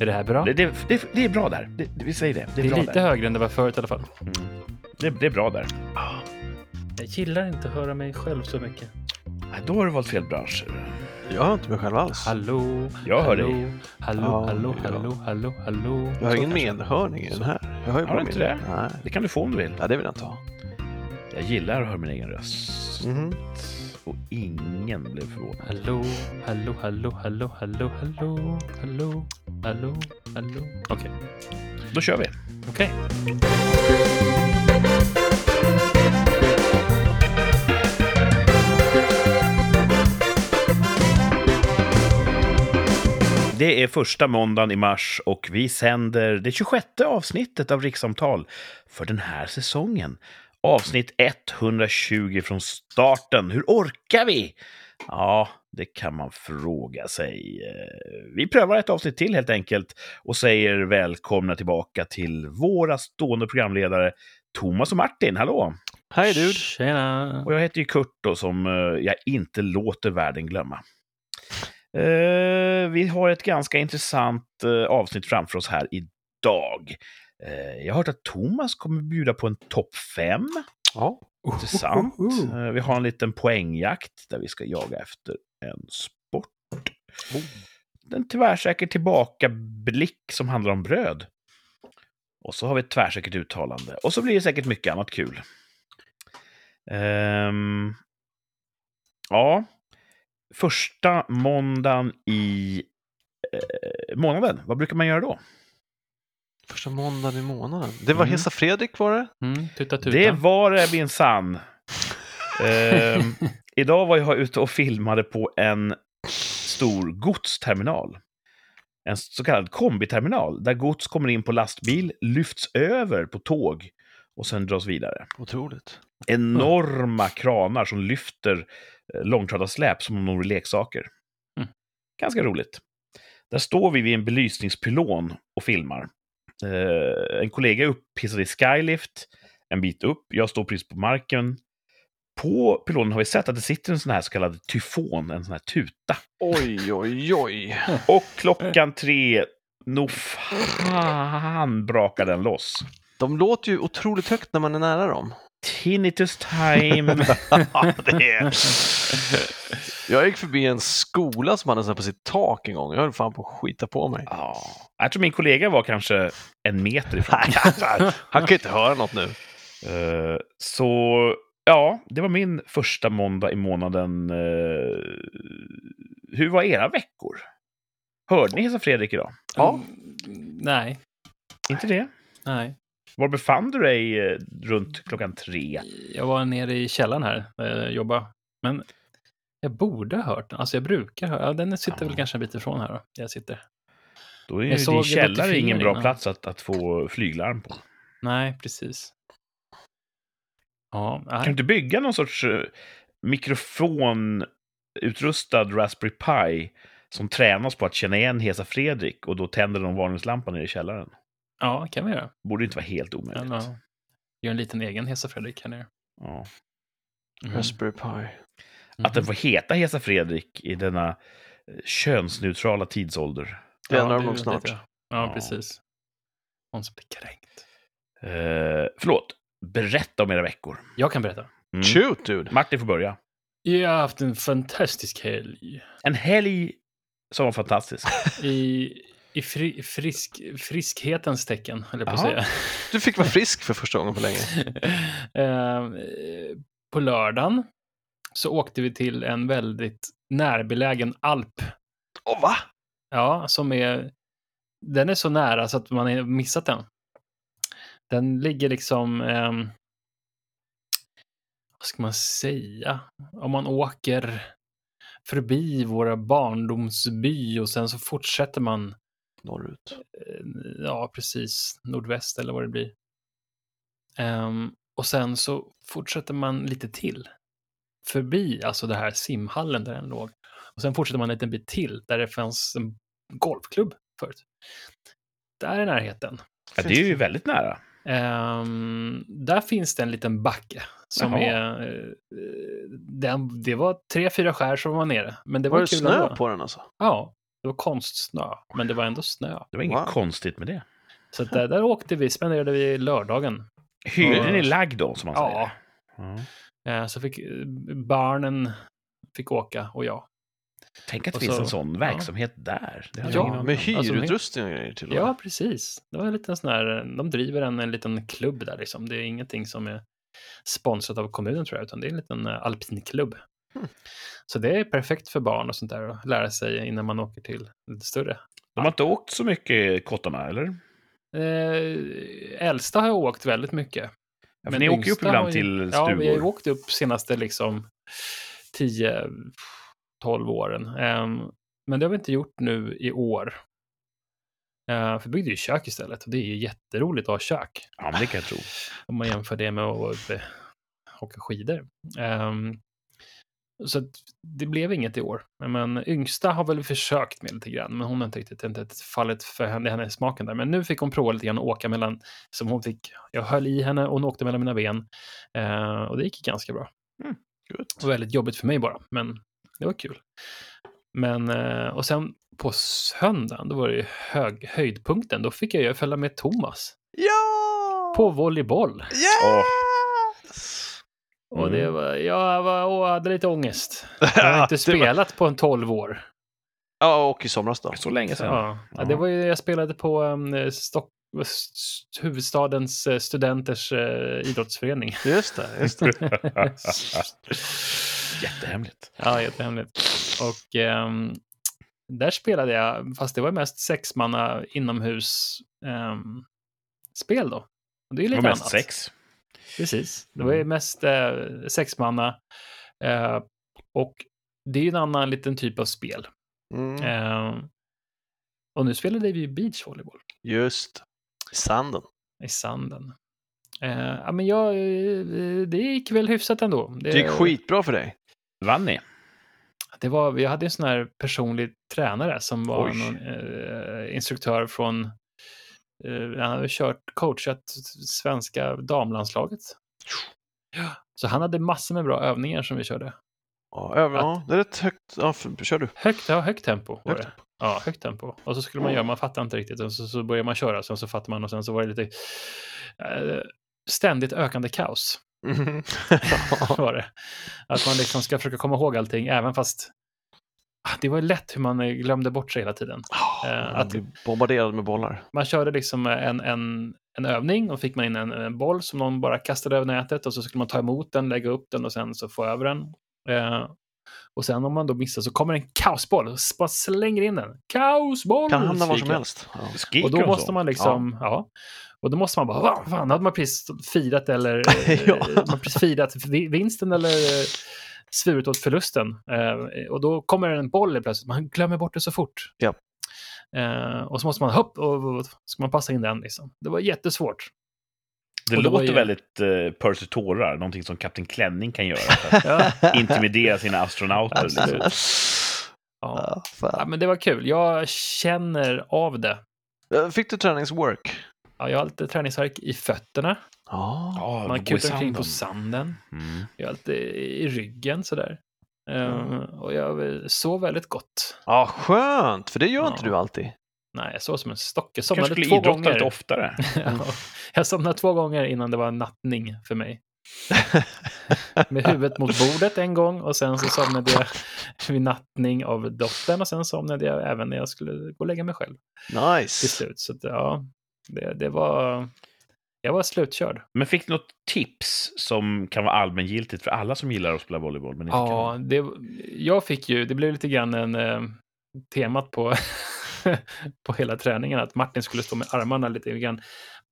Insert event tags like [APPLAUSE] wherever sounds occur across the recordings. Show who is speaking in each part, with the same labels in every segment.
Speaker 1: Är det här bra?
Speaker 2: Det, det, det, det är bra där. Det, det, vi säger det.
Speaker 1: Det
Speaker 2: Det är,
Speaker 1: är
Speaker 2: bra
Speaker 1: lite
Speaker 2: där. Mm.
Speaker 1: högre än det var förut i alla fall.
Speaker 2: Det, det är bra där.
Speaker 1: Jag gillar inte att höra mig själv så mycket.
Speaker 2: Nej, Då har du valt fel bransch.
Speaker 3: Jag hör inte mig själv alls.
Speaker 1: Hallå?
Speaker 2: Jag hör
Speaker 1: hallå,
Speaker 2: dig.
Speaker 1: Hallå,
Speaker 3: Ja,
Speaker 1: hallå,
Speaker 3: ja.
Speaker 1: hallå, hallå, hallå.
Speaker 3: Jag har ingen medhörning i den här. Jag hör ju
Speaker 2: Har
Speaker 3: bara
Speaker 2: du inte
Speaker 3: min-
Speaker 2: det?
Speaker 3: Nej.
Speaker 2: Det kan du få om du vill.
Speaker 3: Ja, det vill jag inte ha.
Speaker 2: Jag gillar att höra min egen röst.
Speaker 1: Mm.
Speaker 2: Och ingen blev förvånad.
Speaker 1: Hallå, hallå, hallå, hallå, hallå, hallå, hallå, hallå, hallå. Okej,
Speaker 2: Då kör vi.
Speaker 1: okej.
Speaker 2: Det är första måndagen i mars och vi sänder det 26 avsnittet av Rikssamtal för den här säsongen. Avsnitt 120 från starten. Hur orkar vi? Ja, det kan man fråga sig. Eh, Vi prövar ett avsnitt till helt enkelt och säger välkomna tillbaka till våra stående programledare Thomas och Martin. Hallå!
Speaker 3: Hej dude!
Speaker 1: Tjena.
Speaker 2: Och jag heter ju Kurt då, som eh, jag inte låter världen glömma. Eh, vi har ett ganska intressant eh, avsnitt framför oss här idag. Eh, jag har hört att Thomas kommer bjuda på en topp 5.
Speaker 3: Ja.
Speaker 2: Intressant.
Speaker 3: Oh, oh,
Speaker 2: Eh, vi har en liten poängjakt där vi ska jaga efter en sport. En tvärsäker tillbakablick som handlar om bröd. Och så har vi ett tvärsäkert uttalande. Och så blir det säkert mycket annat kul. Ehm, ja, första måndagen i eh, månaden, vad brukar man göra då?
Speaker 3: Första måndagen i månaden. Det var
Speaker 2: Mm.
Speaker 3: Hesa Fredrik var det?
Speaker 1: Mm, tuta tuta.
Speaker 2: Det var det minsann. Ehm, idag var jag ute och filmade på en stor godsterminal. En så kallad kombiterminal, där gods kommer in på lastbil, lyfts över på tåg och sen dras vidare.
Speaker 3: Otroligt.
Speaker 2: Enorma kranar som lyfter eh, långtradarsläp som om de vore leksaker.
Speaker 1: Mm.
Speaker 2: Ganska roligt. Där står vi vid en belysningspylon och filmar. Eh, en kollega är upphissad i skylift en bit upp. Jag står precis på marken. På pylonen har vi sett att det sitter en sån här så kallad tyfon, en sån här tuta.
Speaker 3: Oj, oj, oj.
Speaker 2: Och klockan tre, nog fan brakar den loss.
Speaker 3: De låter ju otroligt högt när man är
Speaker 2: [LAUGHS]
Speaker 3: nära dem.
Speaker 2: Tinnitus time.
Speaker 3: Ja, det är... Jag gick förbi en skola som hade så här på sitt tak en gång. Jag höll fan på att skita på mig.
Speaker 2: Ja. Jag tror min kollega var kanske en meter ifrån.
Speaker 3: Han kan ju inte höra något
Speaker 2: Mm.
Speaker 3: nu.
Speaker 2: [LAUGHS] Eh, så ja, det var min första måndag i månaden. Eh, hur var era veckor? Hörde ni Hesa Fredrik idag?
Speaker 3: Ja.
Speaker 1: Mm. Nej,
Speaker 2: Inte det?
Speaker 1: nej.
Speaker 2: Var befann du dig eh, runt klockan tre?
Speaker 1: Jag var nere i källaren här där jag jobbade. Men jag borde ha hört den. Alltså jag brukar höra. Ja, den sitter
Speaker 2: Ja.
Speaker 1: väl kanske en bit ifrån här då. där Jag sitter.
Speaker 2: Då är
Speaker 1: Jag
Speaker 2: ju
Speaker 1: såg
Speaker 2: din
Speaker 1: det
Speaker 2: källare
Speaker 1: notifieringar
Speaker 2: ingen bra
Speaker 1: innan.
Speaker 2: plats att, att få flyglarm på.
Speaker 1: Nej, precis. Ja,
Speaker 2: Kan du
Speaker 1: nej.
Speaker 2: inte bygga någon sorts eh, mikrofonutrustad Raspberry Pi som tränas på att känna igen Hesa Fredrik och då tänder de varningslampan nere i källaren?
Speaker 1: ja kan vi göra.
Speaker 2: Borde inte vara helt omöjligt.
Speaker 1: Eller, ja. gör en liten egen Hesa Fredrik här nere.
Speaker 2: Ja.
Speaker 1: Mm.
Speaker 3: Raspberry Pi.
Speaker 2: Att den får heta Hesa Fredrik i denna eh, könsneutrala tidsålder.
Speaker 3: Det ändrar de
Speaker 1: är
Speaker 3: nog
Speaker 1: lite-
Speaker 3: snart.
Speaker 1: Ja, ja,
Speaker 2: Ja.
Speaker 1: precis. Någon som blir kränkt.
Speaker 2: Eh, förlåt, berätta om era veckor.
Speaker 1: Jag kan berätta.
Speaker 2: Mm.
Speaker 3: Shoot, dude.
Speaker 2: Martin får börja.
Speaker 1: Jag har haft en fantastisk helg.
Speaker 2: En helg som var fantastisk.
Speaker 1: I, i fri, frisk, friskhetens tecken, höll jag på att
Speaker 2: Jaha.
Speaker 1: säga.
Speaker 3: Du fick vara frisk för första gången på länge.
Speaker 1: [LAUGHS] Ehm, eh, på lördagen så åkte vi till en väldigt närbelägen alp.
Speaker 3: Åh, va?
Speaker 1: Ja, som är... Den är så nära så att man har missat den. Den ligger liksom... ehm, vad ska man säga? Om man åker förbi våra barndomsby och sen så fortsätter man
Speaker 3: Norrut.
Speaker 1: eh, ja, precis, nordväst eller vad det blir. Ehm, och sen så fortsätter man lite till. Förbi, alltså det här simhallen där den låg. Och sen fortsätter man en liten bit till där det fanns en golfklubb förut. Där är närheten.
Speaker 2: Ja, det är ju väldigt nära.
Speaker 1: Ehm, där finns det en liten backe som
Speaker 2: Jaha.
Speaker 1: är... eh, den, det var tre, fyra skär som var nere. Men det
Speaker 3: Det
Speaker 1: var,
Speaker 3: var det
Speaker 1: kul
Speaker 3: snö
Speaker 1: ändå.
Speaker 3: på den alltså?
Speaker 1: Ja, Det var konstsnö, men det var ändå snö.
Speaker 2: Det var inget
Speaker 3: Wow.
Speaker 2: konstigt med det.
Speaker 1: Så att där, där åkte vi, spenderade vi lördagen.
Speaker 2: Hyrden
Speaker 1: Mm.
Speaker 2: är lagd då, som man
Speaker 1: Ja,
Speaker 2: säger. Ja.
Speaker 1: eh, så fick eh, barnen fick åka och jag.
Speaker 2: Tänk att det
Speaker 1: Och
Speaker 2: finns
Speaker 1: så-
Speaker 2: en sån verksamhet där. Det hade jag
Speaker 1: Ja,
Speaker 2: ingen aning om.
Speaker 3: Med
Speaker 1: Alltså,
Speaker 3: hyrutrustning och grejer till och med.
Speaker 1: Ja, precis. Det var en liten sån här, de driver en, en liten klubb där liksom. Det är ingenting som är sponsrat av kommunen tror jag, utan det är en liten eh, alpinklubb.
Speaker 3: Hmm.
Speaker 1: Så det är perfekt för barn och sånt där att lära sig innan man åker till lite större.
Speaker 2: De har inte åkt så mycket, kottarna, eller?
Speaker 1: Eh, äldsta har jag åkt väldigt mycket.
Speaker 2: Ja, för ni åker ju upp
Speaker 1: yngsta
Speaker 2: ibland
Speaker 1: har ju-
Speaker 2: till
Speaker 1: Ja, vi har ju
Speaker 2: stugor.
Speaker 1: åkt upp senaste liksom 10-12 åren. Ehm, men det har vi inte gjort nu i år. Eh, för vi byggde ju kök istället och det är ju jätteroligt att ha kök.
Speaker 2: Ja, men det kan jag tro.
Speaker 1: Om man jämför det med att eh, åka skidor. Ehm, så att det blev inget i år. Men yngsta har väl försökt med lite grann, men hon har inte riktigt inte fallit för henne, henne i smaken där. Men nu fick hon prova lite grann att åka mellan, som hon fick, jag höll i henne och hon åkte mellan mina ben. Eh, och det gick ganska bra.
Speaker 2: Mm,
Speaker 1: Det var väldigt jobbigt för mig bara, men det var kul. Men, eh, och sen på söndagen, då var det ju hög, höjdpunkten, då fick jag ju följa med Thomas
Speaker 3: Ja!
Speaker 1: på volleyboll.
Speaker 3: Yes!
Speaker 1: Och
Speaker 2: Mm.
Speaker 1: det var, jag var, och hade lite ångest. Jag har inte
Speaker 3: [LAUGHS] Det var-
Speaker 1: spelat på en 12 år.
Speaker 3: Ja, och i somras då.
Speaker 2: Så länge sedan.
Speaker 1: Ja. Ja, det var ju, jag spelade på um, Stock, s- huvudstadens eh, studenters eh, idrottsförening.
Speaker 3: Just det, just det.
Speaker 2: Jättehemligt.
Speaker 1: ja, jättehemligt. Och ehm, där spelade jag, fast det var mest sexmanna inomhus ehm, spel då. Och det är ju
Speaker 2: Det
Speaker 1: lite
Speaker 2: var mest
Speaker 1: annat.
Speaker 2: sex.
Speaker 1: Precis. Det
Speaker 3: Mm.
Speaker 1: var ju mest eh, sexmanna. Eh, och det är ju en annan liten typ av spel.
Speaker 3: Mm.
Speaker 1: Eh, och nu spelade vi ju beachvolleyboll
Speaker 3: Just. I sanden.
Speaker 1: i sanden. Eh, ja, men jag, eh, det gick väl hyfsat ändå.
Speaker 3: Det gick skitbra för dig.
Speaker 2: Vann ni?
Speaker 1: Det var, jag hade en sån här personlig tränare som var
Speaker 2: Oj.
Speaker 1: någon, eh, instruktör från, eh, han hade kört, coachat svenska damlandslaget. Ja, Så han hade massor med bra övningar som vi körde.
Speaker 3: Ja, över, ja, det är rätt högt. Ja, för, kör du.
Speaker 1: Högt, ja, högt tempo var
Speaker 3: Högt
Speaker 1: det. Ja, högt tempo. Och så skulle man göra, man fattar inte riktigt. Och så, så börjar man köra, sen så fattar man och sen så var det lite eh, ständigt ökande kaos.
Speaker 3: Mhm.
Speaker 1: Mm-hmm. var det. Att man liksom ska försöka komma ihåg allting, även fast Ah, det var lätt hur man eh, glömde bort sig hela tiden.
Speaker 3: Man
Speaker 1: Eh, att-
Speaker 3: Ah, blir bombarderad med bollar.
Speaker 1: Man körde liksom en, en, en övning och fick man in en, en boll som någon bara kastade över nätet och så skulle man ta emot den, lägga upp den och sen så få över den. Eh, och sen om man då missar så kommer en kaosboll och s- bara slänger in den. Kaosboll!
Speaker 3: Kan hamna var som
Speaker 1: skriker jag.
Speaker 3: helst. Ja.
Speaker 2: Skriker
Speaker 1: Och då
Speaker 2: de så?
Speaker 1: måste man liksom, ja. Och då måste man bara, vad fan, hade man precis firat eller
Speaker 2: [LAUGHS]
Speaker 1: eh,
Speaker 3: Ja.
Speaker 1: man har precis firat vi- vinsten eller eh, svurit åt förlusten. Eh, och då kommer en boll plötsligt, man glömmer bort det så fort.
Speaker 3: Ja.
Speaker 1: Eh, och så måste man, hopp, och, och, och ska man passa in den liksom. Det var
Speaker 2: [LAUGHS]
Speaker 1: jättesvårt.
Speaker 2: Det
Speaker 1: Och det var
Speaker 2: låter
Speaker 1: ju-
Speaker 2: väldigt uh, Percy tårar, någonting som Kapten Klänning kan göra för att
Speaker 1: Ja, [LAUGHS]
Speaker 2: intimidera sina astronauter.
Speaker 1: Absolut.
Speaker 2: Liksom.
Speaker 1: ja.
Speaker 3: [LAUGHS] Ja,
Speaker 1: ja,
Speaker 3: fan.
Speaker 1: men det var kul. Jag känner av det.
Speaker 3: Eh, Fick du träningswork?
Speaker 1: Ja, jag har lite träningsvärk i fötterna.
Speaker 3: Ja.
Speaker 2: Ja, gå
Speaker 1: Man
Speaker 2: Ah, i
Speaker 1: kutar omkring på
Speaker 2: sanden.
Speaker 1: sanden.
Speaker 2: Mm.
Speaker 1: Jag har lite i ryggen sådär. Eh, och jag sov väldigt gott.
Speaker 3: Ja, skönt. För det gör inte
Speaker 1: Ja.
Speaker 3: du alltid.
Speaker 1: Nej, jag sov som en stock. Jag
Speaker 2: kanske
Speaker 1: somnade
Speaker 2: skulle
Speaker 1: två
Speaker 2: idrotta lite
Speaker 1: gånger.
Speaker 2: oftare.
Speaker 1: [LAUGHS] Ja, jag somnade två gånger innan det var en nattning för mig.
Speaker 2: [LAUGHS]
Speaker 1: Med huvudet mot bordet en gång och sen så somnade jag [LAUGHS] vid nattning av dottern och sen somnade jag även när jag skulle gå och lägga mig själv till
Speaker 3: Nice.
Speaker 1: slut. Så att, ja, det, det var... Jag var slutkörd.
Speaker 2: Men fick du något tips som kan vara allmängiltigt för alla som gillar att spela volleyboll? Men inte
Speaker 1: Ja, det, jag fick ju, det blev lite grann en eh, temat på, [LAUGHS] på hela träningen, att Martin skulle stå med armarna lite grann.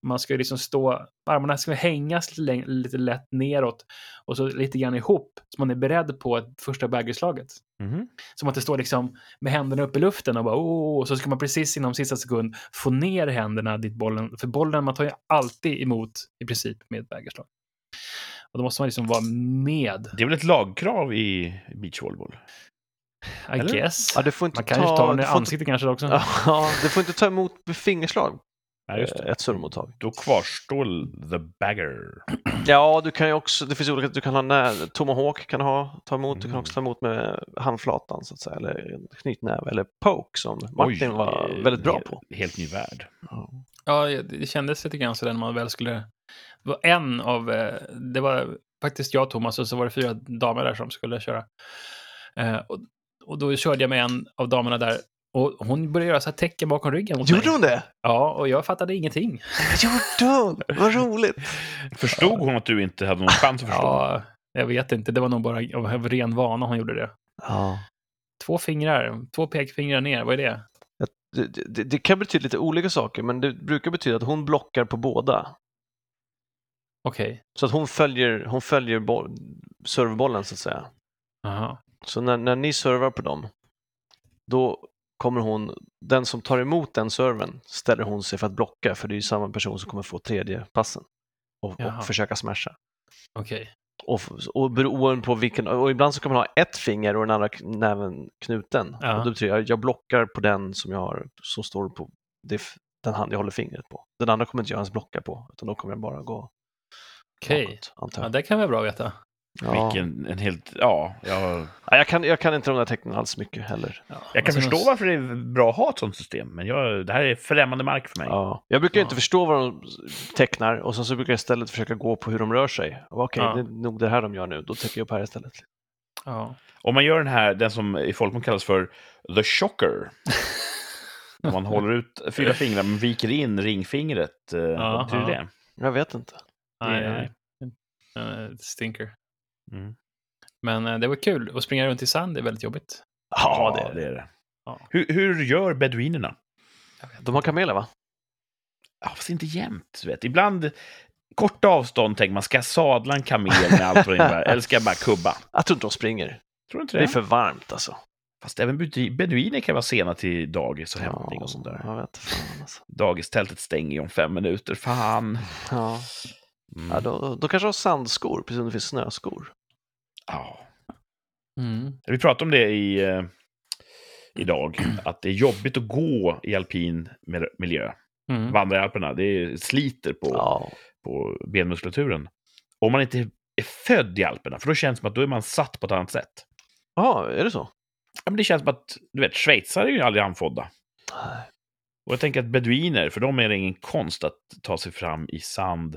Speaker 1: Man ska ju liksom stå, armarna ska hängas lite, lite lätt neråt och så lite grann ihop, så man är beredd på ett första bägerslaget.
Speaker 2: kan. Mhm.
Speaker 1: Så man inte står liksom med händerna uppe i luften och bara åh, och så ska man precis inom sista sekund få ner händerna dit bollen, för bollen, man tar ju alltid emot i princip med ett bägerslag. Och då måste man liksom vara med,
Speaker 2: Det är väl ett lagkrav i beachvolleyboll?
Speaker 1: I
Speaker 2: Eller?
Speaker 1: guess.
Speaker 3: Ja, du får inte
Speaker 1: Man kan ju ta den i
Speaker 3: du får inte-
Speaker 1: ansiktet kanske också.
Speaker 3: Ja, du får inte ta emot fingerslag.
Speaker 2: Ja, just det.
Speaker 3: eh, ett surrmottag.
Speaker 2: Då kvarstår the bagger.
Speaker 3: Ja, du kan ju också, det finns olika, du kan ha när, tomahawk kan du ha, ta emot, du kan
Speaker 2: Mm.
Speaker 3: också ta emot med handflatan så att säga, eller knytnäve, eller poke som Martin
Speaker 2: Oj,
Speaker 3: var
Speaker 2: eh,
Speaker 3: väldigt bra
Speaker 2: he-
Speaker 3: på.
Speaker 2: Helt ny värld.
Speaker 1: Ja, det- det kändes lite grann sådär när man väl skulle... Det var en av... eh, Det var faktiskt jag och Thomas och så var det fyra damer där som skulle köra. Eh, Och, och då körde jag med en av damerna där. Och hon började göra så här tecken bakom ryggen mot
Speaker 3: Gjorde
Speaker 1: mig.
Speaker 3: hon det?
Speaker 1: Ja, och jag fattade ingenting.
Speaker 3: Gjorde hon? [LAUGHS] Vad roligt!
Speaker 2: Förstod hon att du inte hade någon chans att förstå?
Speaker 1: Ja, jag vet inte, det var nog bara av- av ren vana hon gjorde det.
Speaker 3: Ja.
Speaker 1: Två fingrar, två pekfingrar ner, vad är det?
Speaker 3: Det, det, det kan betyda lite olika saker, men det brukar betyda att hon blockar på båda.
Speaker 1: Okej,
Speaker 3: Så att hon följer, hon följer boll, serverbollen så att säga.
Speaker 1: jaha.
Speaker 3: Så när, när ni servar på dem, då kommer hon, den som tar emot den serven ställer hon sig för att blocka, för det är ju samma person som kommer få tredje passen och,
Speaker 1: Jaha.
Speaker 3: och försöka smasha.
Speaker 1: Okej.
Speaker 3: Och, f- och beroende på vilken, och ibland så kan man ha ett finger och den andra kn- näven knuten.
Speaker 1: Ja.
Speaker 3: Och det betyder jag, jag blockar på den som jag har, som står på det, f- den hand jag håller fingret på. Den andra kommer inte jag ens blocka på, utan då kommer jag bara gå
Speaker 1: Okej.
Speaker 3: bakåt, antar
Speaker 1: Ja,
Speaker 3: jag.
Speaker 1: det kan vara bra att veta.
Speaker 3: Ja.
Speaker 2: Vilken, en helt, ja, jag,
Speaker 3: Ja, jag, kan, jag kan inte de där tecknen alls mycket heller.
Speaker 1: Ja,
Speaker 2: jag kan
Speaker 1: alltså,
Speaker 2: förstå varför det är bra att ha ett sånt system, men jag, det här är främmande mark för mig.
Speaker 3: Ja. Jag brukar ju inte
Speaker 1: Ja.
Speaker 3: förstå vad de tecknar och sen så brukar jag istället försöka gå på hur de rör sig. Och bara, Okej,
Speaker 1: Ja.
Speaker 3: det är nog det här de gör nu, då täcker jag upp här istället.
Speaker 1: Ja.
Speaker 2: Om man gör den här, den som i folkmun kallas för
Speaker 1: [LAUGHS]
Speaker 2: the shocker, när man håller ut fyra fingrar men viker in ringfingret, eh, vad betyder det?
Speaker 3: Jag vet inte.
Speaker 1: Nej,
Speaker 2: Nej.
Speaker 1: nej. Eh, Stinker.
Speaker 2: Mm.
Speaker 1: Men eh, det var kul. Att springa runt i sand är väldigt jobbigt.
Speaker 3: Ja, det är det.
Speaker 2: är det.
Speaker 1: Ja.
Speaker 2: Hur, hur gör beduinerna?
Speaker 3: De har kameler va?
Speaker 2: Ja, fast inte jämt. du Vet. Ibland, korta avstånd tänker man, ska jag sadla en kamel med allt vad det innebär, eller ska jag bara kubba?
Speaker 3: Jag tror inte de springer.
Speaker 2: Tror du inte
Speaker 3: Det
Speaker 2: det?
Speaker 3: är för varmt alltså.
Speaker 2: Fast även bedi- beduiner kan vara sena till dagis och hämtning och sånt där.
Speaker 3: Ja, Jag vet fan alltså.
Speaker 2: Dagistältet stänger ju om fem minuter, fan.
Speaker 3: Ja.
Speaker 2: Mm.
Speaker 3: Ja, då, då kanske de har sandskor, precis som det finns snöskor.
Speaker 2: Ja.
Speaker 1: Mm.
Speaker 2: Vi pratade om det i, eh, idag, att det är jobbigt att gå i alpin mil- miljö.
Speaker 1: Mm.
Speaker 2: Vandra i Alperna, det sliter på,
Speaker 3: Ja.
Speaker 2: på benmuskulaturen. Om man inte är född i Alperna, för då känns det som att då är man satt på ett annat sätt.
Speaker 3: ja, är det så?
Speaker 2: Ja, men det känns som att, du vet, schweizare är ju aldrig anfodda.
Speaker 3: Nej.
Speaker 2: Och jag tänker att beduiner, för dem är det ingen konst att ta sig fram i sand.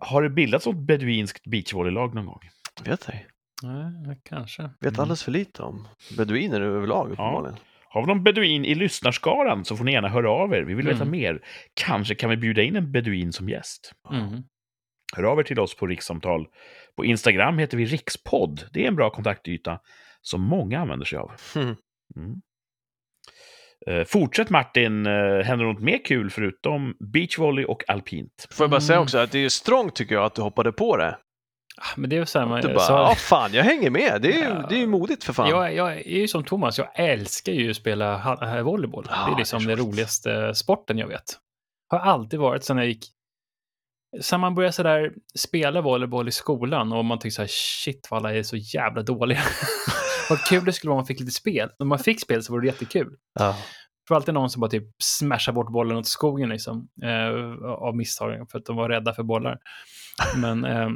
Speaker 2: Har det bildats något beduinskt beachvolleylag någon gång?
Speaker 3: Vet ej.
Speaker 1: Nej, kanske.
Speaker 3: Vet
Speaker 2: Mm.
Speaker 3: alldeles för lite om beduiner överlag uppenbarligen.
Speaker 2: Har vi någon beduin i lyssnarskaran så får ni gärna höra av er. Vi vill veta
Speaker 1: Mm.
Speaker 2: mer. Kanske kan vi bjuda in en beduin som gäst.
Speaker 1: Mm.
Speaker 2: Hör av er till oss på rikssamtal. På Instagram heter vi rikspodd. Det är en bra kontaktyta som många använder sig av.
Speaker 3: Mm.
Speaker 2: Mm. Eh, fortsätt Martin, eh, händer något mer kul förutom beachvolley och alpint?
Speaker 3: Får jag bara säga
Speaker 1: Mm.
Speaker 3: också att det är strångt tycker jag att du hoppade på det.
Speaker 1: Ah, Men det är ju samma.
Speaker 3: Du bara,
Speaker 1: så-
Speaker 3: ja fan, jag hänger med. Det är ju,
Speaker 1: Ja.
Speaker 3: det är ju modigt för fan.
Speaker 1: jag, jag är ju som Thomas, jag älskar ju att spela ha- eh, volleyboll.
Speaker 3: Ja,
Speaker 1: det
Speaker 3: det
Speaker 1: är
Speaker 3: är
Speaker 1: liksom
Speaker 3: så
Speaker 1: den
Speaker 3: roligt.
Speaker 1: roligaste sporten jag vet. Har alltid varit sen jag gick... Sen man började sådär spela volleyboll i skolan och man tyckte såhär shit vad alla är så jävla dåliga. [LAUGHS] vad kul det skulle vara om man fick lite spel. När man fick spel så var det jättekul.
Speaker 3: Ja.
Speaker 1: Det var alltid någon som bara typ smashade bort bollen åt skogen liksom, eh, av misstag för att de var rädda för bollar. Men eh,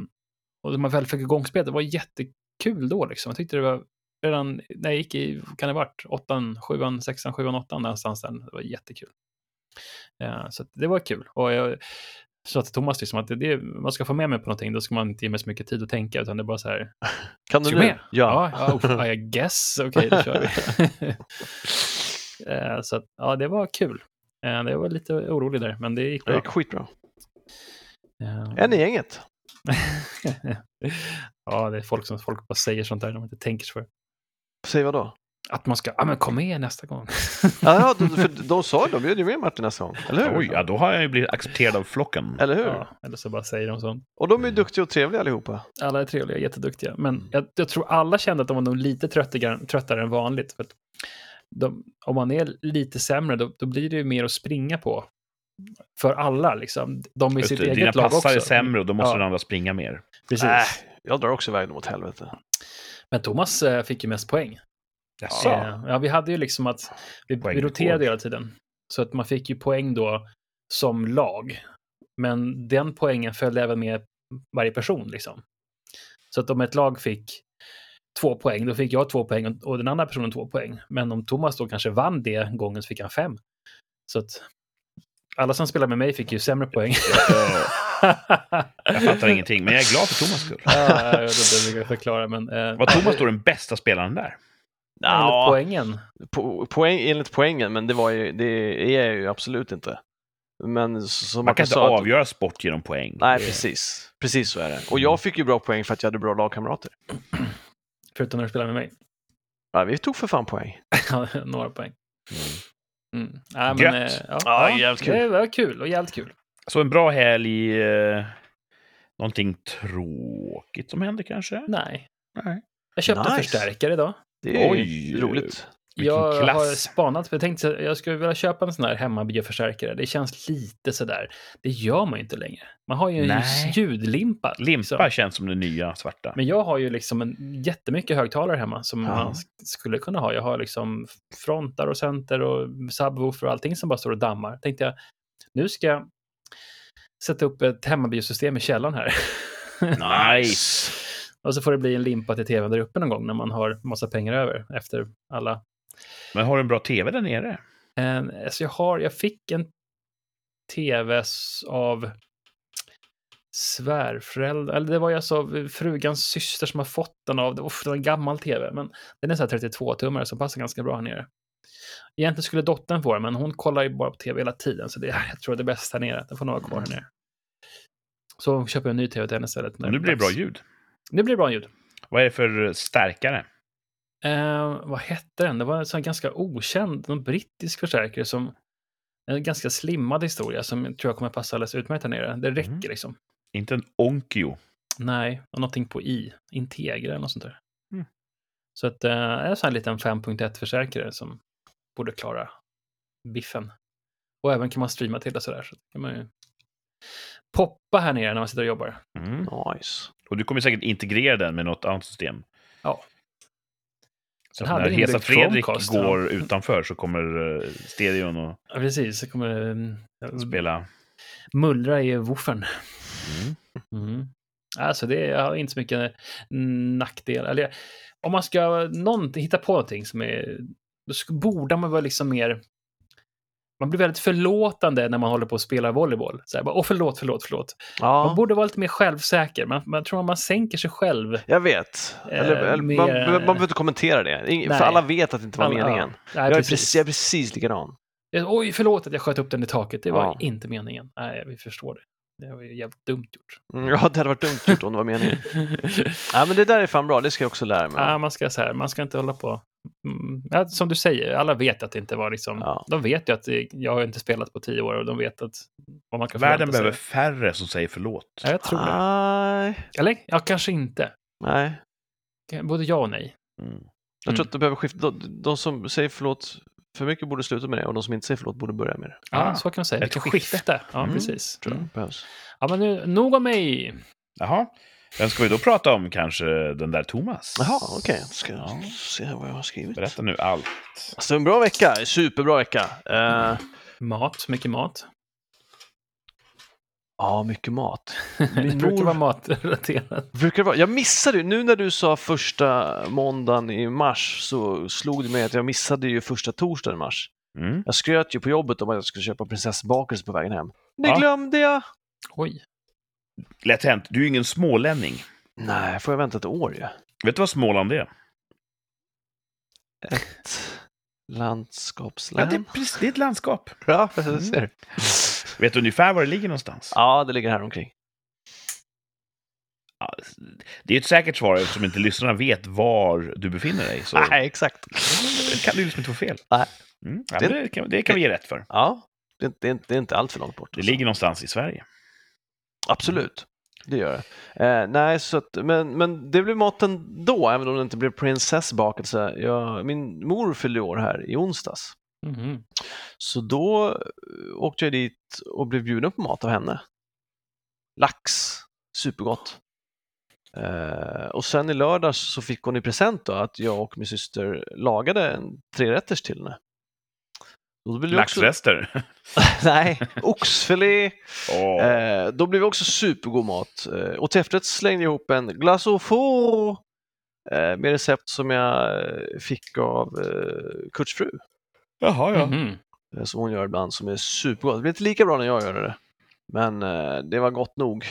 Speaker 1: och när man väl fick igång spelet, det var jättekul då. Liksom. Jag tyckte det var redan när jag gick i, kan det ha varit, åttan, sjuan, sexan, sjuan, åttan någonstans där. Det var jättekul. Eh, så att det var kul. Och jag sa till Thomas liksom att det, det, man ska få med mig på någonting, då ska man inte ge mig så mycket tid att tänka, utan det är bara så här,
Speaker 3: Kan du
Speaker 1: Ska
Speaker 3: nu?
Speaker 1: du med?
Speaker 3: Ja.
Speaker 1: Ja, ja, oh, I guess. Okej, då kör vi.
Speaker 2: [LAUGHS]
Speaker 1: Eh, Så att, ja, det var kul. Eh, Jag var lite orolig där, men det gick
Speaker 3: Det
Speaker 1: bra.
Speaker 3: gick skitbra.
Speaker 1: Eh,
Speaker 3: En i gänget.
Speaker 1: [LAUGHS] ja, det är folk som folk bara säger sånt där när man inte tänker sig för.
Speaker 3: Säg vad då?
Speaker 1: Att man ska, ja men kom med nästa gång.
Speaker 3: Ja, ja, de, för de sa ju, de bjöd ju med Martin nästa gång, eller hur?
Speaker 2: Oj, ja, då har jag ju blivit accepterad av flocken.
Speaker 3: Eller hur?
Speaker 1: ja, eller så bara säger de sånt.
Speaker 3: Och de är ju duktiga och trevliga allihopa.
Speaker 1: Alla är trevliga, jätteduktiga.
Speaker 2: Mm.
Speaker 1: Men jag, jag tror alla kände att de var nog lite tröttigare, tröttare än vanligt. För att de, om man är lite sämre, då, då blir det ju mer att springa på. För alla, liksom. De i
Speaker 2: Just
Speaker 1: sitt
Speaker 2: det,
Speaker 1: eget
Speaker 2: dina
Speaker 1: lag också.
Speaker 2: passar är sämre och då måste
Speaker 1: Ja.
Speaker 2: den andra springa mer.
Speaker 1: Precis.
Speaker 3: Äh, jag drar också iväg dem åt helvete.
Speaker 1: Men Thomas eh, fick ju mest poäng.
Speaker 2: Jaså?
Speaker 1: Eh, Ja, vi hade ju liksom att vi, vi
Speaker 2: Poängrekord.
Speaker 1: roterade hela tiden. Så att man fick ju poäng då som lag. Men den poängen följde även med varje person. Liksom. Så att om ett lag fick två poäng, då fick jag två poäng och- och den andra personen två poäng. Men om Thomas då kanske vann det gången så fick han fem. Så att alla som spelade med mig fick ju sämre poäng.
Speaker 2: Jag, jag fattar ingenting, men jag är glad för Thomas skull.
Speaker 1: [LAUGHS] Ja, jag vet inte hur jag ska förklara, men... Eh,
Speaker 2: Var Thomas då den bästa spelaren där?
Speaker 1: enligt
Speaker 3: Ja,
Speaker 1: poängen.
Speaker 3: po- poäng, enligt poängen, men det, var ju, det är jag ju absolut inte. Men s- som
Speaker 2: Man kan
Speaker 3: Marcus
Speaker 2: inte
Speaker 3: sa att-
Speaker 2: avgöra sport genom poäng.
Speaker 3: Nej,
Speaker 2: Det-
Speaker 3: precis. Precis så är det. Och jag fick ju bra poäng för att jag hade bra lagkamrater.
Speaker 1: Förutom när du spelade med mig. [LAUGHS]
Speaker 3: Ja, vi tog för fan poäng.
Speaker 1: Ja, Några poäng. Mm. Ja, men,
Speaker 2: Gött.
Speaker 1: eh, ja,
Speaker 3: Ja,
Speaker 1: ja,
Speaker 3: jävligt
Speaker 1: Det var kul och jävligt kul.
Speaker 2: Så en bra helg. Eh, någonting tråkigt som hände kanske?
Speaker 1: Nej.
Speaker 2: Nej.
Speaker 1: Jag köpte en
Speaker 3: Nice.
Speaker 1: förstärkare idag.
Speaker 3: Det är
Speaker 2: Oj.
Speaker 3: Oj. roligt.
Speaker 2: Vilken
Speaker 1: jag har
Speaker 2: klass!
Speaker 1: spanat, för jag tänkte att jag skulle vilja köpa en sån här hemmabioförstärkare. Det känns lite sådär. Det gör man ju inte längre. Man har ju en
Speaker 2: Nej.
Speaker 1: ljudlimpa. liksom.
Speaker 2: Limpa känns som den nya svarta.
Speaker 1: Men jag har ju liksom en, jättemycket högtalare hemma som
Speaker 2: Ja.
Speaker 1: man sk- skulle kunna ha. Jag har liksom frontar och center och subwoofer och allting som bara står och dammar. Tänkte jag, nu ska jag sätta upp ett hemmabiosystem i källaren här. [LAUGHS]
Speaker 2: Nice!
Speaker 1: och så får det bli en limpa till tvn där uppe någon gång när man har massa pengar över efter alla.
Speaker 2: Men har du en bra tv där nere?
Speaker 1: En, alltså jag, har, jag fick en tv s- av svärföräldrar, eller det var ju alltså av frugans syster som har fått den av, uff, det var en gammal tv, men den är så här 32-tummare som passar ganska bra här nere. Egentligen skulle dottern få den, men hon kollar ju bara på tv hela tiden, så det, jag tror det är bäst här nere, den får nog vara kvar här nere. Så köper jag en ny tv till henne istället. när
Speaker 2: Nu blir det bra
Speaker 1: dags.
Speaker 2: ljud.
Speaker 1: Nu blir det bra ljud.
Speaker 2: Vad är det för stärkare?
Speaker 1: Eh, vad hette den? Det var en sån ganska okänd, någon brittisk förstärkare som en ganska slimmad historia som jag tror jag kommer passa alldeles utmärkt här nere. Det räcker
Speaker 2: Mm.
Speaker 1: liksom.
Speaker 2: Inte en Onkyo.
Speaker 1: Nej, och någonting på i. Integra eller något sånt där.
Speaker 2: Mm.
Speaker 1: Så att, eh, en sån här liten 5.1-förstärkare som borde klara biffen. Och även kan man streama till det sådär. Så kan man ju poppa här nere när man sitter och jobbar.
Speaker 2: Mm.
Speaker 3: Nice.
Speaker 2: Och du kommer säkert integrera den med något annat system.
Speaker 1: Ja.
Speaker 2: Så
Speaker 1: Den
Speaker 2: att när
Speaker 1: hade
Speaker 2: Hesa
Speaker 1: inbyggd
Speaker 2: Fredrik
Speaker 1: Chromecast,
Speaker 2: går utanför så kommer eh, stereon och
Speaker 1: Ja, precis, så kommer det mm,
Speaker 2: spela.
Speaker 1: mullra i woofern.
Speaker 2: Mm.
Speaker 1: Mm. Alltså det är inte så mycket nackdel. Eller, om man ska någonting, hitta på någonting som är... Då sk- borde man vara liksom mer... Man blir väldigt förlåtande när man håller på att spela volleyboll. Så här, bara, Åh, förlåt, förlåt, förlåt. Man
Speaker 3: Ja,
Speaker 1: borde vara lite mer självsäker. Man, man tror att man sänker sig själv.
Speaker 3: jag vet. Eller,
Speaker 1: Eh,
Speaker 3: eller,
Speaker 1: mer-
Speaker 3: man, man behöver inte kommentera det. Ingen-
Speaker 1: Nej.
Speaker 3: För alla vet att det inte var
Speaker 1: Alla- ja.
Speaker 3: meningen.
Speaker 1: Nej,
Speaker 3: Jag är
Speaker 1: precis. Eh,
Speaker 3: precis, jag är precis likadan.
Speaker 1: Oj, förlåt att jag sköt upp den i taket. Det var
Speaker 3: Ja.
Speaker 1: inte meningen. Nej, vi förstår det. Det var ju jävligt dumt
Speaker 3: [LAUGHS]
Speaker 1: gjort. [LAUGHS]
Speaker 3: Mm, Ja, det hade varit dumt gjort om det var meningen. Ja, men det där är fan bra. Det ska jag också lära mig.
Speaker 1: Ja, man ska så här, man ska inte hålla på. Mm, ja, som du säger, alla vet att det inte var liksom.
Speaker 3: Ja.
Speaker 1: De vet ju att det, jag har inte spelat på tio år och de vet att vad man kan
Speaker 2: Världen
Speaker 1: förvänta
Speaker 2: behöver
Speaker 1: sig.
Speaker 2: färre som säger förlåt.
Speaker 1: Ja, jag tror
Speaker 3: Ah.
Speaker 1: det.
Speaker 3: Nej.
Speaker 1: Eller? Ja, kanske inte.
Speaker 3: Nej.
Speaker 1: Både ja och nej.
Speaker 2: Mm.
Speaker 3: Jag tror
Speaker 1: Mm.
Speaker 3: att du behöver skifta. De, de som säger förlåt för mycket borde sluta med det och de som inte säger förlåt borde börja med det.
Speaker 1: Ja,
Speaker 2: Ah,
Speaker 1: så kan man säga.
Speaker 2: ett
Speaker 1: Vilket
Speaker 2: skifte.
Speaker 1: skifte. Ja,
Speaker 2: Mm,
Speaker 1: precis.
Speaker 3: Tror jag
Speaker 1: Mm.
Speaker 3: behövs.
Speaker 1: Ja, men nu, nog om mig.
Speaker 2: Jaha. Vem ska vi då prata om kanske? Den där Thomas?
Speaker 3: Jaha, okej. Då Ska jag
Speaker 2: Ja.
Speaker 3: se vad jag har skrivit.
Speaker 2: Berätta nu allt.
Speaker 3: Alltså en bra vecka. Superbra vecka. Eh,
Speaker 1: Mat, mycket
Speaker 3: [LAUGHS]
Speaker 1: mat.
Speaker 3: ja, mycket mat.
Speaker 1: det brukar vara matrelaterat.
Speaker 3: Brukar det vara? Jag missade ju, nu när du sa första måndagen i mars så slog det mig att jag missade ju första torsdagen i mars.
Speaker 2: Mm.
Speaker 3: Jag skröt ju på jobbet om att jag skulle köpa prinsessbakelse på vägen hem. Det
Speaker 2: Ja.
Speaker 3: glömde jag!
Speaker 1: Oj.
Speaker 2: Lätt hänt. Du är ju ingen smålänning.
Speaker 3: Nej, får jag vänta ett år ju.
Speaker 2: Vet du vad Småland är?
Speaker 3: Ett
Speaker 2: Ja, det, är
Speaker 3: landskapslän.
Speaker 2: precis, det är ett landskap.
Speaker 3: Ja, jag ser. det.
Speaker 2: Vet du ungefär var det ligger någonstans?
Speaker 3: ja, det ligger här omkring.
Speaker 2: Ja, Det är ett säkert svar eftersom inte lyssnarna vet var du befinner dig. Så
Speaker 3: Nej, exakt.
Speaker 2: det kan du liksom inte få fel.
Speaker 3: Nej.
Speaker 2: Mm. Ja, men det, kan, det kan vi ge rätt för.
Speaker 3: Ja, det är, inte- det, är, inte- det är inte allt för långt bort.
Speaker 2: Det
Speaker 3: alltså.
Speaker 2: ligger någonstans i Sverige.
Speaker 3: Absolut, det gör det. Eh, nej, så att, men, men det blev maten då, även om det inte blev prinsessbakelse. Jag, min mor fyllde år här i onsdags.
Speaker 1: Mhm.
Speaker 3: Så då eh, åkte jag dit och blev bjuden på mat av henne. Lax, supergott. Eh, och sen i lördags så fick hon i present då att jag och min syster lagade en trerätters till henne. Då blir det också...
Speaker 2: Laxrester.
Speaker 3: [LAUGHS] Nej, oxfilé.
Speaker 2: Åh.
Speaker 3: Eh, då blev det också supergod mat. Eh, och till efterrätt slängde jag ihop en glace au four eh, med recept som jag eh, fick av eh, Kurts fru,
Speaker 2: Jaha, ja.
Speaker 1: Mhm.
Speaker 3: eh, som hon gör ibland, som är supergott. Det blir inte lika bra när jag gör det, men eh, det var gott nog.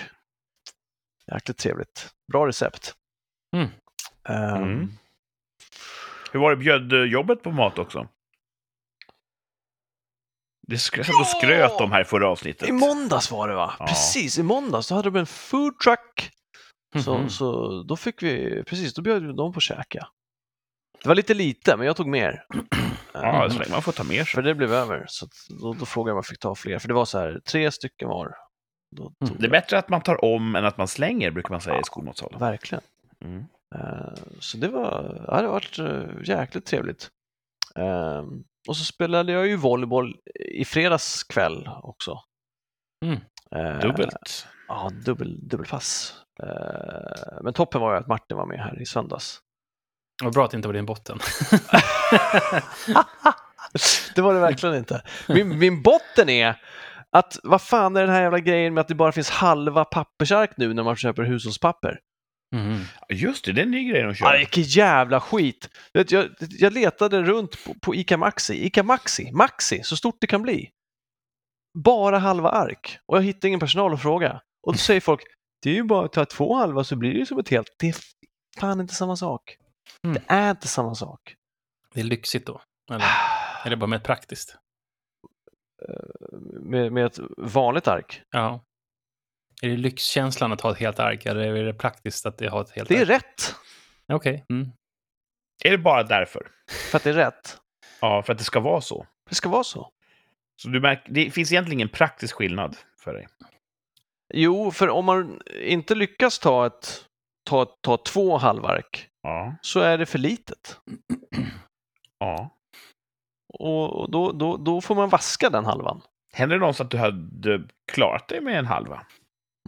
Speaker 3: Jäkligt trevligt. Bra recept.
Speaker 1: Mm.
Speaker 3: Ehm,
Speaker 2: Mm. Hur var det, bjöd eh, jobbet på mat också? Det skröt,
Speaker 3: Ja!
Speaker 2: ja! skröt de här i förra avsnittet.
Speaker 3: I måndags var det va?
Speaker 2: Ja.
Speaker 3: Precis, i måndags då hade de en food truck. Så,
Speaker 1: Mhm.
Speaker 3: så då fick vi, precis, då bjöd de på käka. Det var lite lite, men jag tog
Speaker 1: [CLEARS THROAT]
Speaker 3: mer.
Speaker 2: Ja,
Speaker 3: Eh,
Speaker 2: så länge man får ta med
Speaker 3: För
Speaker 2: sig.
Speaker 3: det blev över. Så att då, då frågade jag om jag fick ta fler. För det var så här, tre stycken var. Då
Speaker 1: Mm.
Speaker 3: tog
Speaker 2: Det är bättre att man tar om än att man slänger, brukar man säga i
Speaker 3: jag.
Speaker 2: skolmatsalen.
Speaker 3: Verkligen.
Speaker 2: Mm.
Speaker 3: Eh, så det var, ja, det var eh, jäkligt trevligt. Eh, och så spelade jag ju volleyboll i fredags kväll också.
Speaker 1: Mm.
Speaker 3: Eh,
Speaker 2: Dubbelt.
Speaker 3: Ja, dubbel, dubbelpass. Eh, men toppen var ju att Martin var med här i söndags.
Speaker 1: Vad bra att det inte var din botten.
Speaker 3: Det var det verkligen inte. Min, min botten är att vad fan är den här jävla grejen med att det bara finns halva pappersark nu när man köper hushållspapper?
Speaker 1: Mhm.
Speaker 2: Just det, det är en ny grej de
Speaker 3: Ja,
Speaker 2: kör.
Speaker 3: vilken jävla skit! Du Vet, jag, jag letade runt på, på ICA Maxi, ICA Maxi, Maxi, så stort det kan bli. Bara halva ark och jag hittade ingen personal att fråga. Och då säger folk, det är ju bara att ta två halva så blir det ju som ett helt. Det är fan inte samma sak.
Speaker 1: Mm.
Speaker 3: Det är inte samma sak.
Speaker 1: Det är lyxigt då. Eller,
Speaker 3: Ah.
Speaker 1: eller bara med praktiskt.
Speaker 3: Med, med ett vanligt ark.
Speaker 1: Ja. Är det lyxkänslan att ha ett helt ark eller är det praktiskt att ha ett helt
Speaker 3: Det är
Speaker 1: ark?
Speaker 3: rätt.
Speaker 1: Okej. Mm.
Speaker 2: Är det bara därför?
Speaker 3: För att det är rätt.
Speaker 2: Ja, för att det ska vara så.
Speaker 3: Det ska vara så.
Speaker 2: Så du märker, det finns egentligen ingen praktisk skillnad för dig.
Speaker 3: Jo, för om man inte lyckas ta, ett, ta, ta två halvark
Speaker 2: Ja.
Speaker 3: så är det för litet.
Speaker 2: ja.
Speaker 3: Och, och då, då, då får man vaska den halvan.
Speaker 2: Händer det någonsin att du hade klarat dig med en halva?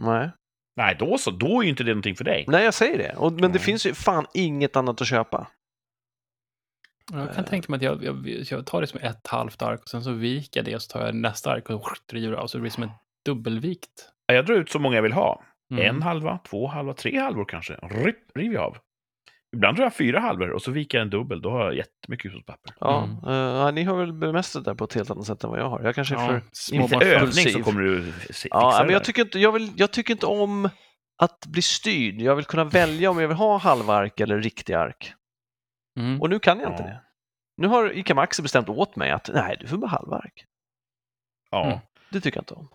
Speaker 3: Nej,
Speaker 2: Nej, då så. Då är ju inte det någonting för dig.
Speaker 3: Nej jag säger det. Och, men det
Speaker 2: Mm.
Speaker 3: finns ju fan inget annat att köpa.
Speaker 1: Jag kan
Speaker 3: Eh.
Speaker 1: tänka mig att jag, jag, jag tar det som ett halvt ark och sen så viker jag det och så tar jag nästa ark och driver av så det blir som en dubbelvikt.
Speaker 2: Ja, Jag drar ut så många jag vill ha.
Speaker 1: Mm.
Speaker 2: En halva, två halva, tre halvor kanske. Rypp, river jag av. Ibland drar jag fyra halvor och så viker jag en dubbel. Då har jag jättemycket hushållspapper.
Speaker 3: Ja,
Speaker 1: Mm.
Speaker 3: eh, ja, ni har väl bemästrat det här på ett helt annat sätt än vad jag har. Jag kanske är för...
Speaker 2: Lite
Speaker 1: småbarn-
Speaker 2: övning så
Speaker 3: Impulsiv.
Speaker 2: kommer du fi- fixa
Speaker 3: Ja,
Speaker 2: det
Speaker 3: men jag
Speaker 2: där.
Speaker 3: tycker, inte, jag, vill, jag tycker inte om att bli styrd. Jag vill kunna välja om jag vill ha halvark eller riktig ark.
Speaker 1: Mm.
Speaker 3: Och nu kan jag inte
Speaker 2: Ja.
Speaker 3: det. Nu har Ica Maxi bestämt åt mig att nej, du får bara halvark.
Speaker 2: Ja.
Speaker 1: Mm.
Speaker 3: Det tycker jag inte om.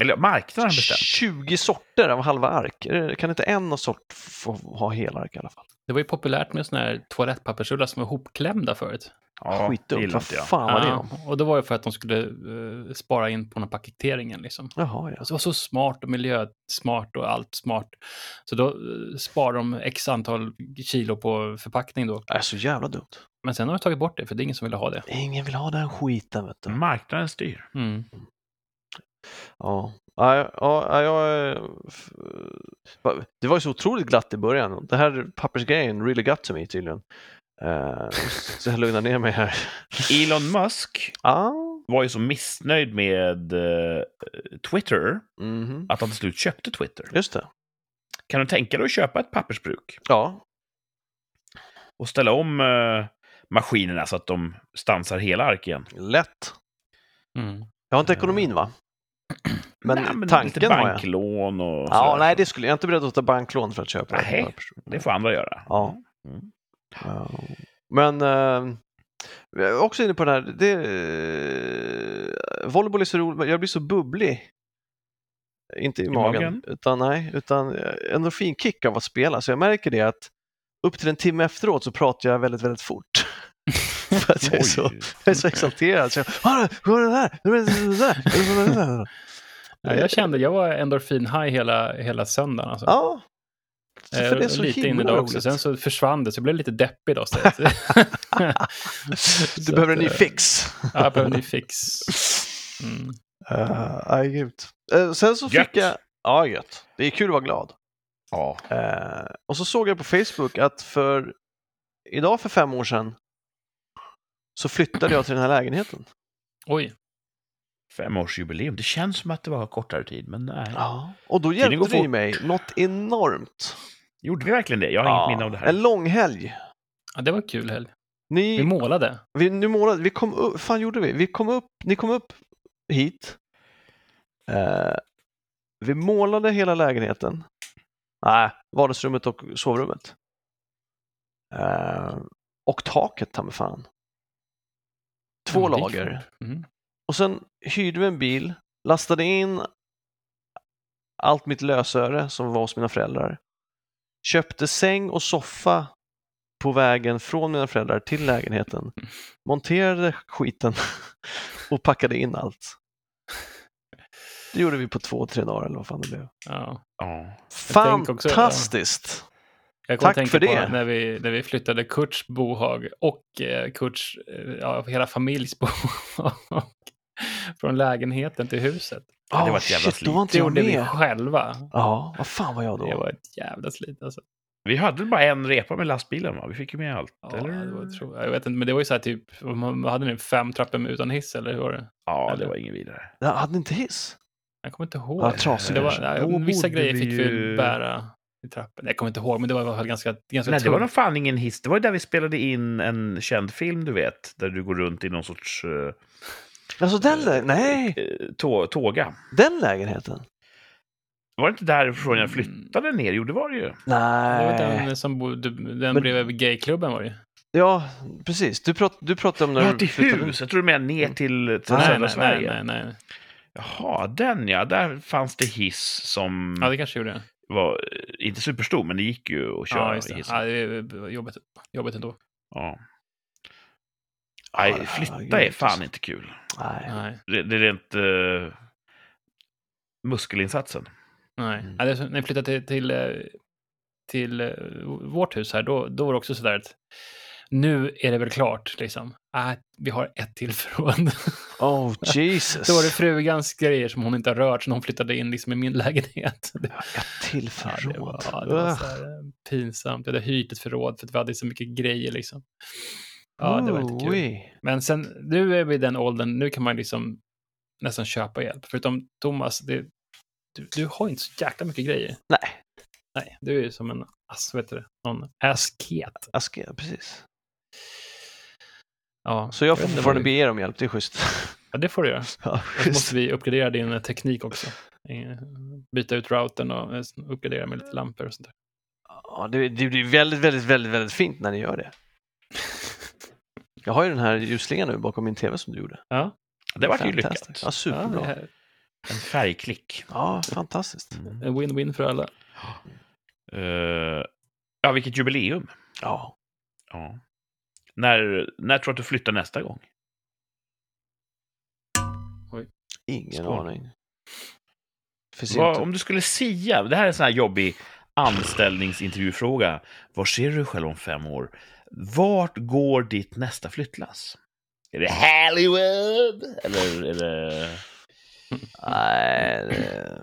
Speaker 2: Eller marknaden har bestämt.
Speaker 3: 20 sorter av halva ark. Är det- Kan inte en av sort få ha helark i alla fall?
Speaker 1: Det var ju populärt med såna här toalettpappersrullar som var hopklämda förut.
Speaker 2: Ja, det
Speaker 3: Skitdumt.
Speaker 2: gillar
Speaker 3: Vad
Speaker 2: inte jag.
Speaker 3: fan var det
Speaker 1: Ja,
Speaker 3: om?
Speaker 1: och det var ju för att de skulle eh, spara in på den här paketeringen liksom.
Speaker 3: Jaha, ja.
Speaker 1: Alltså, det var så smart och miljösmart och allt smart. Så då eh, sparar de x antal kilo på förpackning då.
Speaker 3: Det är så jävla dumt.
Speaker 1: Men sen har de tagit bort det, för det är ingen som ville ha det.
Speaker 3: Ingen vill ha den skiten, vet du.
Speaker 2: Marknaden styr.
Speaker 1: Mm.
Speaker 3: Ja. Ja, ja, ja, jag, eh, f- va- det var ju så otroligt glatt i början. Det här pappersgrejen really got to me tydligen. Eh, så jag lugnar ner mig här.
Speaker 2: Elon Musk
Speaker 3: Ah,
Speaker 2: var ju så missnöjd med eh, Twitter
Speaker 3: mhm.
Speaker 2: att han till slut köpte Twitter.
Speaker 3: Just det.
Speaker 2: Kan du tänka dig att köpa ett pappersbruk
Speaker 3: Ja,
Speaker 2: och ställa om eh, maskinerna så att de stansar hela ark igen?
Speaker 3: lätt.
Speaker 1: Mm.
Speaker 3: Jag har inte ekonomin
Speaker 2: Eh,
Speaker 3: va? Men
Speaker 2: Nej, lite
Speaker 3: tanken har jag.
Speaker 2: banklån och
Speaker 3: Ja,
Speaker 2: sådär.
Speaker 3: nej, det skulle jag är inte beredd att ta banklån för att köpa.
Speaker 2: Nej,
Speaker 3: den här personen.
Speaker 2: Det får andra göra.
Speaker 3: Ja. [LAUGHS]
Speaker 2: Mm.
Speaker 3: Ja. Men eh, jag är också inne på den här, det, eh, volleyboll är så roligt, men jag blir så bubblig. Inte i, magen,
Speaker 2: magen?
Speaker 3: utan nej, utan eh, endorfinkick av att spela. Så jag märker det att upp till en timme efteråt så pratar jag väldigt, väldigt fort. [LAUGHS] för att jag är så,
Speaker 2: Oj.
Speaker 3: jag är så exalterad. Så jag, "Hörru, hörru det här, hörru det där, hörru
Speaker 1: [LAUGHS]
Speaker 3: det där."
Speaker 1: Ja, jag kände, jag var endorfin-high hela, hela söndagen. Alltså.
Speaker 3: Ja, så
Speaker 1: Eh,
Speaker 3: för det är så
Speaker 1: lite in
Speaker 3: himla
Speaker 1: idag
Speaker 3: roligt.
Speaker 1: också. Sen så försvann det, så jag blev lite deppig idag.
Speaker 3: [LAUGHS]
Speaker 1: Så [LAUGHS] att,
Speaker 3: Du behöver en ny
Speaker 1: eh,
Speaker 3: fix.
Speaker 1: ja, jag behöver en ny fix. Mm.
Speaker 3: Eh, Nej, grymt. Eh, sen så
Speaker 2: Gött.
Speaker 3: fick jag... Ja, gött. Det är kul att vara glad.
Speaker 2: Ja.
Speaker 3: Eh, och så såg jag på Facebook att för idag för fem år sedan så flyttade jag till den här lägenheten.
Speaker 1: Oj,
Speaker 2: Femårsjubileum. Det känns som att det var kortare tid, men nej.
Speaker 3: Ja. Och då
Speaker 2: Tiden
Speaker 3: hjälpte
Speaker 2: går
Speaker 3: du ju
Speaker 2: fort.
Speaker 3: mig något enormt.
Speaker 2: Gjorde vi verkligen det? Jag har inget minne av det här.
Speaker 3: En lång helg.
Speaker 1: ja, det var kul helg. Vi
Speaker 3: Ni,
Speaker 1: målade.
Speaker 3: vi, nu målade, vi kom upp, fan gjorde vi? Vi kom upp, ni kom upp hit. Eh, vi målade hela lägenheten. Nej, vardagsrummet och sovrummet. Eh, och taket, ta mig fan. Två
Speaker 1: Ja, det gick
Speaker 3: lager.
Speaker 1: fort. Mm.
Speaker 3: Och sen hyrde vi en bil, lastade in allt mitt lösöre som var hos mina föräldrar. Köpte säng och soffa på vägen från mina föräldrar till lägenheten. Monterade skiten [LAUGHS] och packade in allt. Det gjorde vi på två, tre dagar eller vad fan det blev.
Speaker 1: Ja.
Speaker 2: Ja.
Speaker 1: tänker också-
Speaker 3: Fantastiskt!
Speaker 1: Jag
Speaker 3: Tack
Speaker 1: kommer att
Speaker 3: för
Speaker 1: tänka på
Speaker 3: det.
Speaker 1: när vi, när vi flyttade Kurts bohag och eh, Kurts, eh, ja, hela familjs [LAUGHS] bohag från lägenheten till huset.
Speaker 2: Ja, det var
Speaker 3: Ah,
Speaker 2: ett jävla
Speaker 3: shit, då var
Speaker 1: Det
Speaker 3: inte jag
Speaker 1: gjorde vi
Speaker 3: med.
Speaker 1: själva.
Speaker 3: Ja, vad fan var jag då?
Speaker 1: Det var ett jävla slit alltså.
Speaker 2: Vi hade väl bara en repa med lastbilen, va? Vi fick ju med allt.
Speaker 1: Ja,
Speaker 2: eller?
Speaker 1: det var, tro, jag vet inte, men det var ju så här typ, man hade ni fem trappor med utan hiss eller hur var det?
Speaker 2: ja, det
Speaker 1: eller?
Speaker 2: var inget vidare.
Speaker 3: Jag hade inte hiss.
Speaker 1: Jag kommer inte ihåg.
Speaker 3: Ja, trasig
Speaker 1: det var,
Speaker 3: kanske.
Speaker 2: Då
Speaker 1: nej, vissa
Speaker 2: borde
Speaker 1: grejer
Speaker 2: vi
Speaker 1: fick vi
Speaker 2: ju-
Speaker 1: bära i trappan. Jag kommer inte ihåg, men det var i alla fall ganska, ganska
Speaker 2: Nej, det var nog
Speaker 1: tungt.
Speaker 2: fan ingen hiss. Det var ju där vi spelade in en känd film, du vet. Där du går runt i någon sorts uh,
Speaker 3: Alltså den, lä- nej,
Speaker 2: tå- tåga.
Speaker 3: den lägenheten.
Speaker 2: Var det inte därifrån
Speaker 1: Mm.
Speaker 2: jag flyttade ner? Jo, det var det ju.
Speaker 1: Det
Speaker 3: Nej.
Speaker 1: var den som bodde, den
Speaker 3: Men-
Speaker 1: bredvid gayklubben var det ju.
Speaker 3: Ja, precis. Du, prat, du pratade om när
Speaker 2: Ja,
Speaker 3: du
Speaker 2: till
Speaker 3: flyttade
Speaker 2: hus. Jag tror du menar ner till, till
Speaker 1: Mm. Nej,
Speaker 2: södra
Speaker 1: nej,
Speaker 2: Sverige. Mm.
Speaker 1: nej, nej, nej.
Speaker 2: Jaha, den ja. Där fanns det hiss som
Speaker 1: Ja, det kanske gjorde det.
Speaker 2: var eh, inte superstor, men det gick ju att
Speaker 1: Ja,
Speaker 2: köra
Speaker 1: just
Speaker 2: i
Speaker 1: det.
Speaker 2: hissen.
Speaker 1: Ja, det var jobbigt, jobbigt ändå.
Speaker 2: Ja.
Speaker 3: Ja, det
Speaker 2: Nej,
Speaker 3: här var
Speaker 2: flytta är
Speaker 3: grymt,
Speaker 2: fan
Speaker 3: alltså.
Speaker 2: inte kul.
Speaker 3: Nej.
Speaker 1: Nej,
Speaker 2: Det, det är rent eh, muskelinsatsen.
Speaker 1: nej.
Speaker 3: Mm.
Speaker 1: Ja, det är som- när jag flyttade till, till, eh, till eh, vårt hus här, då, då var det också sådär att nu är det väl klart, liksom. Äh, vi har ett till förråd.
Speaker 3: Oh, Jesus.
Speaker 1: Då var det frugans grejer som hon inte har rört sedan hon flyttade in liksom i min lägenhet. [LAUGHS] Det,
Speaker 3: Ett till
Speaker 1: ja, det
Speaker 3: förråd.
Speaker 1: var, ja, det var
Speaker 3: Ugh.
Speaker 1: så här, eh, pinsamt. Jag hade hyrt ett förråd för att vi hade så mycket grejer liksom. Ja, det var inte kul.
Speaker 3: Oi.
Speaker 1: Men sen, nu är vi i den åldern, nu kan man liksom nästan köpa hjälp. Förutom Thomas, det, du, du har inte så jäkla mycket grejer.
Speaker 3: Nej,
Speaker 1: Nej, du är ju som en as, vet du det? Någon asket.
Speaker 3: aske, precis.
Speaker 1: Ja,
Speaker 3: Så jag
Speaker 1: vet
Speaker 3: får
Speaker 1: inte
Speaker 3: fortfarande
Speaker 1: vad
Speaker 3: be
Speaker 1: vi-
Speaker 3: er om hjälp, det är schysst.
Speaker 1: Ja, det får du göra.
Speaker 3: [LAUGHS] ja,
Speaker 1: Och så måste
Speaker 3: schysst.
Speaker 1: vi uppgradera din eh, teknik också. Eh, Byta ut routern och eh, uppgradera med lite lampor och sånt där.
Speaker 3: Ja, det, det blir väldigt, väldigt, väldigt, väldigt fint när ni gör det. Jag har ju den här ljusslingan nu bakom min tv som du gjorde.
Speaker 1: Ja,
Speaker 2: Det var ju
Speaker 3: Fantastiskt.
Speaker 2: lyckat.
Speaker 3: Ja,
Speaker 1: ja det
Speaker 3: superbra.
Speaker 1: här-
Speaker 2: En färgklick.
Speaker 3: Ja, fantastiskt.
Speaker 2: Mm.
Speaker 1: en win-win för alla.
Speaker 2: Eh, ja, vilket jubileum.
Speaker 3: Ja,
Speaker 2: Ja. När, när tror du att du flyttar nästa gång?
Speaker 3: ingen
Speaker 2: Skål.
Speaker 3: aning. Finns
Speaker 2: Vad,
Speaker 3: inte.
Speaker 2: om du skulle säga, det här är en sån här jobbig anställningsintervjufråga. Var ser du dig själv om fem år? Vart går ditt nästa flyttlass? Är det Hollywood? Eller är det...
Speaker 3: Nej, det...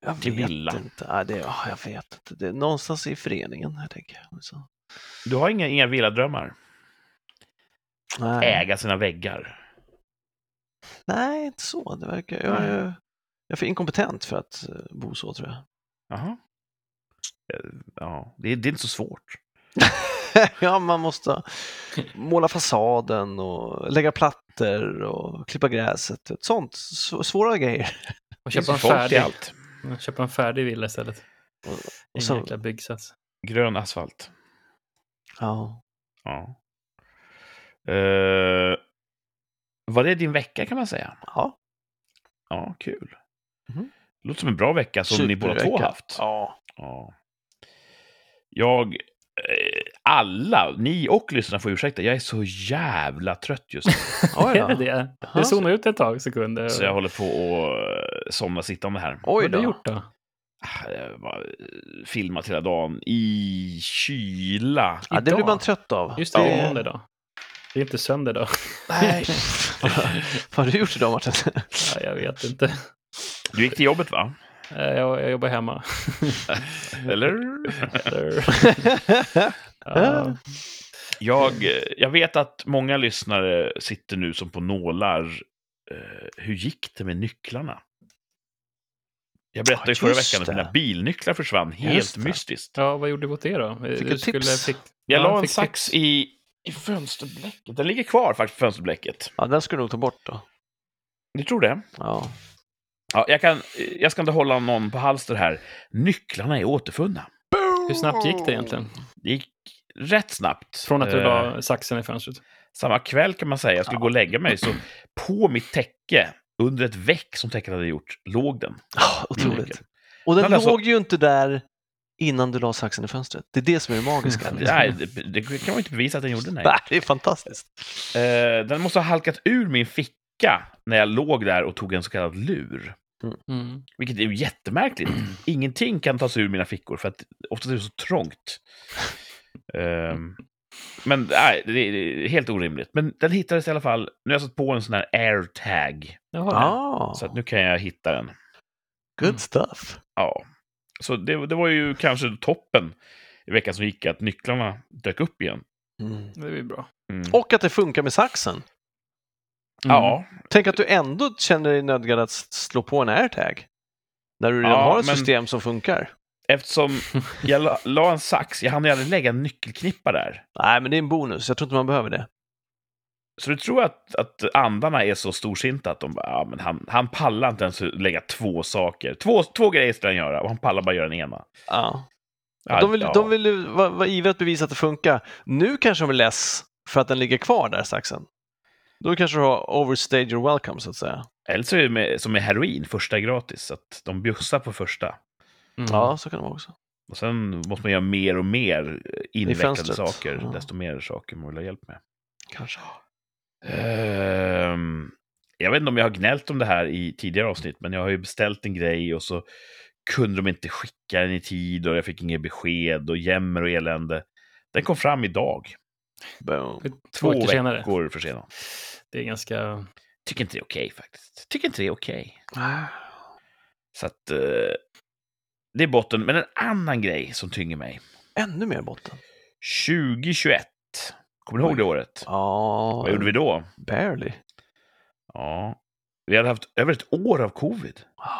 Speaker 3: jag
Speaker 2: Till
Speaker 3: vet
Speaker 2: villa.
Speaker 3: inte. Nej, det... ja, jag vet inte. Det är någonstans i föreningen, jag Alltså, tänker jag. Så...
Speaker 2: Du har inga, inga villadrömmar?
Speaker 3: Nej.
Speaker 2: Äga sina väggar?
Speaker 3: Nej, inte så. Det verkar... Jag, jag... jag är för inkompetent för att eh, bo så, tror jag. [LAUGHS]
Speaker 2: Jaha. Eh, Ja, det, är- det är inte så svårt.
Speaker 3: ja, man måste måla fasaden och lägga plattor och klippa gräset. Ett sånt. S- Svåra grejer.
Speaker 1: Och
Speaker 2: Det finns
Speaker 1: köpa en
Speaker 2: folk till
Speaker 1: färdig,
Speaker 2: allt.
Speaker 1: köpa en färdig villa istället. En
Speaker 3: så-
Speaker 1: jäkla byggsats.
Speaker 2: Grön asfalt.
Speaker 3: Ja.
Speaker 2: Ja. Eh, var det din vecka kan man säga?
Speaker 3: ja.
Speaker 2: Ja, kul.
Speaker 3: Mhm.
Speaker 2: Låter som en bra vecka som ni båda två
Speaker 3: Supervecka.
Speaker 2: haft.
Speaker 3: Ja.
Speaker 2: Ja. Jag, eh, alla, ni och lyssnarna får ursäkta, jag är så jävla trött just
Speaker 3: [LAUGHS]
Speaker 2: nu.
Speaker 3: Ja,
Speaker 1: Är [LAUGHS] det
Speaker 3: ja.
Speaker 1: det?
Speaker 3: Jaha.
Speaker 1: Det zonade ut ett tag, sekunder.
Speaker 2: så jag håller på att eh, somna sittande här.
Speaker 1: Vad
Speaker 3: Oj
Speaker 1: har du
Speaker 3: då.
Speaker 1: gjort då?
Speaker 2: Ah, Jag bara, eh, filmat hela dagen i kyla.
Speaker 3: Ja, det blir
Speaker 1: Idag?
Speaker 3: man trött av.
Speaker 1: Just det, det är måndag då. Det är inte söndag [LAUGHS] då.
Speaker 3: Nej. [LAUGHS] Vad har du gjort idag, Martin?
Speaker 1: Ja, jag vet inte.
Speaker 2: Du gick till jobbet va?
Speaker 1: Eh, Jag, jag jobbar hemma.
Speaker 2: Eller?
Speaker 3: [LAUGHS]
Speaker 1: Eller- ja.
Speaker 3: Ja.
Speaker 2: Jag, eh, jag vet att många lyssnare sitter nu som på nålar eh, hur gick det med nycklarna? Jag berättade ju
Speaker 3: Ja,
Speaker 2: förra
Speaker 3: just
Speaker 2: veckan att
Speaker 3: det.
Speaker 2: mina bilnycklar försvann helt
Speaker 1: Just det.
Speaker 2: mystiskt.
Speaker 1: Ja, vad gjorde vi åt det då? Vi-
Speaker 3: Fick
Speaker 1: du
Speaker 3: ett tips.
Speaker 2: Jag
Speaker 1: ja,
Speaker 2: la en
Speaker 1: fick
Speaker 2: sax
Speaker 1: tips.
Speaker 2: i, i fönsterblecket. Den ligger kvar faktiskt, fönsterblecket.
Speaker 3: Ja, den ska du nog ta bort då.
Speaker 2: Du tror det?
Speaker 3: Ja.
Speaker 2: Ja, jag, kan, jag ska inte hålla någon på halster här. Nycklarna är återfunna.
Speaker 1: Hur snabbt gick det egentligen?
Speaker 2: Det gick rätt snabbt.
Speaker 1: Från att du
Speaker 2: Eh,
Speaker 1: la saxen i fönstret?
Speaker 2: Samma kväll kan man säga. Jag skulle gå och lägga mig. Så på mitt täcke, under ett väck som täcket hade gjort, låg den.
Speaker 3: Ja,
Speaker 2: Nyckeln.
Speaker 3: otroligt. Och den
Speaker 2: Men alltså-
Speaker 3: låg ju inte där innan du la saxen i fönstret. Det är det som är det magiska.
Speaker 2: [LAUGHS]
Speaker 3: liksom.
Speaker 2: Nej, det, det kan man ju inte bevisa att den gjorde. Nej.
Speaker 3: [LAUGHS] Nej, det är fantastiskt.
Speaker 2: Eh, den måste ha halkat ur min ficka när jag låg där och tog en så kallad lur.
Speaker 1: Mm.
Speaker 2: Vilket är ju
Speaker 3: [CLEARS THROAT]
Speaker 2: jättemärkligt. Ingenting kan tas ur mina fickor för att oftast är det så trångt. Ehm, men nej, det är- det är helt orimligt. Men den hittades i alla fall. Nu har jag satt på en sån här airtag.
Speaker 1: Jaha.
Speaker 3: Ja,
Speaker 2: Så att nu kan jag hitta den.
Speaker 1: Mm.
Speaker 3: Ah, good stuff.
Speaker 2: Ja. Så det, det var ju kanske toppen i veckan som gick att nycklarna dök upp igen.
Speaker 3: Mm.
Speaker 1: Det är ju bra.
Speaker 2: Mm.
Speaker 3: Och att det funkar med saxen.
Speaker 2: Ja,
Speaker 3: Tänk att du ändå känner dig nödgad att s- slå på en airtag. När du redan
Speaker 2: Ja,
Speaker 3: har ett
Speaker 2: men-
Speaker 3: system som funkar.
Speaker 2: eftersom jag la, la en sax, jag hann ju aldrig lägga en nyckelknippa där.
Speaker 3: Nej, men det är en bonus. Jag tror inte man behöver det.
Speaker 2: Så du tror att, att andarna är så storsinta att de bara, ja, men han, han pallar inte ens att lägga två saker. Två, två grejer ska han göra och han pallar bara göra den ena.
Speaker 3: Ja.
Speaker 2: Ja,
Speaker 3: de vill,
Speaker 2: ja.
Speaker 3: de vill ju vara vara ivriga att bevisa att det funkar. Nu kanske de är less för att den ligger kvar där, saxen. Då kanske du har overstayed your welcome, så att säga.
Speaker 2: Eller så är det med, som med heroin, första är gratis. Så att de bjussar på första.
Speaker 1: Mm.
Speaker 3: Ja, så kan det vara också.
Speaker 2: Och sen måste man göra mer och mer invecklade
Speaker 3: fönstret.
Speaker 2: saker.
Speaker 3: Ja.
Speaker 2: Desto mer saker man vill ha hjälp med.
Speaker 3: Kanske.
Speaker 2: Ehm, jag vet inte om jag har gnällt om det här i tidigare avsnitt, men jag har ju beställt en grej och så kunde de inte skicka den i tid och jag fick inget besked och jämmer och elände. Den kom fram idag,
Speaker 3: Boom.
Speaker 2: två
Speaker 1: veckor senare.
Speaker 2: veckor försenad.
Speaker 1: Det är ganska...
Speaker 2: Tycker inte det är okej faktiskt. Tycker inte det är okej.
Speaker 3: Ah.
Speaker 2: Så att eh, det är botten. Men en annan grej som tynger mig.
Speaker 3: Ännu mer botten.
Speaker 2: 2021. Kommer ni ihåg det året?
Speaker 3: Ja,
Speaker 2: Vad gjorde vi då?
Speaker 3: barely.
Speaker 2: Ja, vi hade haft över ett år av covid.
Speaker 3: Wow.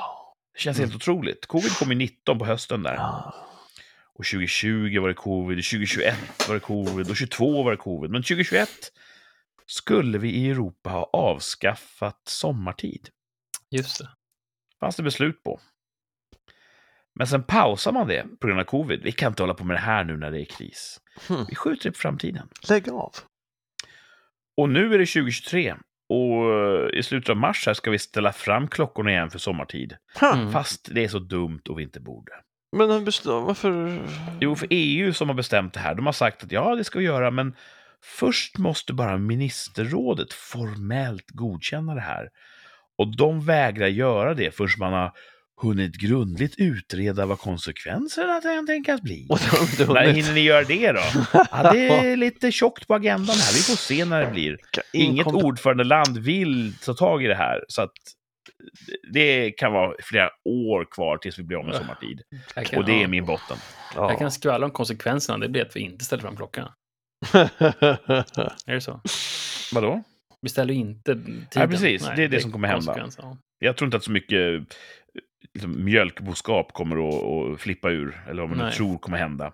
Speaker 2: Det känns helt otroligt. Covid kom ju 19 på hösten där.
Speaker 3: Ja.
Speaker 2: Och 2020 var det covid, och 2021 var det covid och 22 var det covid. Men 2021 skulle vi i Europa ha avskaffat sommartid.
Speaker 1: Just det.
Speaker 2: Fanns det beslut på. Men sen pausar man det på grund av covid. Vi kan inte hålla på med det här nu när det är kris.
Speaker 3: Hmm.
Speaker 2: Vi skjuter det på framtiden.
Speaker 3: Lägg av.
Speaker 2: Och nu är det 2023 och eh, i slutet av mars här ska vi ställa fram klockorna igen för sommartid.
Speaker 3: Ha.
Speaker 1: Mm.
Speaker 2: Fast det är så dumt och vi inte borde.
Speaker 3: Men han består, varför? [LAUGHS]
Speaker 2: Jo, för EU som har bestämt det här, de har sagt att ja, det ska vi göra, men först måste bara ministerrådet formellt godkänna det här. Och de vägrar göra det förrän man har hunnit grundligt utreda vad konsekvenserna kan tänkas bli.
Speaker 3: Och det har de inte
Speaker 2: När
Speaker 3: hunnit.
Speaker 2: hinner ni göra det då? Ja, det är lite tjockt på agendan här, vi får se när det blir. Inget
Speaker 3: Inkompe-
Speaker 2: ordförandeland vill ta tag i det här, så att det kan vara flera år kvar tills vi blir av med sommartid.
Speaker 1: Jag kan,
Speaker 2: Och det är min botten. [LAUGHS]
Speaker 3: Ja.
Speaker 1: jag kan skvallra om konsekvenserna. Det blir att vi inte ställer fram klockan. Är det så?
Speaker 2: Vadå?
Speaker 1: Vi ställer ju inte tiden.
Speaker 2: Ja, precis. Det är det som kommer hända.
Speaker 1: konsekvens, ja.
Speaker 2: Jag tror inte att så mycket eh, liksom, mjölkboskap kommer att, att flippa ur, eller vad man nu
Speaker 1: Nej.
Speaker 2: tror kommer hända.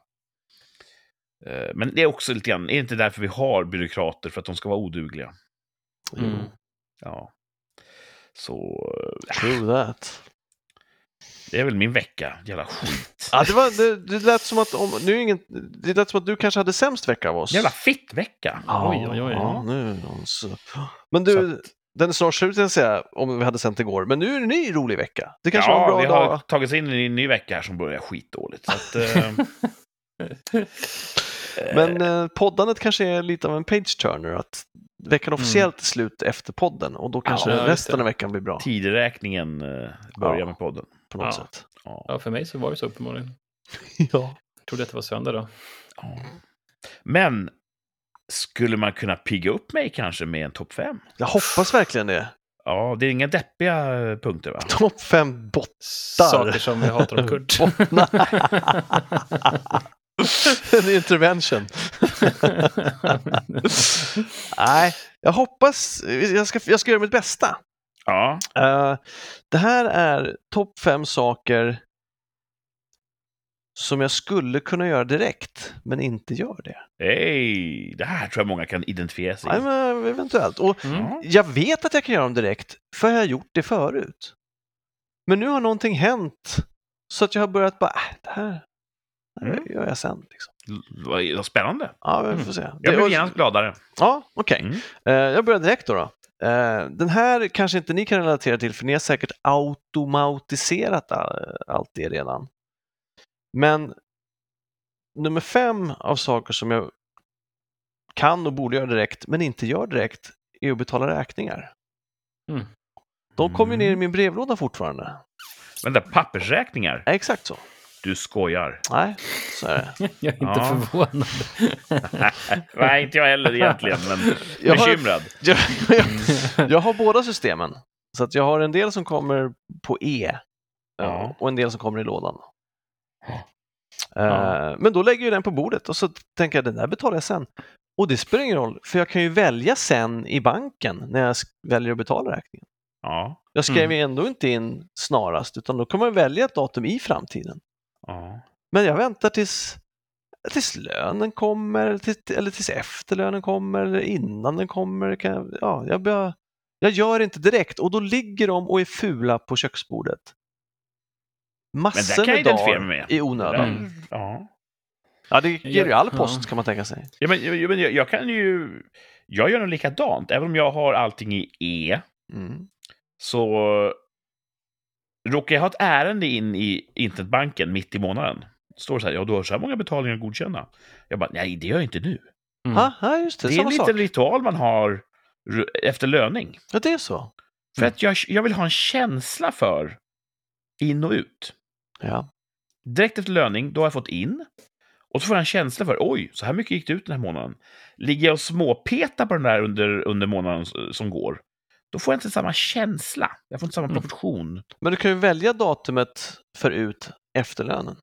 Speaker 2: Eh, Men det är också lite grann, är det inte därför vi har byråkrater? För att de ska vara odugliga?
Speaker 1: Mm.
Speaker 2: Ja. Så eh,
Speaker 3: True that.
Speaker 2: det är väl min vecka, jävla skit.
Speaker 3: Ja, det, var, det, det lät som att om, nu är ingen, det lät som att du kanske hade sämst vecka av oss.
Speaker 2: Jävla fittvecka!
Speaker 3: Ja,
Speaker 1: Oj, oj, oj.
Speaker 3: Ja, nu, är de så- men
Speaker 2: Så
Speaker 3: du, den är snart slut tänkte jag säga, om vi hade sänt igår. Men nu är det en ny rolig vecka. Det kanske var en
Speaker 2: ja,
Speaker 3: bra
Speaker 2: vi
Speaker 3: dag.
Speaker 2: har tagit sig in i en ny vecka här som börjar skitdåligt. Så att,
Speaker 3: [LAUGHS]
Speaker 2: eh, eh,
Speaker 3: Men eh, poddandet kanske är lite av en page-turner, att veckan officiellt är slut efter podden och då kanske
Speaker 1: Mm. Ja, just
Speaker 3: resten
Speaker 1: det.
Speaker 3: av veckan blir bra
Speaker 2: tideräkningen eh, börjar
Speaker 3: Ja.
Speaker 2: med podden.
Speaker 3: på något
Speaker 1: Ja.
Speaker 3: sätt.
Speaker 2: Ja.
Speaker 1: ja, för mig så var det så uppenbarligen.
Speaker 3: [LAUGHS] Ja.
Speaker 1: Jag trodde att det var söndag då.
Speaker 2: Ja.
Speaker 3: Mm.
Speaker 2: Men skulle man kunna pigga upp mig kanske med en topp 5?
Speaker 3: Jag hoppas verkligen det.
Speaker 2: Ja, det är inga deppiga eh, punkter
Speaker 3: [LAUGHS]
Speaker 2: va?
Speaker 3: Topp fem bott.
Speaker 1: Saker som vi hatar om Kurt.
Speaker 3: [LAUGHS] En [LAUGHS] intervention. Nej, jag hoppas, jag ska, jag ska göra mitt bästa.
Speaker 2: Ja.
Speaker 3: Eh, det här är topp fem saker som jag skulle kunna göra direkt, men inte gör det.
Speaker 2: Hej! Det här tror jag många kan identifiera sig
Speaker 3: Nej,
Speaker 2: i.
Speaker 3: men eventuellt. Och
Speaker 1: Mm.
Speaker 2: Ja.
Speaker 3: jag vet att jag kan göra dem direkt, för jag har gjort det förut. Men nu har någonting hänt, så att jag har börjat bara, äh, det här det här
Speaker 2: Mm.
Speaker 3: gör jag sen. Liksom.
Speaker 2: Vad vad spännande.
Speaker 3: Ja, vi får se. Det-
Speaker 2: Jag
Speaker 3: och-
Speaker 2: blev genast gladare.
Speaker 3: Ja, okej.
Speaker 2: Mm.
Speaker 3: Eh, jag börjar direkt då. då. Eh, den här kanske inte ni kan relatera till för ni har säkert automatiserat all, allt det redan. Men nummer fem av saker som jag kan och borde göra direkt men inte gör direkt är att betala räkningar.
Speaker 1: Mm.
Speaker 3: De kommer ju ner i
Speaker 2: Mm.
Speaker 3: min brevlåda fortfarande.
Speaker 2: Vänta, pappersräkningar?
Speaker 3: Ja, exakt så.
Speaker 2: Du skojar.
Speaker 3: Nej,
Speaker 2: [LAUGHS]
Speaker 3: så är det.
Speaker 1: Jag är inte
Speaker 2: Ja.
Speaker 1: förvånad.
Speaker 2: Nej, inte jag heller egentligen, men
Speaker 3: [LAUGHS] Jag har,
Speaker 2: bekymrad.
Speaker 3: jag, jag, jag har båda systemen. Så att jag har en del som kommer på E
Speaker 2: Ja.
Speaker 3: och en del som kommer i lådan. Eh,
Speaker 2: Ja.
Speaker 3: Men då lägger jag den på bordet och så tänker jag den där betalar jag sen. Och det spelar ingen roll, för jag kan ju välja sen i banken när jag sk- väljer att betala räkningen.
Speaker 2: Ja.
Speaker 3: Jag skrev ju ändå inte in snarast, utan då kommer jag välja ett datum i framtiden.
Speaker 2: ja.
Speaker 3: Men jag väntar tills, tills lönen kommer, eller tills, eller tills efter lönen kommer, eller innan den kommer. Kan jag, ja, jag, bör, jag gör inte direkt och då ligger de och är fula på köksbordet. Massor
Speaker 2: kan jag
Speaker 3: med
Speaker 2: identifiera mig
Speaker 3: dagar
Speaker 2: med.
Speaker 3: i onödan.
Speaker 1: Mm.
Speaker 2: ja.
Speaker 3: Ja, det ger ju
Speaker 1: Ja,
Speaker 3: all post
Speaker 1: ja.
Speaker 3: kan man tänka sig.
Speaker 2: Ja, men, ja, men jag, jag kan ju... Jag gör nog likadant. Även om jag har allting i E,
Speaker 3: Mm.
Speaker 2: så råkar jag ha ett ärende in i internetbanken mitt i månaden. Står det så här, ja, du har så här många betalningar att godkänna. Jag bara, nej, det gör jag inte nu.
Speaker 1: Mm.
Speaker 3: Ha, ha, just det,
Speaker 2: Det är en
Speaker 3: samma
Speaker 2: liten
Speaker 3: sak.
Speaker 2: ritual man har ru- efter löning.
Speaker 3: Ja, det är så.
Speaker 2: För att jag, jag vill ha en känsla för in och ut.
Speaker 3: Ja.
Speaker 2: Direkt efter löning, då har jag fått in. Och så får jag en känsla för, oj, så här mycket gick det ut den här månaden. Ligger jag och småpetar på den där under, under månaden s- som går, då får jag inte samma känsla. Jag får inte samma
Speaker 1: Mm.
Speaker 2: proportion.
Speaker 3: Men du kan ju välja datumet för ut efter lönen.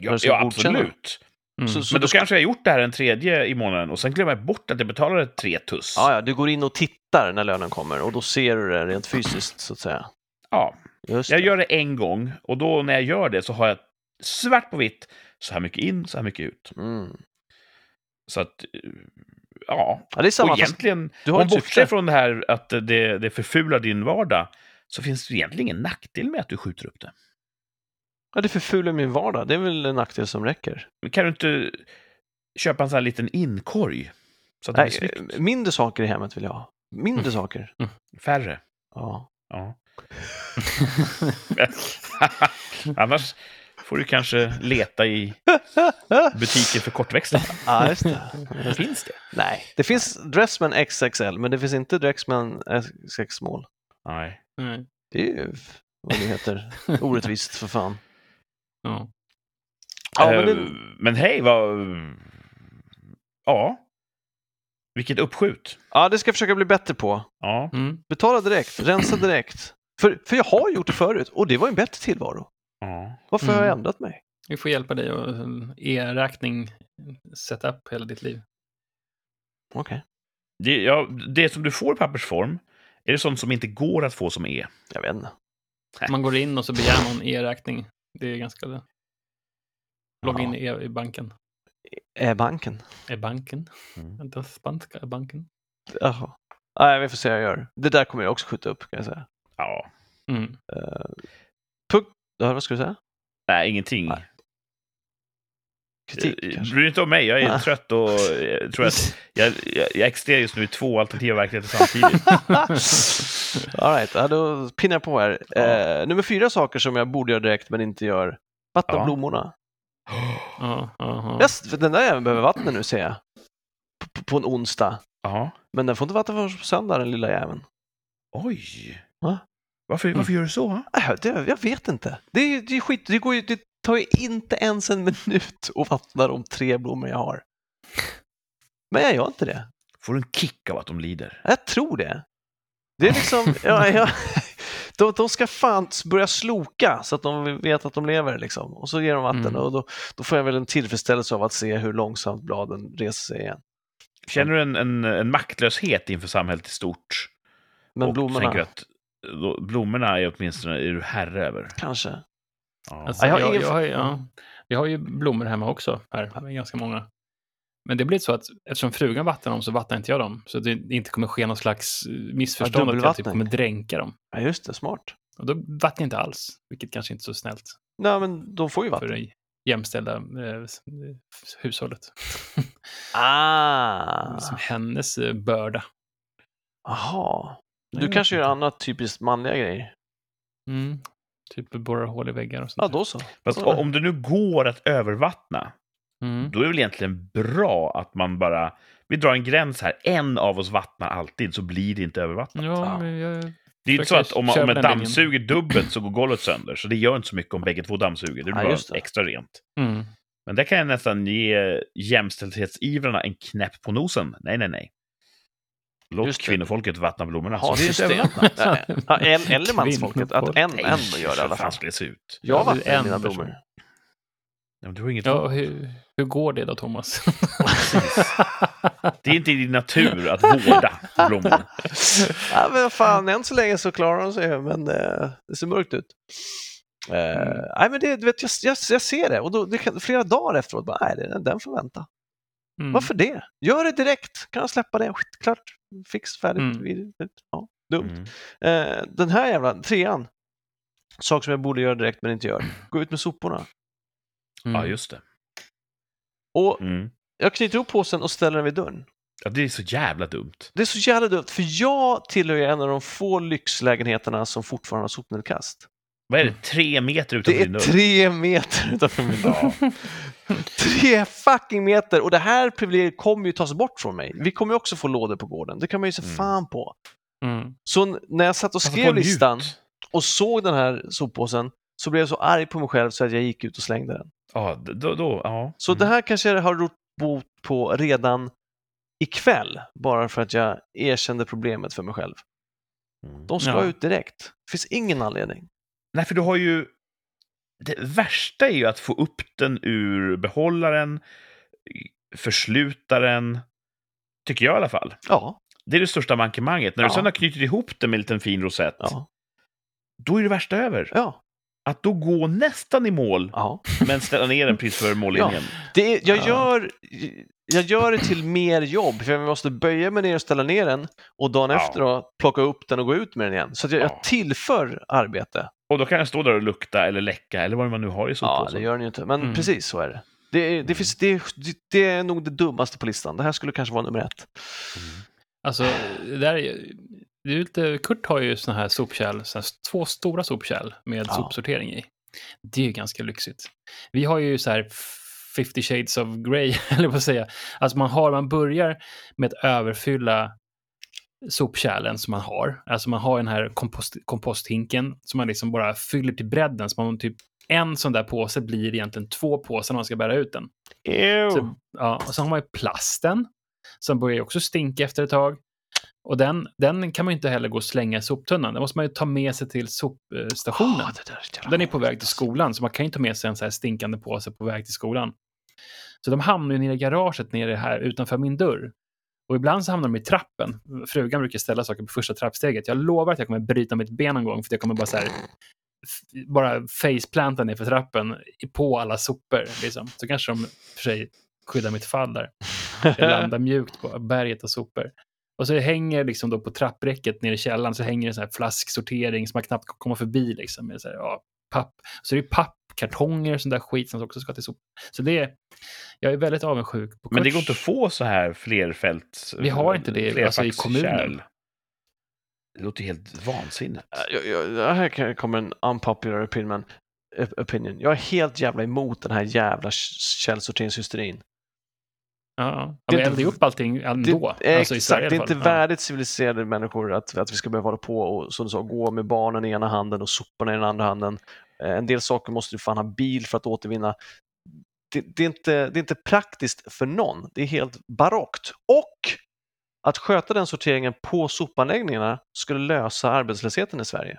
Speaker 2: Ja,
Speaker 3: Men så
Speaker 2: ja
Speaker 3: godkänna.
Speaker 2: absolut.
Speaker 1: Mm.
Speaker 3: Så, så
Speaker 2: Men då
Speaker 3: du-
Speaker 2: kanske jag har gjort det här en tredje i månaden och sen glömmer jag bort att jag betalade tre tuss.
Speaker 3: ja, ja, du går in och tittar när lönen kommer och då ser du det rent fysiskt så att säga.
Speaker 2: Ja,
Speaker 3: Just
Speaker 2: jag
Speaker 3: det.
Speaker 2: gör det en gång och då när jag gör det så har jag svart på vitt, så här mycket in, så här mycket ut.
Speaker 3: Mm.
Speaker 2: Så att, eh, ja,
Speaker 3: Ja, det är samma,
Speaker 2: och
Speaker 3: fast
Speaker 2: egentligen,
Speaker 3: du har
Speaker 2: om
Speaker 3: ett syfte.
Speaker 2: bortser från det här att det, det förfular din vardag, så finns det egentligen ingen nackdel med att du skjuter upp det.
Speaker 3: Ja, det förfular min vardag. Det är väl en nackdel som räcker.
Speaker 2: Men kan du inte köpa en sån här liten inkorg? Så att det blir
Speaker 3: Nej, eh,
Speaker 2: snyggt.
Speaker 3: mindre saker i hemmet vill jag ha.
Speaker 2: Mm.
Speaker 3: Mindre saker.
Speaker 2: Färre.
Speaker 3: Ja.
Speaker 2: Ja. [LAUGHS] Annars får du kanske leta i butiker för
Speaker 3: [LAUGHS]
Speaker 2: kortväxta.
Speaker 3: ja, just det.
Speaker 2: Finns [LAUGHS] det?
Speaker 3: Nej, det finns Dressman XXL, men det finns inte Dressman XX Small.
Speaker 2: Nej.
Speaker 1: Nej.
Speaker 3: Det är ju f- vad
Speaker 2: [LAUGHS]
Speaker 3: det heter. Orättvist för fan.
Speaker 1: Ja.
Speaker 3: Ja,
Speaker 2: Eh,
Speaker 3: men det,
Speaker 2: men hej, vad... Ja. Vilket uppskjut.
Speaker 3: ja, det ska jag försöka bli bättre på.
Speaker 2: Ja.
Speaker 1: Mm.
Speaker 3: Betala direkt, rensa direkt. För, för jag har gjort det förut och det var en bättre tillvaro.
Speaker 2: ja.
Speaker 3: Varför har jag
Speaker 1: Mm.
Speaker 3: ändrat mig?
Speaker 1: Vi får hjälpa dig att eh, e-räkning sätta upp hela ditt liv.
Speaker 3: Okej.
Speaker 2: Det, ja, det som du får i pappersform, är det sånt som inte går att få som E?
Speaker 3: Jag vet inte.
Speaker 1: Man går in och så begär man e-räkning. Det är ganska... Logga in
Speaker 2: Ja.
Speaker 1: i, e- i banken.
Speaker 3: Är Eh, banken?
Speaker 1: Är banken?
Speaker 2: Mm.
Speaker 1: Den spanska är banken.
Speaker 3: Jaha. Nej, vi får se hur jag gör. Det där kommer jag också skjuta upp kan jag säga.
Speaker 2: Ja.
Speaker 1: Mm.
Speaker 3: Ja, vad ska du säga?
Speaker 2: Nej, ingenting.
Speaker 3: Nej, Kritik
Speaker 2: Eh, [LAUGHS]
Speaker 3: kanske?
Speaker 2: Bry dig inte om mig, jag är
Speaker 3: Nej.
Speaker 2: trött och jag tror
Speaker 3: [LAUGHS]
Speaker 2: att jag, jag, jag existerar just nu i två alternativa verkligheter samtidigt.
Speaker 3: [LAUGHS] All right, ja, då pinnar jag på här.
Speaker 2: Ja.
Speaker 3: Eh, nummer fyra saker som jag borde göra direkt men inte gör. Vattna
Speaker 2: Ja.
Speaker 3: blommorna.
Speaker 1: Ja, ja, ja.
Speaker 3: Yes, för den där jäveln behöver vatten nu ser jag. P- p- På en onsdag.
Speaker 2: Ja.
Speaker 3: Men den får inte vatten förrän på söndag den lilla jäveln.
Speaker 2: Oj.
Speaker 3: Va?
Speaker 2: Varför, varför gör du så?
Speaker 3: Äh, det, jag vet inte. Det, är ju- det är skit. Det, går ju, det tar ju inte ens en minut att vattna de tre blommor jag har. Men jag gör inte det.
Speaker 2: Får du en kick av att de lider?
Speaker 3: Jag tror det. Det är liksom... Ja, ja, de, de ska fan börja sloka så att de vet att de lever. Liksom. Och så ger de vatten
Speaker 1: Mm.
Speaker 3: och då, då får jag väl en tillfredsställelse av att se hur långsamt bladen reser sig igen.
Speaker 2: Känner du en, en, en maktlöshet inför samhället i stort?
Speaker 3: Men
Speaker 2: och
Speaker 3: blommorna,
Speaker 2: tänker att då, blommorna är åtminstone är du herre över.
Speaker 3: kanske.
Speaker 2: Ja.
Speaker 1: Alltså,
Speaker 3: jag har
Speaker 1: jag,
Speaker 3: ingen
Speaker 1: jag,
Speaker 3: fa-
Speaker 1: har ju- ja, jag har ju blommor hemma också, här, Det är ganska många. Men det blir så att eftersom frugan vattnar dem så vattnar inte jag dem. Så det inte kommer ske någon slags eh, missförstånd att jag typ
Speaker 3: dubbelvattning.
Speaker 1: kommer dränka dem.
Speaker 3: Ja, just det, smart.
Speaker 1: Och då vattnar jag inte alls, vilket kanske inte är så snällt
Speaker 3: Nej, men de får ju
Speaker 1: för
Speaker 3: vatten.
Speaker 1: det jämställda eh, s- eh, hushållet.
Speaker 3: Ah!
Speaker 1: [LAUGHS] Som hennes eh, börda.
Speaker 3: Aha.
Speaker 1: Jag
Speaker 3: Du
Speaker 1: vet
Speaker 3: kanske gör
Speaker 1: inte.
Speaker 3: annat typiskt manliga grejer.
Speaker 1: Mm. Typ borrar hål i väggar och sånt.
Speaker 3: Ja, då så.
Speaker 2: Fast o- om det nu går att övervattna,
Speaker 1: där. Mm.
Speaker 2: då är det väl egentligen bra att man bara... Vi drar en gräns här. En av oss vattnar alltid, så blir det inte övervattnat.
Speaker 1: Ja, men jag,
Speaker 2: Det är ju inte så
Speaker 1: Försöker
Speaker 2: att om, man-
Speaker 1: köra
Speaker 2: om
Speaker 1: den
Speaker 2: ett
Speaker 1: linjen.
Speaker 2: dammsuger dubbelt så går golvet sönder, så det gör inte så mycket om bägge två dammsuger. Det blir
Speaker 3: Ja,
Speaker 2: bara
Speaker 3: just det.
Speaker 2: extra rent.
Speaker 1: mm.
Speaker 2: Men där kan jag nästan ge jämställdhetsivrarna en knäpp på nosen. Nej, nej, nej. Låt
Speaker 3: Just det.
Speaker 2: kvinnofolket vattna blommorna.
Speaker 3: Ha
Speaker 2: så blir det inte
Speaker 3: system.
Speaker 2: övervattnat.
Speaker 3: Ja, ja, en, eller mansfolket, att en, en gör det i
Speaker 2: för
Speaker 3: alla
Speaker 2: fan
Speaker 3: fall.
Speaker 2: skulle det se ut?
Speaker 1: Ja,
Speaker 3: Jag
Speaker 1: det är
Speaker 3: vattnar
Speaker 1: en
Speaker 3: mina
Speaker 1: person.
Speaker 3: blommor.
Speaker 2: Ja, men du har inget
Speaker 1: Ja,
Speaker 2: val.
Speaker 1: och hur, hur går det då, Thomas? [LAUGHS]
Speaker 2: Det är inte i din natur att vårda
Speaker 3: [LAUGHS]
Speaker 2: blommor.
Speaker 3: ja, men fan, än så länge så klarar de sig, men eh, det ser mörkt ut. Eh, nej, men det, du vet, jag, jag, jag ser det och då, det kan, flera dagar efteråt bara, nej, den- den får vänta.
Speaker 1: Mm.
Speaker 3: Varför det? Gör det direkt, kan jag släppa det, Skit, klart, fix, färdigt.
Speaker 1: Mm.
Speaker 3: vid- Ja, dumt.
Speaker 2: Mm.
Speaker 3: Eh, den här jävla trean, sak som jag borde göra direkt men inte gör, gå ut med soporna.
Speaker 1: Mm.
Speaker 2: Ja, just det.
Speaker 3: Och
Speaker 2: Mm.
Speaker 3: jag knyter ihop påsen och ställer den vid dörren.
Speaker 2: Ja, det är så jävla dumt.
Speaker 3: Det är så jävla dumt, för jag tillhör ju en av de få lyxlägenheterna som fortfarande har sopnedkast.
Speaker 2: Vad är det? Tre meter utanför
Speaker 3: Det
Speaker 2: din
Speaker 3: är
Speaker 2: dörr?
Speaker 3: tre meter utanför min [LAUGHS] dörr. Tre fucking meter! Och det här privilegiet kommer ju tas bort från mig. Vi kommer ju också få lådor på gården, det kan man ju se
Speaker 2: Mm.
Speaker 3: fan på.
Speaker 1: Mm.
Speaker 3: Så n- när jag satt och
Speaker 2: Passa på
Speaker 3: skrev
Speaker 2: att Alltså, njut.
Speaker 3: listan och såg den här soppåsen så blev jag så arg på mig själv så att jag gick ut och slängde den.
Speaker 2: Ja, d- då, då, ja.
Speaker 3: Så det här kanske jag har gjort bot på redan ikväll, bara för att jag erkände problemet för mig själv.
Speaker 2: Mm.
Speaker 3: De ska
Speaker 1: Ja.
Speaker 3: ut direkt. Det finns ingen anledning.
Speaker 2: Nej, för du har ju... Det värsta är ju att få upp den ur behållaren, försluta den, tycker jag i alla fall.
Speaker 3: Ja,
Speaker 2: Det är det största mankemanget. När du
Speaker 3: Ja.
Speaker 2: sen har knutit ihop det med en liten fin rosett,
Speaker 3: ja,
Speaker 2: då är det värsta över.
Speaker 3: ja.
Speaker 2: Att då gå nästan i mål,
Speaker 3: ja.
Speaker 2: men ställa ner den precis för mållinjen.
Speaker 3: Det är, jag,
Speaker 1: Ja.
Speaker 3: gör, jag gör det till mer jobb, för jag måste böja mig ner och ställa ner den och dagen
Speaker 2: Ja.
Speaker 3: efter då, plocka upp den och gå ut med den igen. Så att jag,
Speaker 2: Ja.
Speaker 3: jag tillför arbete.
Speaker 2: Och då kan den stå där och lukta eller läcka eller vad man nu har i
Speaker 3: Ja,
Speaker 2: soppåsen.
Speaker 3: det gör den ju inte, men
Speaker 1: Mm.
Speaker 3: precis så är det. Det är, det,
Speaker 2: Mm.
Speaker 3: finns, det, är, det är nog det dummaste på listan. Det här skulle kanske vara nummer ett.
Speaker 1: Alltså, det där är ju- det är ju lite, Kurt har ju såna här sopkärl, såna här, två stora sopkärl med
Speaker 3: Ja.
Speaker 1: sopsortering i. Det är ju ganska lyxigt. Vi har ju så här 50 shades of grey, [LAUGHS] eller vad säga. Alltså man, har, man börjar med att överfylla sopkärlen som man har. Alltså man har den här kompost, komposthinken som man liksom bara fyller till bredden. Så man typ, en sån där påse blir egentligen två påsar när man ska bära ut den. Så, typ, ja, och så har man ju plasten som börjar ju också stinka efter ett tag. Och den, den kan man ju inte heller gå och slänga i soptunnan. Den måste man ju ta med sig till sopstationen.
Speaker 3: Ah, det där är ett jävla
Speaker 1: den är på väg
Speaker 3: hårt,
Speaker 1: till
Speaker 3: [LAUGHS] alltså.
Speaker 1: skolan, så man kan ju inte ta med sig en så här stinkande påse på väg till skolan. Så de hamnar ju nere i garaget nere här utanför min dörr. Och ibland så hamnar de i trappen. Frugan brukar ställa saker på första trappsteget. Jag lovar att jag kommer bryta mitt ben någon gång för att jag kommer bara så här f- bara faceplanta ner för trappen i- på alla sopor. Liksom. Så kanske de för sig skyddar mitt fall där. Jag landar mjukt på berget av sopor. Och så hänger liksom då på trappräcket nere i källaren så hänger det så här flasksortering som man knappt kan komma förbi. Liksom, med så, här, ja, papp. så det är pappkartonger och sån där skit som också ska till sopor. Så det är, jag är väldigt avundsjuk på
Speaker 2: Men det
Speaker 1: Kurts-
Speaker 2: går inte att få så här flerfält...
Speaker 1: Vi har inte det, alltså, i kommunen.
Speaker 2: flerfackskärl. Det låter ju helt vansinnigt.
Speaker 3: Jag, jag, det här kan- kommer en unpopular opinion, opinion. Jag är helt jävla emot den här jävla sh- källsorteringshysterin.
Speaker 1: Ja,
Speaker 3: Det är
Speaker 1: men
Speaker 3: inte-
Speaker 1: eldar ju upp allting ändå.
Speaker 3: Det, är
Speaker 1: alltså i Sverige
Speaker 3: exakt, det är
Speaker 1: i alla
Speaker 3: inte
Speaker 1: fall.
Speaker 3: värdigt civiliserade människor att, att vi ska behöva hålla på och som du sa, gå med barnen i ena handen och soporna i den andra handen. Eh, En del saker måste du fan ha bil för att återvinna. Det, det, är inte, det är inte praktiskt för någon. Det är helt barockt. Och att sköta den sorteringen på sopanläggningarna skulle lösa arbetslösheten i Sverige.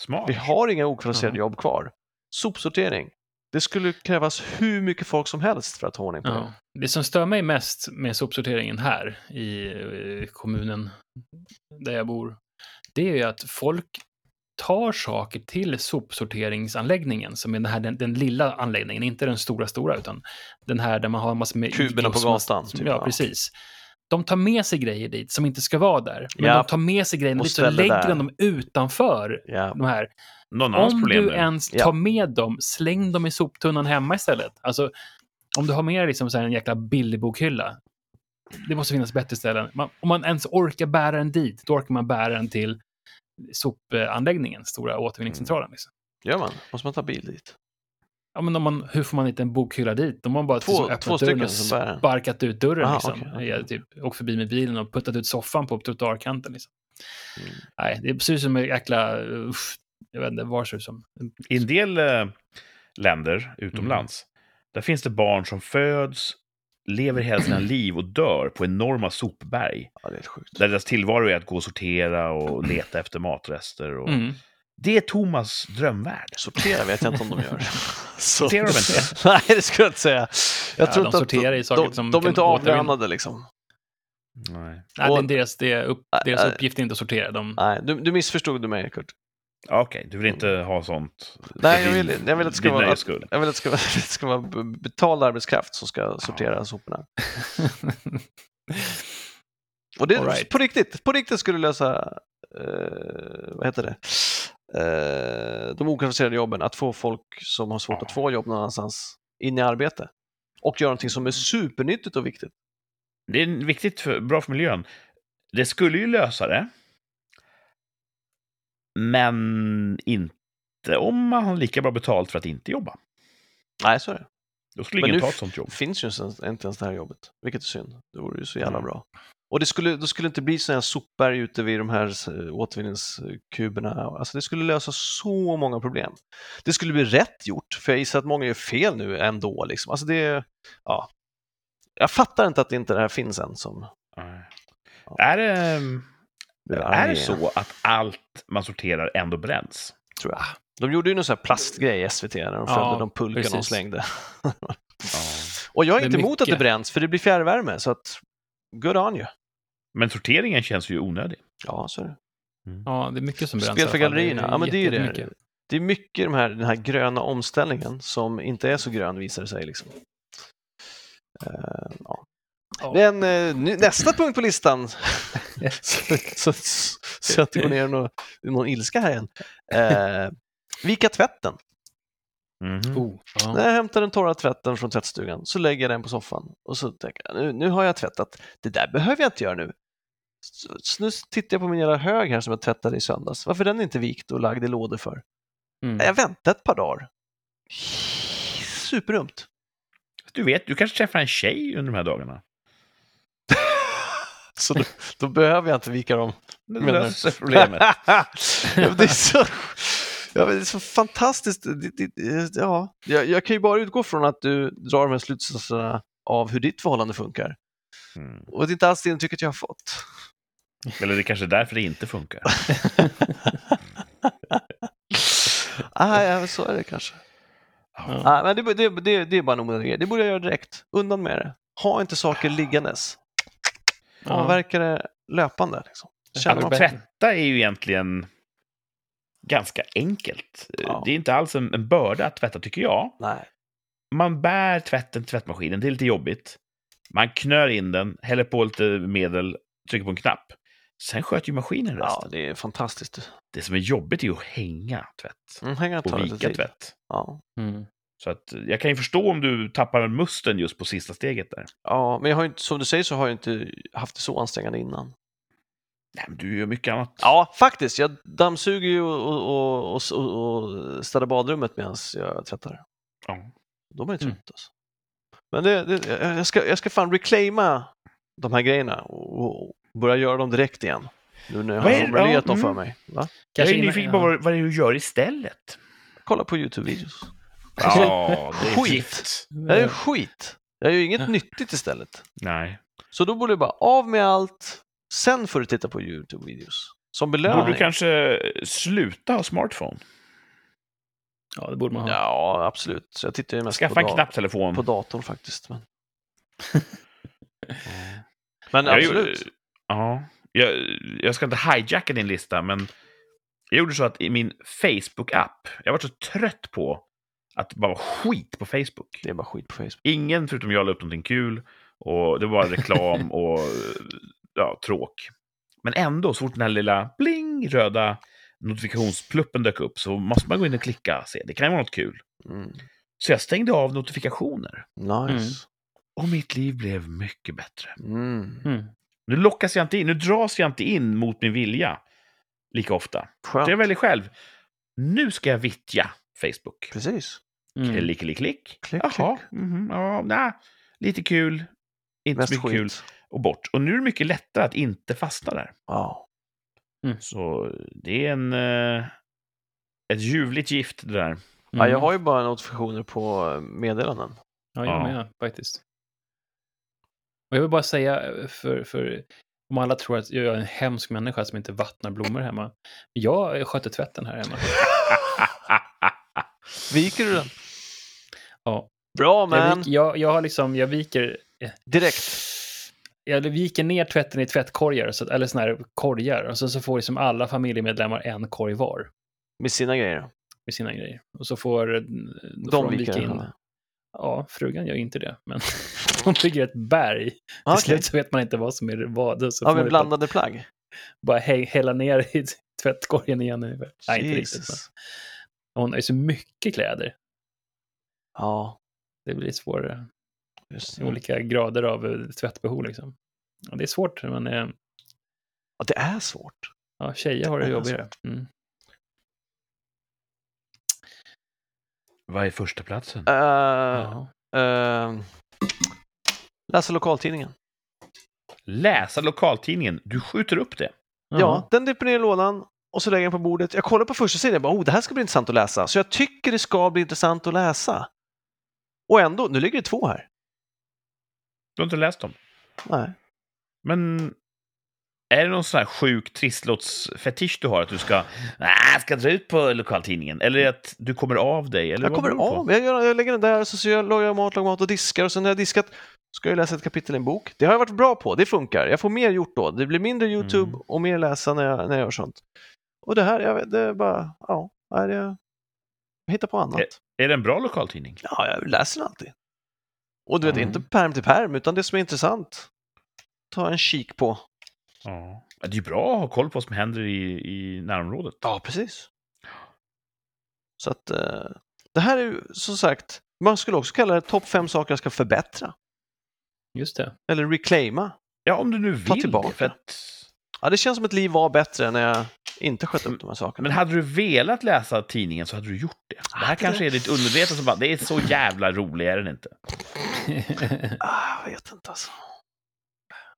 Speaker 2: Smart.
Speaker 3: Vi har inga okvalificerade
Speaker 1: Ja.
Speaker 3: jobb kvar. Sopsortering. Det skulle krävas hur mycket folk som helst för att ha ordning på det.
Speaker 1: Ja. Det som stör mig mest med sopsorteringen här i eh, kommunen där jag bor, det är ju att folk tar saker till sopsorteringsanläggningen, som är den här den, den lilla anläggningen, inte den stora stora, utan den här där man har en massa med
Speaker 3: Kuberna på
Speaker 1: som-
Speaker 3: gatan,
Speaker 1: Som,
Speaker 3: typ,
Speaker 1: ja,
Speaker 3: ja.
Speaker 1: precis. De tar med sig grejer dit som inte ska vara där, men
Speaker 3: Ja.
Speaker 1: de tar med sig grejerna
Speaker 3: Och
Speaker 1: dit så
Speaker 3: ställer
Speaker 1: lägger
Speaker 3: där.
Speaker 1: de dem utanför
Speaker 3: Ja.
Speaker 1: de här
Speaker 2: Någon annans
Speaker 1: om
Speaker 2: problem
Speaker 1: du
Speaker 2: nu.
Speaker 1: ens
Speaker 3: Ja.
Speaker 1: tar med dem, släng dem i soptunnan hemma istället. Alltså, om du har med dig liksom så här en jäkla billig bokhylla. Det måste finnas bättre ställen. Man, om man ens orkar bära den dit, då orkar man bära den till sopanläggningen, stora återvinningscentralen.
Speaker 3: Mm.
Speaker 1: Liksom.
Speaker 3: Gör man? Måste man ta bil dit?
Speaker 1: Ja, men om man, hur får man inte en bokhylla dit? De har bara
Speaker 3: Två-
Speaker 1: liksom
Speaker 3: två
Speaker 1: öppnat
Speaker 3: stycken
Speaker 1: dörren och
Speaker 3: som bär den.
Speaker 1: sparkat ut dörren.
Speaker 3: Aha,
Speaker 1: liksom.
Speaker 3: okej, okej.
Speaker 1: Jag typ, åkt förbi med bilen och puttat ut soffan på trottoarkanten. Liksom.
Speaker 3: Mm.
Speaker 1: Nej, det är precis som en jäkla... Uff, jag vet inte, vad ser det som?
Speaker 2: I en del eh, länder utomlands,
Speaker 1: Mm.
Speaker 2: där finns det barn som föds, lever
Speaker 1: [CLEARS THROAT]
Speaker 2: hela sina liv och dör på enorma sopberg.
Speaker 3: Ja, det är helt sjukt.
Speaker 2: Där deras tillvaro är att gå och sortera och leta efter matrester. Och...
Speaker 1: Mm.
Speaker 2: Det är Thomas drömvärld.
Speaker 3: Sortera vet jag inte om de
Speaker 1: [LAUGHS]
Speaker 3: gör. Så.
Speaker 2: Sorterar de inte?
Speaker 3: [LAUGHS] Nej, det skulle jag inte säga. Jag
Speaker 1: Ja,
Speaker 3: tror
Speaker 1: de
Speaker 3: inte
Speaker 1: sorterar
Speaker 3: att,
Speaker 1: i saker
Speaker 3: de,
Speaker 1: som
Speaker 3: de är
Speaker 1: kan
Speaker 3: inte
Speaker 1: återvinna.
Speaker 3: avlönade liksom.
Speaker 2: [LAUGHS] Nej.
Speaker 1: Nej,
Speaker 3: Och-
Speaker 1: det är deras, det är upp, deras
Speaker 3: Äh, äh.
Speaker 1: uppgift är inte att sortera. De,
Speaker 3: Nej, du, du missförstod du mig, Kurt.
Speaker 2: Ja, Okej, du vill inte ha sånt? för
Speaker 3: Nej, jag
Speaker 2: din-
Speaker 3: vill, jag vill att det ska
Speaker 2: din
Speaker 3: vara...
Speaker 2: nöjes skull.
Speaker 3: Jag vill att det ska vara, [LAUGHS] det ska vara b- betald arbetskraft som ska sortera soporna. Och det,
Speaker 1: All right.
Speaker 3: på, riktigt, på riktigt skulle lösa, eh, vad heter det, eh, de okvalificerade jobben, att få folk som har svårt att få jobb någon annanstans in i arbete och göra någonting som är supernyttigt och viktigt.
Speaker 2: Det är viktigt, för, bra för miljön. Det skulle ju lösa det. Men inte om man har lika bra betalt för att inte jobba.
Speaker 3: Nej, så är det.
Speaker 2: Då skulle
Speaker 3: Men
Speaker 2: ingen
Speaker 3: nu
Speaker 2: ta ett sånt jobb.
Speaker 3: Det finns ju inte ens- inte ens det här jobbet, vilket är synd. Det vore ju så jävla
Speaker 2: Mm.
Speaker 3: bra. Och det skulle, då skulle det inte bli sådana här sopberg ute vid de här eh, återvinningskuberna. Alltså det skulle lösa så många problem. Det skulle bli rätt gjort, för jag gissar att många gör fel nu ändå. Liksom. Alltså det, ja. Jag fattar inte att inte det här finns än. Som
Speaker 2: Nej. Är det,
Speaker 3: blir
Speaker 2: är
Speaker 3: arg,
Speaker 2: det så att allt man sorterar ändå bränns?
Speaker 3: Tror jag. De gjorde ju någon sån här plastgrej i SVT när de
Speaker 1: Ja,
Speaker 3: följde de pulkorna de
Speaker 1: precis.
Speaker 3: slängde.
Speaker 2: Ja.
Speaker 3: [LAUGHS] Och jag är
Speaker 1: Det är
Speaker 3: inte emot att det
Speaker 1: mycket.
Speaker 3: bränns, för det blir fjärrvärme. Så att, good on you.
Speaker 2: Men sorteringen känns ju onödig.
Speaker 3: Ja, så är det.
Speaker 1: [LAUGHS] ja, det är mycket som bränns.
Speaker 3: Spel
Speaker 1: i alla
Speaker 3: för
Speaker 1: fall.
Speaker 3: gallerierna. Ja, men det är ju det.
Speaker 1: jättemycket.
Speaker 3: det är mycket de här, den här gröna omställningen som inte är så grön visar det sig. Liksom. Eh, ja.
Speaker 1: Ja.
Speaker 3: Men eh, nu, nästa punkt
Speaker 1: [LAUGHS]
Speaker 3: på listan, så, så, så, så att det går ner någon, någon ilska här igen. Eh, vika tvätten.
Speaker 2: Mhm.
Speaker 1: Oh, ja.
Speaker 3: När jag hämtar den torra tvätten från tvättstugan så lägger jag den på soffan och så tänker jag nu, nu har jag tvättat, det där behöver jag inte göra nu. Så, så nu tittar jag på min jävla hög här som jag tvättade i söndags. Varför är den inte vikt och lagd i lådor för? Nej,
Speaker 1: Mm.
Speaker 3: Jag väntade ett par dagar. Superdumt.
Speaker 2: Du vet, du kanske träffar en tjej under de här dagarna.
Speaker 3: Så då, då behöver jag inte vika dem.
Speaker 2: Det
Speaker 3: Menar du?
Speaker 2: löser
Speaker 1: [LAUGHS]
Speaker 3: [LAUGHS]
Speaker 2: problemet.
Speaker 3: Ja, men det, är så, ja, men det är så fantastiskt. Det, det, det- ja. jag, jag kan ju bara utgå från att du drar de här slutsatserna av hur ditt förhållande funkar.
Speaker 2: Mm.
Speaker 3: Och det är inte alls det intrycket jag har fått.
Speaker 2: Eller det är kanske är därför det inte
Speaker 3: [LAUGHS]
Speaker 2: funkar.
Speaker 3: ah, ja, så är det kanske.
Speaker 1: Ja.
Speaker 3: Ah, men det, det, det, det är bara en onödig grej. Det borde jag göra direkt. Undan med det. Ha inte saker liggandes.
Speaker 1: Ja.
Speaker 3: Avverka det löpande. Liksom. Känner
Speaker 1: Att
Speaker 3: man-
Speaker 1: bättre.
Speaker 2: Alltså, Tvätta är ju egentligen ganska enkelt.
Speaker 3: Ja.
Speaker 2: Det är inte alls en, en börda att tvätta, tycker jag.
Speaker 3: Nej.
Speaker 2: Man bär tvätten till tvättmaskinen, det är lite jobbigt. Man knör in den, häller på lite medel, trycker på en knapp. Sen sköter ju maskinen resten.
Speaker 3: Ja, det är fantastiskt.
Speaker 2: Det som är jobbigt är ju att hänga tvätt
Speaker 3: Mm, hänga
Speaker 2: och
Speaker 3: tar lite
Speaker 2: vika
Speaker 3: tid.
Speaker 2: tvätt.
Speaker 3: Ja.
Speaker 1: Mm.
Speaker 2: Så att eh, jag kan ju förstå om du tappar musten just på sista steget där.
Speaker 3: ja, men jag har ju inte, som du säger så har jag inte haft det så ansträngande innan.
Speaker 2: Nej, men du gör mycket annat.
Speaker 3: Ja, faktiskt. Jag dammsuger ju och, och, och, och, och städar badrummet medan jag tvättar.
Speaker 2: Ja.
Speaker 3: Då är man ju trött
Speaker 1: Mm.
Speaker 3: alltså. Men det, det, jag- jag, ska, jag ska fan reclaima de här grejerna och, och börja göra dem direkt igen. Nu när jag har
Speaker 2: Vad är- ja,
Speaker 3: formulerat dem för
Speaker 2: mm.
Speaker 3: mig. Va?
Speaker 2: jag är nyfiken på vad, vad det är du gör istället.
Speaker 3: Kolla på YouTube-videos.
Speaker 2: Ja, det är
Speaker 3: Skit.
Speaker 2: gift.
Speaker 3: [LAUGHS] Det här
Speaker 1: Mm.
Speaker 3: är skit. Jag gör ju inget nyttigt istället.
Speaker 2: Nej.
Speaker 3: Så då borde du bara av med allt, sen får du titta på YouTube-videos. Som
Speaker 2: Borde
Speaker 3: belöning.
Speaker 2: du kanske sluta ha smartphone?
Speaker 1: Ja, det borde man ha.
Speaker 3: Ja, absolut. Så jag tittar ju mest
Speaker 2: Skaffa
Speaker 3: på,
Speaker 2: en
Speaker 3: da-
Speaker 2: knapptelefon.
Speaker 3: på datorn
Speaker 1: [LAUGHS]
Speaker 3: faktiskt. Men, men
Speaker 2: Jag
Speaker 3: absolut.
Speaker 2: gjorde- Ja, jag, jag ska inte hijacka din lista, men jag gjorde så att i min Facebook-app, jag var så trött på att bara vara skit på Facebook.
Speaker 3: Det är bara skit på Facebook.
Speaker 2: Ingen förutom jag la upp någonting kul och det var reklam
Speaker 3: [LAUGHS]
Speaker 2: och ja, tråk. Men ändå, så fort den här lilla bling röda notifikationspluppen dök upp så måste man gå in och klicka och se, det kan ju vara något kul.
Speaker 3: Mm.
Speaker 2: Så jag stängde av notifikationer
Speaker 3: Nice.
Speaker 2: och mitt liv blev mycket bättre.
Speaker 3: Mm.
Speaker 1: Mm.
Speaker 2: Nu lockas jag inte in, nu dras jag inte in mot min vilja lika ofta. Så jag
Speaker 3: Skönt.
Speaker 2: väljer själv. Nu ska jag vittja Facebook.
Speaker 3: Precis.
Speaker 1: Mm.
Speaker 2: Klick, klick, klick.
Speaker 3: Klick,
Speaker 2: Jaha, mhm, ja, nä, lite kul, inte
Speaker 3: Mest
Speaker 2: så mycket
Speaker 3: skit.
Speaker 2: kul och bort. Och nu är det mycket lättare att inte fastna där.
Speaker 3: Ja.
Speaker 2: Så det är en... Eh, ett ljuvligt gift det där.
Speaker 3: ja, jag har ju bara notifikationer på eh, meddelanden.
Speaker 1: Mm. Ja, jag
Speaker 2: Ja.
Speaker 1: med faktiskt. Och jag vill bara säga, eh, för, för om alla tror att jag är en hemsk människa som inte vattnar blommor hemma. Jag sköter tvätten här hemma.
Speaker 3: Viker du den?
Speaker 1: Ja.
Speaker 3: Bra
Speaker 1: Jag,
Speaker 3: man!
Speaker 1: vik, jag, jag har liksom, jag viker... eh,
Speaker 3: Direkt.
Speaker 1: Jag viker ner tvätten i tvättkorgar, så, eller såna här korgar. Och så, så får liksom alla familjemedlemmar en korg var
Speaker 3: Med sina grejer.
Speaker 1: med sina grejer. Och så får, eh, då får
Speaker 3: De viker den. själva.
Speaker 1: Ja, frugan gör ju inte det, men [LAUGHS] hon bygger ett berg. Till
Speaker 3: Ah, okej.
Speaker 1: slut så vet man inte vad som är vad. och Så
Speaker 3: Ja,
Speaker 1: får man
Speaker 3: men
Speaker 1: ju
Speaker 3: blandade plagg.
Speaker 1: bara hä- hälla ner i [LAUGHS] tvättkorgen igen. ungefär. Nej, inte riktigt. Men
Speaker 3: Jesus.
Speaker 1: hon har ju så mycket kläder.
Speaker 3: Ja,
Speaker 1: Det blir svårare.
Speaker 3: just det.
Speaker 1: Olika grader av eh, tvättbehov liksom. Ja, det är svårt, men eh,
Speaker 3: Ja, det är svårt.
Speaker 1: ja, tjejer har det
Speaker 3: Det är
Speaker 1: jobbigare. Mm.
Speaker 2: Vad är första platsen?
Speaker 3: Uh,
Speaker 1: Ja.
Speaker 3: läsa Ehm, lokaltidningen.
Speaker 2: Läsa lokaltidningen. Du skjuter upp det.
Speaker 1: Ja.
Speaker 3: Ja, den dyker ner i lådan och så lägger jag den på bordet. Jag kollar på första sidan och bara, oh, det här ska bli intressant att läsa. Så jag tycker det ska bli intressant att läsa. Och ändå, nu ligger det två här.
Speaker 2: Du har inte läst dem.
Speaker 3: Nej.
Speaker 2: Men är det någon sån här sjuk trisslottsfetisch du har? Att du ska, ah, ska dra ut på lokaltidningen? Eller att du kommer av dig? Eller
Speaker 3: Jag
Speaker 2: vad
Speaker 3: kommer
Speaker 2: beror det på?
Speaker 3: av, jag, gör, jag lägger den där och så, så jag, lagar jag mat, lagar mat och diskar och sen när jag diskat ska jag läsa ett kapitel i en bok. Det har jag varit bra på, det funkar. Jag får mer gjort då. Det blir mindre YouTube
Speaker 2: Mm.
Speaker 3: och mer läsa när jag, när jag gör sånt. Och det här, jag, vet- det är bara, ja, är det, jag hittar på annat.
Speaker 2: Är det en bra lokaltidning?
Speaker 3: Ja, jag läser den alltid. Och du vet,
Speaker 2: Mm.
Speaker 3: inte perm till perm utan det som är intressant. Ta en kik på.
Speaker 2: Ja. Det är ju bra att ha koll på vad som händer i, i närområdet.
Speaker 3: Ja, precis. Så att eh, det här är ju som sagt, man skulle också kalla det topp fem saker jag ska förbättra
Speaker 1: Just det. [LAUGHS]
Speaker 3: eller reclaima.
Speaker 2: Ja, om du nu vill
Speaker 3: Ta tillbaka.
Speaker 2: det. För att...
Speaker 3: Ja, det känns som ett liv var bättre när jag inte sköt upp de här sakerna.
Speaker 2: Men hade du velat läsa tidningen så hade du gjort det. Det här
Speaker 3: Hade
Speaker 2: kanske är ditt undermedvetna som bara, det är så jävla roligt, är den inte?
Speaker 3: ah, jag vet inte alltså.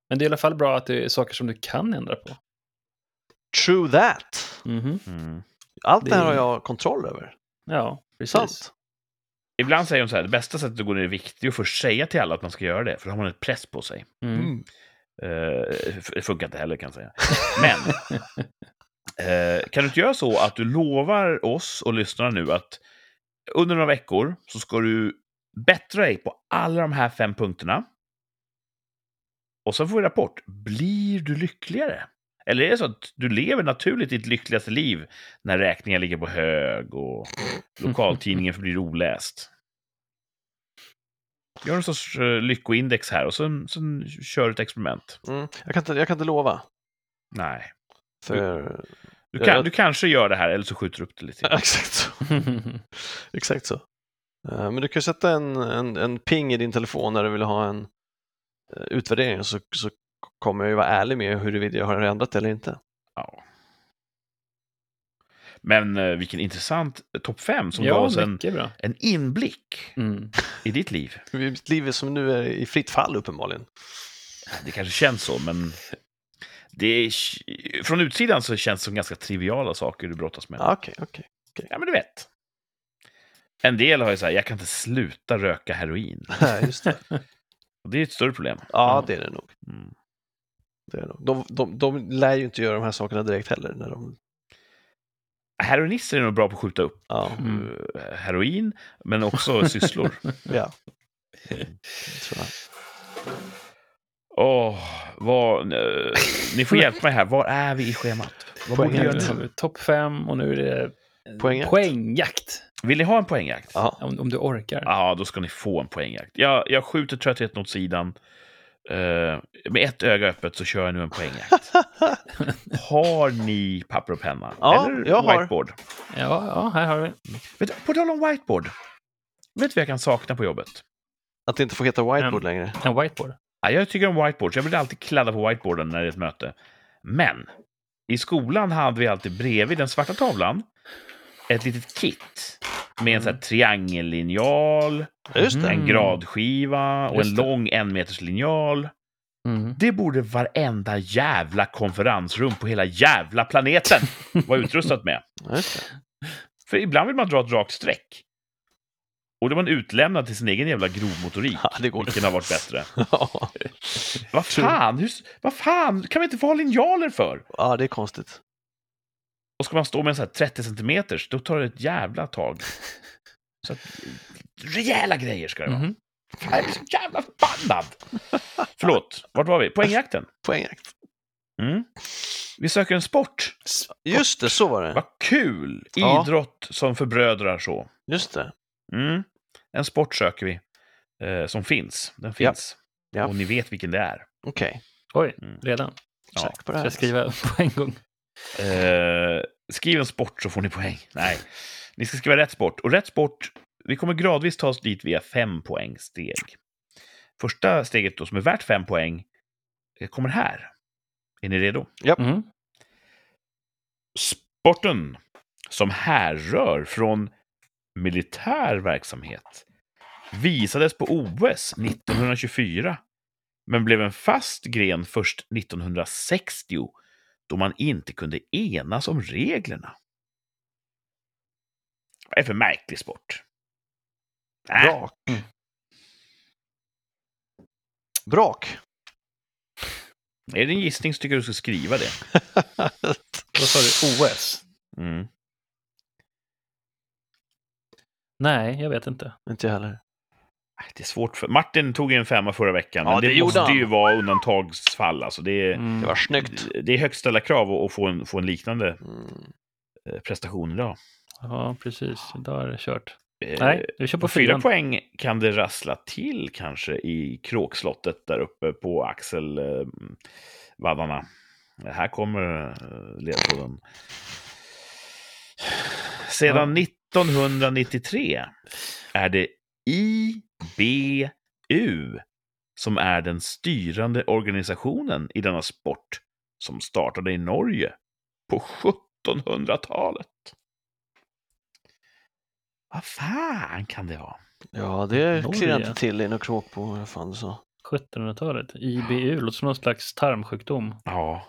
Speaker 1: men det är i alla fall bra att det är saker som du kan ändra på.
Speaker 3: True that!
Speaker 1: Mhm.
Speaker 2: Mm.
Speaker 3: Allt det här
Speaker 1: Det-
Speaker 3: har jag kontroll över.
Speaker 1: Ja, precis.
Speaker 3: Sant.
Speaker 2: Ibland säger de så här, det bästa sättet att gå ner i vikt är att först säga till alla att man ska göra det, för då har man ett press på sig.
Speaker 1: Mm.
Speaker 3: Mm.
Speaker 2: Eh, f- Det funkar inte heller kan jag säga. Men, eh, kan du inte göra så att du lovar oss och lyssnarna nu att under några veckor så ska du bättra dig på alla de här fem punkterna. Och sen får vi rapport. Blir du lyckligare? Eller är det så att du lever naturligt ditt lyckligaste liv när räkningar ligger på hög och lokaltidningen förblir oläst? Gör en sorts eh, lyckoindex här och sen, sen kör du ett experiment.
Speaker 3: Mm. Jag, kan inte, jag kan inte lova.
Speaker 2: Nej.
Speaker 3: För...
Speaker 2: Du,
Speaker 3: Ja,
Speaker 2: kan,
Speaker 3: jag-
Speaker 2: du kanske gör det här, eller så skjuter du upp det lite.
Speaker 3: [LAUGHS]
Speaker 1: [LAUGHS]
Speaker 3: Exakt så.
Speaker 2: Mm.
Speaker 3: Exakt så. Eh, Men du kan ju sätta en, en, en ping i din telefon när du vill ha en eh, utvärdering så, så kommer jag ju vara ärlig med huruvida jag har ändrat det eller inte.
Speaker 2: Ja. Men eh, vilken intressant topp fem som gav
Speaker 1: ja,
Speaker 2: oss en,
Speaker 1: mycket bra.
Speaker 2: en inblick
Speaker 1: Mm.
Speaker 2: i ditt liv.
Speaker 3: Mitt liv är som nu är i fritt fall uppenbarligen.
Speaker 2: Det kanske känns så, men det är, från utsidan så känns det som ganska triviala saker du brottas med.
Speaker 3: Ah, Okej, okej.
Speaker 2: Ja, men du vet. En del har ju så här, jag kan inte sluta röka heroin.
Speaker 3: Nej, just det.
Speaker 2: Och det är ett större problem.
Speaker 3: [LAUGHS] Ja, det är det nog.
Speaker 2: Mm.
Speaker 3: Det är det nog. De, de, de lär ju inte göra de här sakerna direkt heller när de
Speaker 2: Heroinister är nog bra på att skjuta upp
Speaker 3: Ja,
Speaker 1: Mm.
Speaker 2: eh, heroin, men också sysslor.
Speaker 3: ja. Det tror jag.
Speaker 2: Åh, vad, eh, ni får hjälpa mig här. Var är vi i schemat? Vad borde vi
Speaker 1: Poängen,
Speaker 2: göra
Speaker 1: nu har
Speaker 2: nu?
Speaker 1: vi topp fem och nu är det
Speaker 3: Poängen.
Speaker 1: poängjakt.
Speaker 2: Vill ni ha en poängjakt? Ja,
Speaker 3: Ja.
Speaker 1: Om, om du orkar.
Speaker 2: då ska ni få en poängjakt. Jag, jag skjuter tröttheten åt sidan. Eh, med ett öga öppet så kör jag nu en
Speaker 3: [LAUGHS]
Speaker 2: poängjakt. har ni papper och penna?
Speaker 3: Ja,
Speaker 2: Eller
Speaker 3: jag har.
Speaker 2: whiteboard?
Speaker 1: Ja, ja, här har vi.
Speaker 2: Vet, du, på tal om whiteboard. Vet du vad jag kan sakna på jobbet?
Speaker 3: Att det inte får heta whiteboard
Speaker 2: Mm.
Speaker 3: längre.
Speaker 1: En whiteboard.
Speaker 2: Ja, jag tycker om whiteboard, så jag vill alltid kladda på whiteboarden när det är ett möte. Men i skolan hade vi alltid bredvid den svarta tavlan ett litet kit med en sån här triangellinjal,
Speaker 3: Ja, just det.
Speaker 1: Mm.
Speaker 2: en gradskiva och
Speaker 1: Just
Speaker 2: en
Speaker 1: det.
Speaker 2: lång enmeterslinjal.
Speaker 1: Mm.
Speaker 2: Det borde varenda jävla konferensrum på hela
Speaker 1: [LAUGHS]
Speaker 2: jävla planeten vara utrustat med.
Speaker 3: Ja, just det.
Speaker 2: För ibland vill man dra ett rakt streck. Och då är man utlämnad till sin egen jävla grovmotorik.
Speaker 3: Ja, det går
Speaker 2: Vilken har varit bättre?
Speaker 3: Ja.
Speaker 2: Vad fan, hur, vad fan kan vi inte få ha linjaler för?
Speaker 3: [LAUGHS] ja, det är konstigt.
Speaker 2: Och ska man stå med en sån här 30 centimeters, då tar det ett jävla
Speaker 3: [LAUGHS]
Speaker 2: tag. Så att, rejäla grejer ska det
Speaker 3: Mm.
Speaker 2: vara.
Speaker 1: Mhm.
Speaker 2: Jag är så jävla
Speaker 3: [LAUGHS]
Speaker 2: förbannad! Förlåt, vart var vi? Poängjakten.
Speaker 3: Poängjakt.
Speaker 2: Mm. Vi söker en sport.
Speaker 3: Just det, så var det.
Speaker 2: Vad kul!
Speaker 3: Ja.
Speaker 2: Idrott som förbrödrar så.
Speaker 3: Just det.
Speaker 2: Mm. En sport söker vi, eh, som finns. Den
Speaker 3: Ja.
Speaker 2: finns.
Speaker 3: Ja.
Speaker 2: Och ni vet vilken det är.
Speaker 3: Okej.
Speaker 1: Oj,
Speaker 2: Mm.
Speaker 1: redan.
Speaker 2: Ja.
Speaker 3: Säker på det
Speaker 1: Ska
Speaker 3: här.
Speaker 1: jag skriva [LAUGHS] på en gång?
Speaker 2: Eh, skriv en sport så får ni poäng. Nej, ni ska skriva rätt sport. Och rätt sport, vi kommer gradvis ta oss dit via fem poängsteg. Första steget då, som är värt fem poäng, eh, kommer här. Är ni redo?
Speaker 1: Mm.
Speaker 2: Sporten som härrör från militär verksamhet visades på OS 1924 men blev en fast gren först 1960 då man inte kunde enas om reglerna. Vad är det för märklig sport? Äh,
Speaker 3: Brak. Mm. Brak.
Speaker 2: Är det en gissning så tycker jag du ska skriva det.
Speaker 1: Vad sa du? OS?
Speaker 2: Mm.
Speaker 1: Nej, jag vet inte.
Speaker 3: Inte jag heller.
Speaker 2: Äh, Det är svårt för... Martin tog ju en femma förra veckan,
Speaker 3: Ja,
Speaker 2: men det,
Speaker 3: det gjorde
Speaker 2: måste
Speaker 3: han.
Speaker 2: ju vara undantagsfall. Alltså det är...
Speaker 1: Mm.
Speaker 3: Det var snyggt.
Speaker 2: Det är högt ställda krav att- att få en, få en liknande
Speaker 3: Mm.
Speaker 2: eh, prestation idag.
Speaker 1: Ja, precis. Idag är det kört.
Speaker 2: Eh,
Speaker 1: Nej, vi kör
Speaker 2: På
Speaker 1: på
Speaker 2: fyra
Speaker 1: fyran.
Speaker 2: poäng kan det rassla till kanske i kråkslottet där uppe på eh, axelvaddarna. här kommer eh, ledtråden. Sedan 1993 är det IBU som är den styrande organisationen i denna sport som startade i Norge på 1700-talet. Vad fan kan det vara?
Speaker 3: Ja, det
Speaker 1: Norge.
Speaker 3: klirrar jag inte till i någon kråk på vad fan du sa.
Speaker 1: 1700-talet. IBU låter som någon slags tarmsjukdom.
Speaker 2: Ja,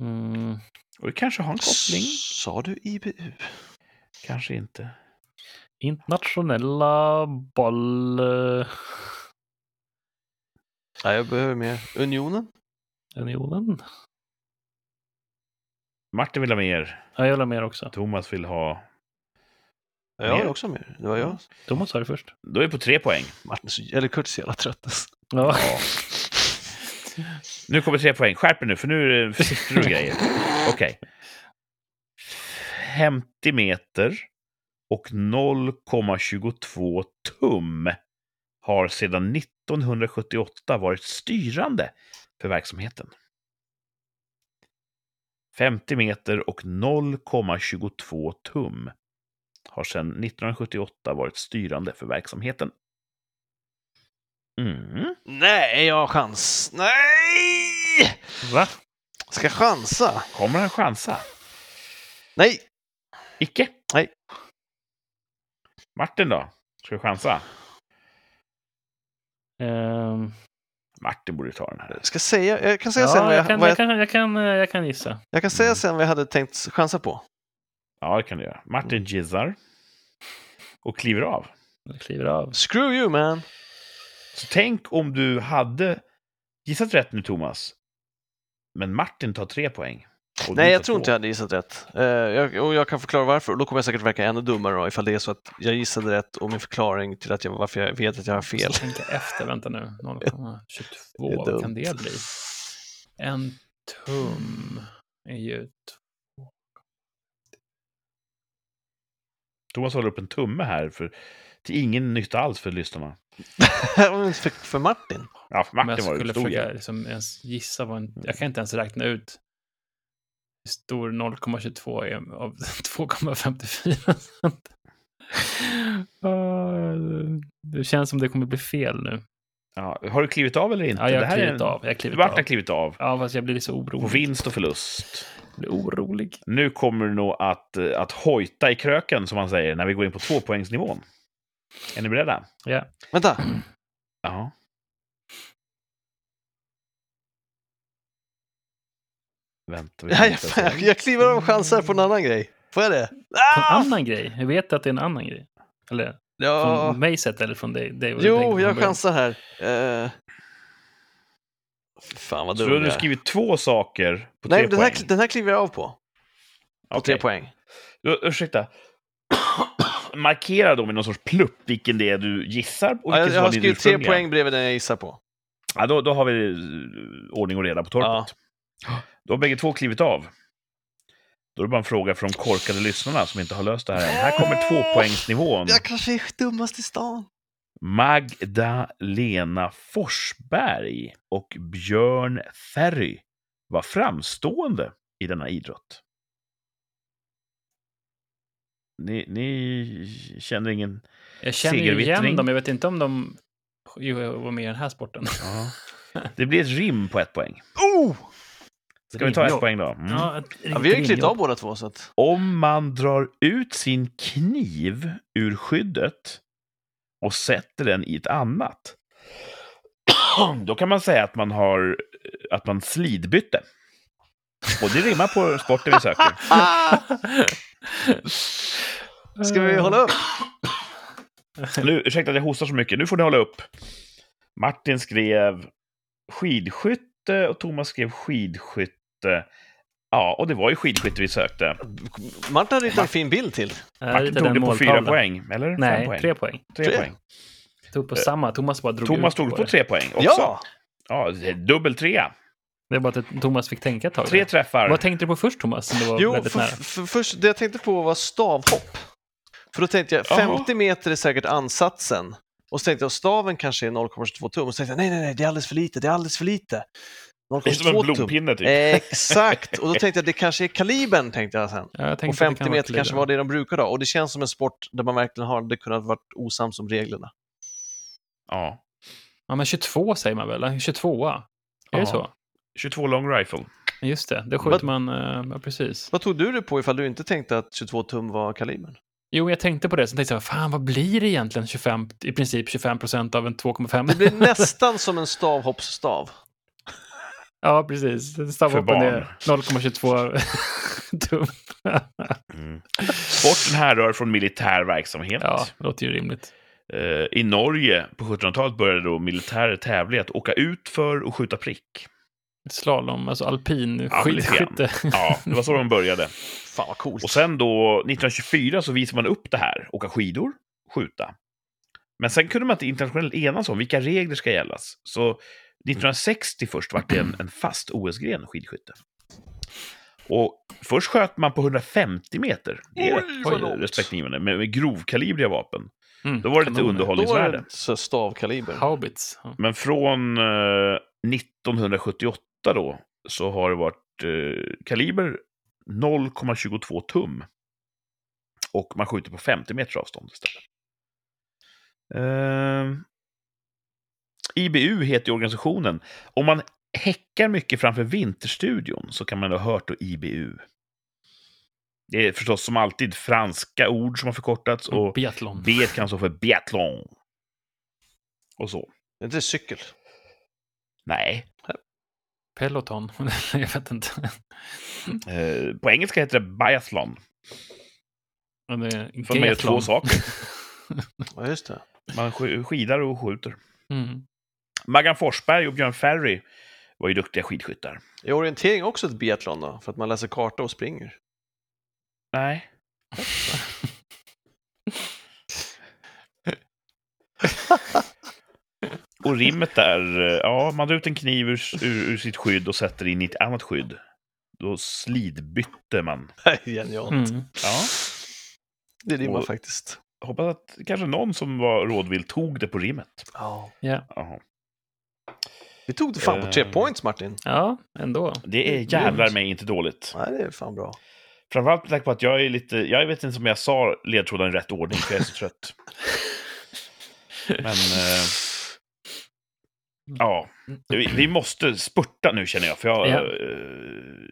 Speaker 1: Mm.
Speaker 2: och det kanske har en koppling.
Speaker 3: Sa du IBU?
Speaker 2: Kanske inte.
Speaker 1: Internationella boll...
Speaker 3: Nej, jag behöver mer. Unionen?
Speaker 1: Unionen?
Speaker 2: Martin vill ha mer.
Speaker 1: Ja, jag vill ha mer också.
Speaker 2: Thomas vill ha...
Speaker 3: Ja, jag
Speaker 2: Mer.
Speaker 3: har också mer. Det var jag.
Speaker 1: Thomas sa det först.
Speaker 2: Då är vi på tre poäng.
Speaker 3: Martin, så- eller Kurt, är så jävla trött. alltså.
Speaker 1: Ja.
Speaker 2: Nu kommer tre poäng. Skärp er nu, för nu [LAUGHS] är det siffror och grejer. Okej. 50 meter och 0,22 tum har sedan 1978 varit styrande för verksamheten. 50 meter och 0,22 tum har sedan 1978 varit styrande för verksamheten. Mm.
Speaker 3: Nej, jag har chans. Nej!
Speaker 1: Va?
Speaker 3: Ska chansa?
Speaker 2: Kommer han chansa?
Speaker 3: Nej!
Speaker 2: Icke?
Speaker 3: Nej.
Speaker 2: Martin då? Ska du chansa?
Speaker 1: Ehm,
Speaker 2: Martin borde ta den här.
Speaker 3: Ska säga, jag kan säga sen
Speaker 1: ja,
Speaker 3: vad jag,
Speaker 1: jag, kan,
Speaker 3: vad
Speaker 1: jag,
Speaker 3: jag,
Speaker 1: kan, jag, kan, eh, jag kan gissa.
Speaker 3: jag kan säga sen vad jag hade tänkt chansa på.
Speaker 2: Ja, det kan du göra.
Speaker 3: Mm.
Speaker 2: Martin gissar. Och kliver av.
Speaker 1: Jag kliver av.
Speaker 3: Screw you man!
Speaker 2: Så tänk om du hade gissat rätt nu, Thomas. Men Martin tar tre poäng. Och
Speaker 3: Nej,
Speaker 2: du
Speaker 3: jag
Speaker 2: sa
Speaker 3: tror
Speaker 2: två.
Speaker 3: inte jag hade gissat rätt. Eh, jag, och jag kan förklara varför och då kommer jag säkert verka ännu dummare då, ifall det är så att jag gissade rätt och min förklaring till att jag, varför jag vet att jag har fel.
Speaker 1: måste tänka efter, vänta nu.
Speaker 3: [LAUGHS]
Speaker 1: 0,22,
Speaker 3: Det är
Speaker 1: vad kan
Speaker 3: dumt.
Speaker 1: det
Speaker 3: [LAUGHS]
Speaker 1: bli? En tum är ju...
Speaker 2: Thomas håller upp en tumme här, för till ingen nytta alls för lyssnarna.
Speaker 3: för, för Martin.
Speaker 2: Ja, för
Speaker 1: Om jag
Speaker 2: Martin var
Speaker 1: skulle
Speaker 2: det stor Mm.
Speaker 1: försöka
Speaker 2: hjälp.
Speaker 1: liksom ens gissa vad en... Jag kan inte ens räkna ut hur stor 0,22 är av [LAUGHS] 2,54. [LAUGHS] Ah, Det känns som det kommer bli fel nu.
Speaker 2: ja, Har du klivit av eller inte?
Speaker 1: Ja, jag
Speaker 2: Det
Speaker 1: har
Speaker 2: här är
Speaker 1: klivit
Speaker 2: en-
Speaker 1: av. Jag har klivit
Speaker 2: Vart
Speaker 1: av.
Speaker 2: har klivit av?
Speaker 1: Ja, fast jag blir så
Speaker 2: På
Speaker 1: orolig.
Speaker 2: vinst och förlust.
Speaker 1: Jag blir orolig.
Speaker 2: Nu kommer du nog att, eh, att hojta i kröken, som man säger, när vi går in på tvåpoängsnivån. Är ni beredda?
Speaker 3: Vänta,
Speaker 1: Mm,
Speaker 2: Ja. Vänta, vi
Speaker 3: [LAUGHS] jag,
Speaker 2: väntar och ser.
Speaker 3: jag, jag kliver av chanser på en annan grej. Får jag det?
Speaker 1: På en
Speaker 3: Ah!
Speaker 1: annan grej. Jag vet att det är en annan grej. Eller
Speaker 2: Ah.
Speaker 3: Ja.
Speaker 1: Från mig sett eller från dig? dig och dig
Speaker 3: Jo,
Speaker 1: från
Speaker 3: jag
Speaker 1: början.
Speaker 3: chansar här. Eh, Fan vad
Speaker 2: Så då har
Speaker 3: dum
Speaker 2: du
Speaker 3: jag är.
Speaker 2: skrivit två saker på
Speaker 3: Nej,
Speaker 2: tre
Speaker 3: den
Speaker 2: poäng.
Speaker 3: här, den här kliver jag av på. På tre
Speaker 2: Okej.
Speaker 3: poäng.
Speaker 2: Du, ursäkta. [COUGHS] Markera då med någon sorts plupp vilken det är du gissar och
Speaker 3: Ja, jag,
Speaker 2: vilken
Speaker 3: jag
Speaker 2: som var
Speaker 3: har
Speaker 2: din
Speaker 3: skrivit tre
Speaker 2: ursprungliga.
Speaker 3: poäng bredvid den jag gissar på.
Speaker 2: Ja, då, då har vi eh, ordning och reda på torpet.
Speaker 3: Ja.
Speaker 2: Då har bägge två klivit av. Då är det bara en fråga för de korkade lyssnarna som inte har löst det här än. Här kommer tvåpoängsnivån.
Speaker 3: Jag kanske är dummast i stan.
Speaker 2: Magdalena Forsberg och Björn Ferry var framstående i denna idrott. Ni, ni känner ingen...
Speaker 1: Jag känner ju igen
Speaker 2: Segervittring.
Speaker 1: dem, jag vet inte om de jo, jag var med i den här sporten.
Speaker 2: Det blir ett rim på ett poäng.
Speaker 3: Oh!
Speaker 2: Ska vi ta ett
Speaker 1: Rimjobb.
Speaker 2: poäng då? Mm.
Speaker 1: Ja, ett
Speaker 3: Ja,
Speaker 1: riktigt
Speaker 3: vi har ju klivit
Speaker 1: rimjobb.
Speaker 3: av båda två, så att...
Speaker 2: Om man drar ut sin kniv ur skyddet och sätter den i ett annat, då kan man säga att man har eh, att man slidbytte. Och det rimmar på sporten vi söker.
Speaker 3: Ah! Ska vi hålla upp?
Speaker 2: Nu, ursäkta att jag hostar så mycket, nu får ni hålla upp. Martin skrev skidskytte och Thomas skrev skidskytte. Ja, och det var ju skidskytte vi sökte.
Speaker 3: Martin har ritat en fin bild till.
Speaker 1: Jag
Speaker 2: Martin
Speaker 1: ritade
Speaker 2: tog
Speaker 1: en
Speaker 2: det på fyra
Speaker 1: måltavla.
Speaker 2: poäng, eller?
Speaker 1: Nej,
Speaker 2: Fem poäng?
Speaker 1: tre poäng.
Speaker 2: Tre
Speaker 3: Tre.
Speaker 2: poäng.
Speaker 1: Tog på samma, Thomas bara drog
Speaker 2: Thomas
Speaker 1: ut
Speaker 2: tog
Speaker 1: på
Speaker 2: på
Speaker 1: det.
Speaker 2: tre poäng också.
Speaker 3: Ja!
Speaker 2: Ja, det är dubbel trea.
Speaker 1: Det är bara att Thomas fick tänka ett tag.
Speaker 2: Tre
Speaker 1: där.
Speaker 2: träffar.
Speaker 1: Vad tänkte du på först, Thomas? Som det var
Speaker 3: Jo,
Speaker 1: väldigt
Speaker 3: för,
Speaker 1: nära.
Speaker 3: för, först, det jag tänkte på var stavhopp. För då tänkte jag,
Speaker 2: Jaha.
Speaker 3: 50 meter är säkert ansatsen. Och så tänkte jag, staven kanske är 0,22 tum. Och så tänkte jag, nej, nej, nej, det är alldeles för lite, det är alldeles för lite.
Speaker 2: det är som en
Speaker 3: 0,2 tum.
Speaker 2: blompinne,
Speaker 1: Eh.
Speaker 2: typ.
Speaker 3: Exakt! Och då tänkte jag, det kanske är kalibern, tänkte jag sen.
Speaker 1: Ja, jag tänkte
Speaker 3: Och
Speaker 1: att det kan
Speaker 3: 50
Speaker 1: vara
Speaker 3: meter kanske
Speaker 1: kollegor.
Speaker 3: var det de brukar ha. Och det känns som en sport där man verkligen hade kunnat vara osams om reglerna.
Speaker 2: Ja.
Speaker 1: Ja, men 22 säger man väl? 22 Är
Speaker 2: Ja.
Speaker 1: det så?
Speaker 2: 22 long rifle.
Speaker 1: Ja, Just det, det skjuter
Speaker 3: Vad-
Speaker 1: man... eh, Ja, precis.
Speaker 3: Vad tog du det på ifall du inte tänkte att 22 tum var kalibern?
Speaker 1: Jo, jag tänkte på det, sen tänkte jag, fan vad blir det egentligen 25, i princip 25 procent av en 2,5?
Speaker 3: Det blir [LAUGHS] nästan som en stavhoppsstav.
Speaker 1: [LAUGHS] Ja, precis. Stavhoppen
Speaker 2: barn.
Speaker 1: är 0,22 [LAUGHS] tum.
Speaker 2: Mm. Sporten härrör från militär verksamhet.
Speaker 1: Ja, det låter ju rimligt.
Speaker 2: Eh, I Norge på 1700-talet började då militärer tävla i att åka ut för och skjuta prick.
Speaker 1: Slalom, alltså alpin
Speaker 2: Ja, lite grann.
Speaker 1: skidskytte.
Speaker 2: Ja, det var så de började.
Speaker 3: Fan vad coolt.
Speaker 2: Och sen då, 1924, så visade man upp det här. Åka skidor, skjuta. Men sen kunde man inte internationellt enas om vilka regler ska gällas. Så 1960 först vart det en, en fast OS-gren, skidskytte. Och först sköt man på 150 meter. Det är
Speaker 3: Oj,
Speaker 2: rätt
Speaker 3: vad
Speaker 2: eh,
Speaker 3: långt.
Speaker 2: respektingivande, med, med grovkalibriga vapen.
Speaker 1: [LAUGHS] Mm,
Speaker 2: Då var det lite
Speaker 1: kanoner.
Speaker 3: Då var
Speaker 2: underhållningsvärde.
Speaker 3: det så stavkaliber.
Speaker 1: Haubits. Ja.
Speaker 2: Men från eh, 1978 då, så har det varit eh, kaliber 0,22 tum. Och man skjuter på 50 meters avstånd istället. Eh, IBU heter ju organisationen. Om man häckar mycket framför Vinterstudion så kan man ha hört då IBU. Det är förstås som alltid franska ord som har förkortats. Och
Speaker 1: Biathlon.
Speaker 2: B kan stå för biathlon. Och så.
Speaker 3: Det är inte cykel.
Speaker 2: Nej.
Speaker 1: Peloton. [LAUGHS] jag vet inte.
Speaker 2: Eh, på engelska heter det biathlon.
Speaker 1: Men det är
Speaker 2: För med
Speaker 1: Gaathlon.
Speaker 2: två saker.
Speaker 3: Ja, just det.
Speaker 2: Man sk- skidar och skjuter.
Speaker 1: [LAUGHS] Mm.
Speaker 2: Maggan Forsberg och Björn Ferry var ju duktiga skidskyttar.
Speaker 3: Är orientering också ett biathlon då? För att man läser karta och springer?
Speaker 2: Nej. [LAUGHS] Och rimmet där, eh, ja, man drar ut en kniv ur, ur, ur sitt skydd och sätter in i ett annat skydd. Då slidbytte man.
Speaker 3: [LAUGHS] Genialt.
Speaker 1: Mm.
Speaker 2: Ja.
Speaker 3: Det rimmar
Speaker 2: Och-
Speaker 3: faktiskt.
Speaker 2: Hoppas att kanske någon som var rådvill tog det på rimmet.
Speaker 3: Ja.
Speaker 2: Jaha.
Speaker 3: Vi tog det fan på tre
Speaker 2: Eh.
Speaker 3: points, Martin.
Speaker 1: Ja, ändå.
Speaker 2: Det är jävlar mig inte dåligt.
Speaker 3: Nej, det är fan bra.
Speaker 2: Framförallt med tanke på att jag är lite, jag vet inte om jag sa ledtrådarna i rätt ordning för jag är så trött. Men, eh, ja, vi, vi måste spurta nu känner jag, för jag,
Speaker 1: Ja.
Speaker 2: eh,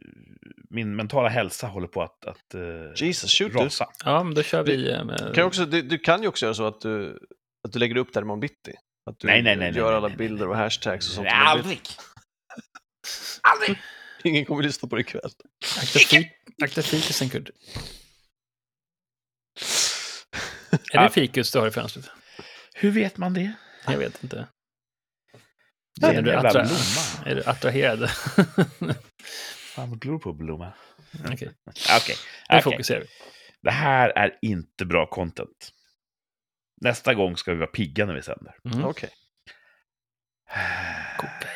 Speaker 2: min mentala hälsa håller på att, att eh,
Speaker 3: Jesus, shoot du.
Speaker 2: rasa.
Speaker 1: Ja, men då kör vi. eh, med-
Speaker 3: Kan jag också, du, du kan ju också göra så att du, att du lägger upp det här imorgon bitti. Att du
Speaker 2: Nej, nej, nej, nej,
Speaker 3: gör
Speaker 2: nej,
Speaker 3: alla
Speaker 2: nej, nej,
Speaker 3: bilder och hashtags och sånt.
Speaker 2: Nej,
Speaker 3: imorgon bitti.
Speaker 2: Aldrig! Aldrig!
Speaker 3: Ingen kommer lyssna på det ikväll.
Speaker 1: Akta fi- Akta fikusen, Kurd. Är
Speaker 2: Ja.
Speaker 1: det fikus du har i fönstret?
Speaker 2: Hur vet man det?
Speaker 1: Jag vet inte.
Speaker 2: Det är
Speaker 1: Är
Speaker 2: en
Speaker 1: du
Speaker 2: jävla
Speaker 1: attra- [LAUGHS]
Speaker 2: blomma.
Speaker 1: Är du attraherad?
Speaker 2: Fan, vad glor på blomma.
Speaker 1: Okej,
Speaker 2: Okej,
Speaker 1: nu
Speaker 2: Ah, okej.
Speaker 1: fokuserar vi.
Speaker 2: det här är inte bra content. Nästa gång ska vi vara pigga när vi sänder.
Speaker 1: Mm.
Speaker 3: Okej.
Speaker 1: Kokain.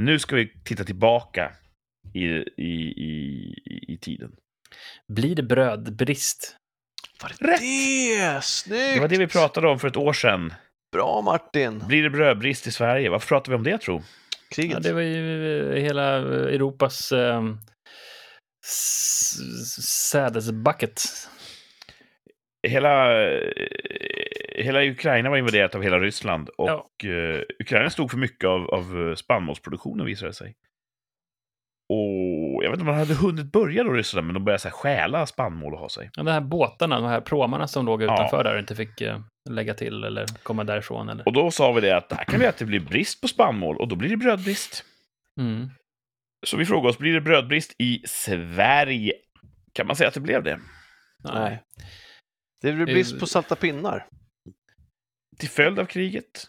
Speaker 2: Nu ska vi titta tillbaka i, i, i, i tiden.
Speaker 1: Blir det brödbrist?
Speaker 3: Var det
Speaker 2: Rätt!
Speaker 3: det? Snyggt!
Speaker 2: Det var det vi pratade om för ett år sedan.
Speaker 3: Bra Martin!
Speaker 2: Blir det brödbrist i Sverige? Varför pratar vi om det, tro?
Speaker 3: Kriget.
Speaker 1: Ja, det var ju eh, hela eh, Europas eh, s- s- sädesbucket.
Speaker 2: Hela, eh, hela Ukraina var invaderat av hela Ryssland och eh, Ukraina stod för mycket av, av eh, spannmålsproduktionen, visade det sig. Och jag vet inte om man hade hunnit börja då, ryssarna, men de började så här stjäla spannmål och ha sig.
Speaker 1: Ja, de här båtarna, de här pråmarna som låg utanför där och inte fick eh, lägga till eller komma därifrån. Eller.
Speaker 2: Och då sa vi det att det här kan vi att det blir brist på spannmål och då blir det brödbrist.
Speaker 1: Mm.
Speaker 2: Så vi frågar oss, blir det brödbrist i Sverige? Kan man säga att det blev det?
Speaker 1: Nej.
Speaker 3: Det blir brist på salta pinnar.
Speaker 2: Till följd av kriget?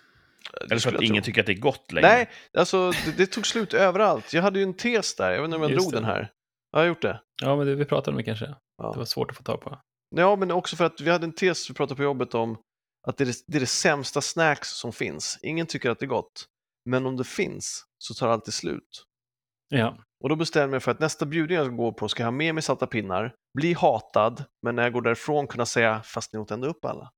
Speaker 3: Det
Speaker 2: Eller för
Speaker 3: skulle
Speaker 2: att
Speaker 3: jag
Speaker 2: ingen
Speaker 3: tro.
Speaker 2: tycker att det är gott längre?
Speaker 3: Nej, alltså det, det tog slut överallt. Jag hade ju en tes där, jag vet inte om jag
Speaker 1: Just
Speaker 3: drog
Speaker 1: det.
Speaker 3: den här. Ja, Jag har gjort det.
Speaker 1: Ja, men det vi pratade om det kanske.
Speaker 3: Ja.
Speaker 1: Det var svårt att få tag på.
Speaker 3: ja, men också för att vi hade en tes vi pratade på jobbet om att det är det, det är det sämsta snacks som finns. Ingen tycker att det är gott, men om det finns så tar det alltid slut.
Speaker 1: Ja.
Speaker 3: Och då bestämde jag mig för att nästa bjudning jag ska gå på ska jag ha med mig salta pinnar, bli hatad, men när jag går därifrån kunna säga fast ni åt ändå upp [LAUGHS] alla.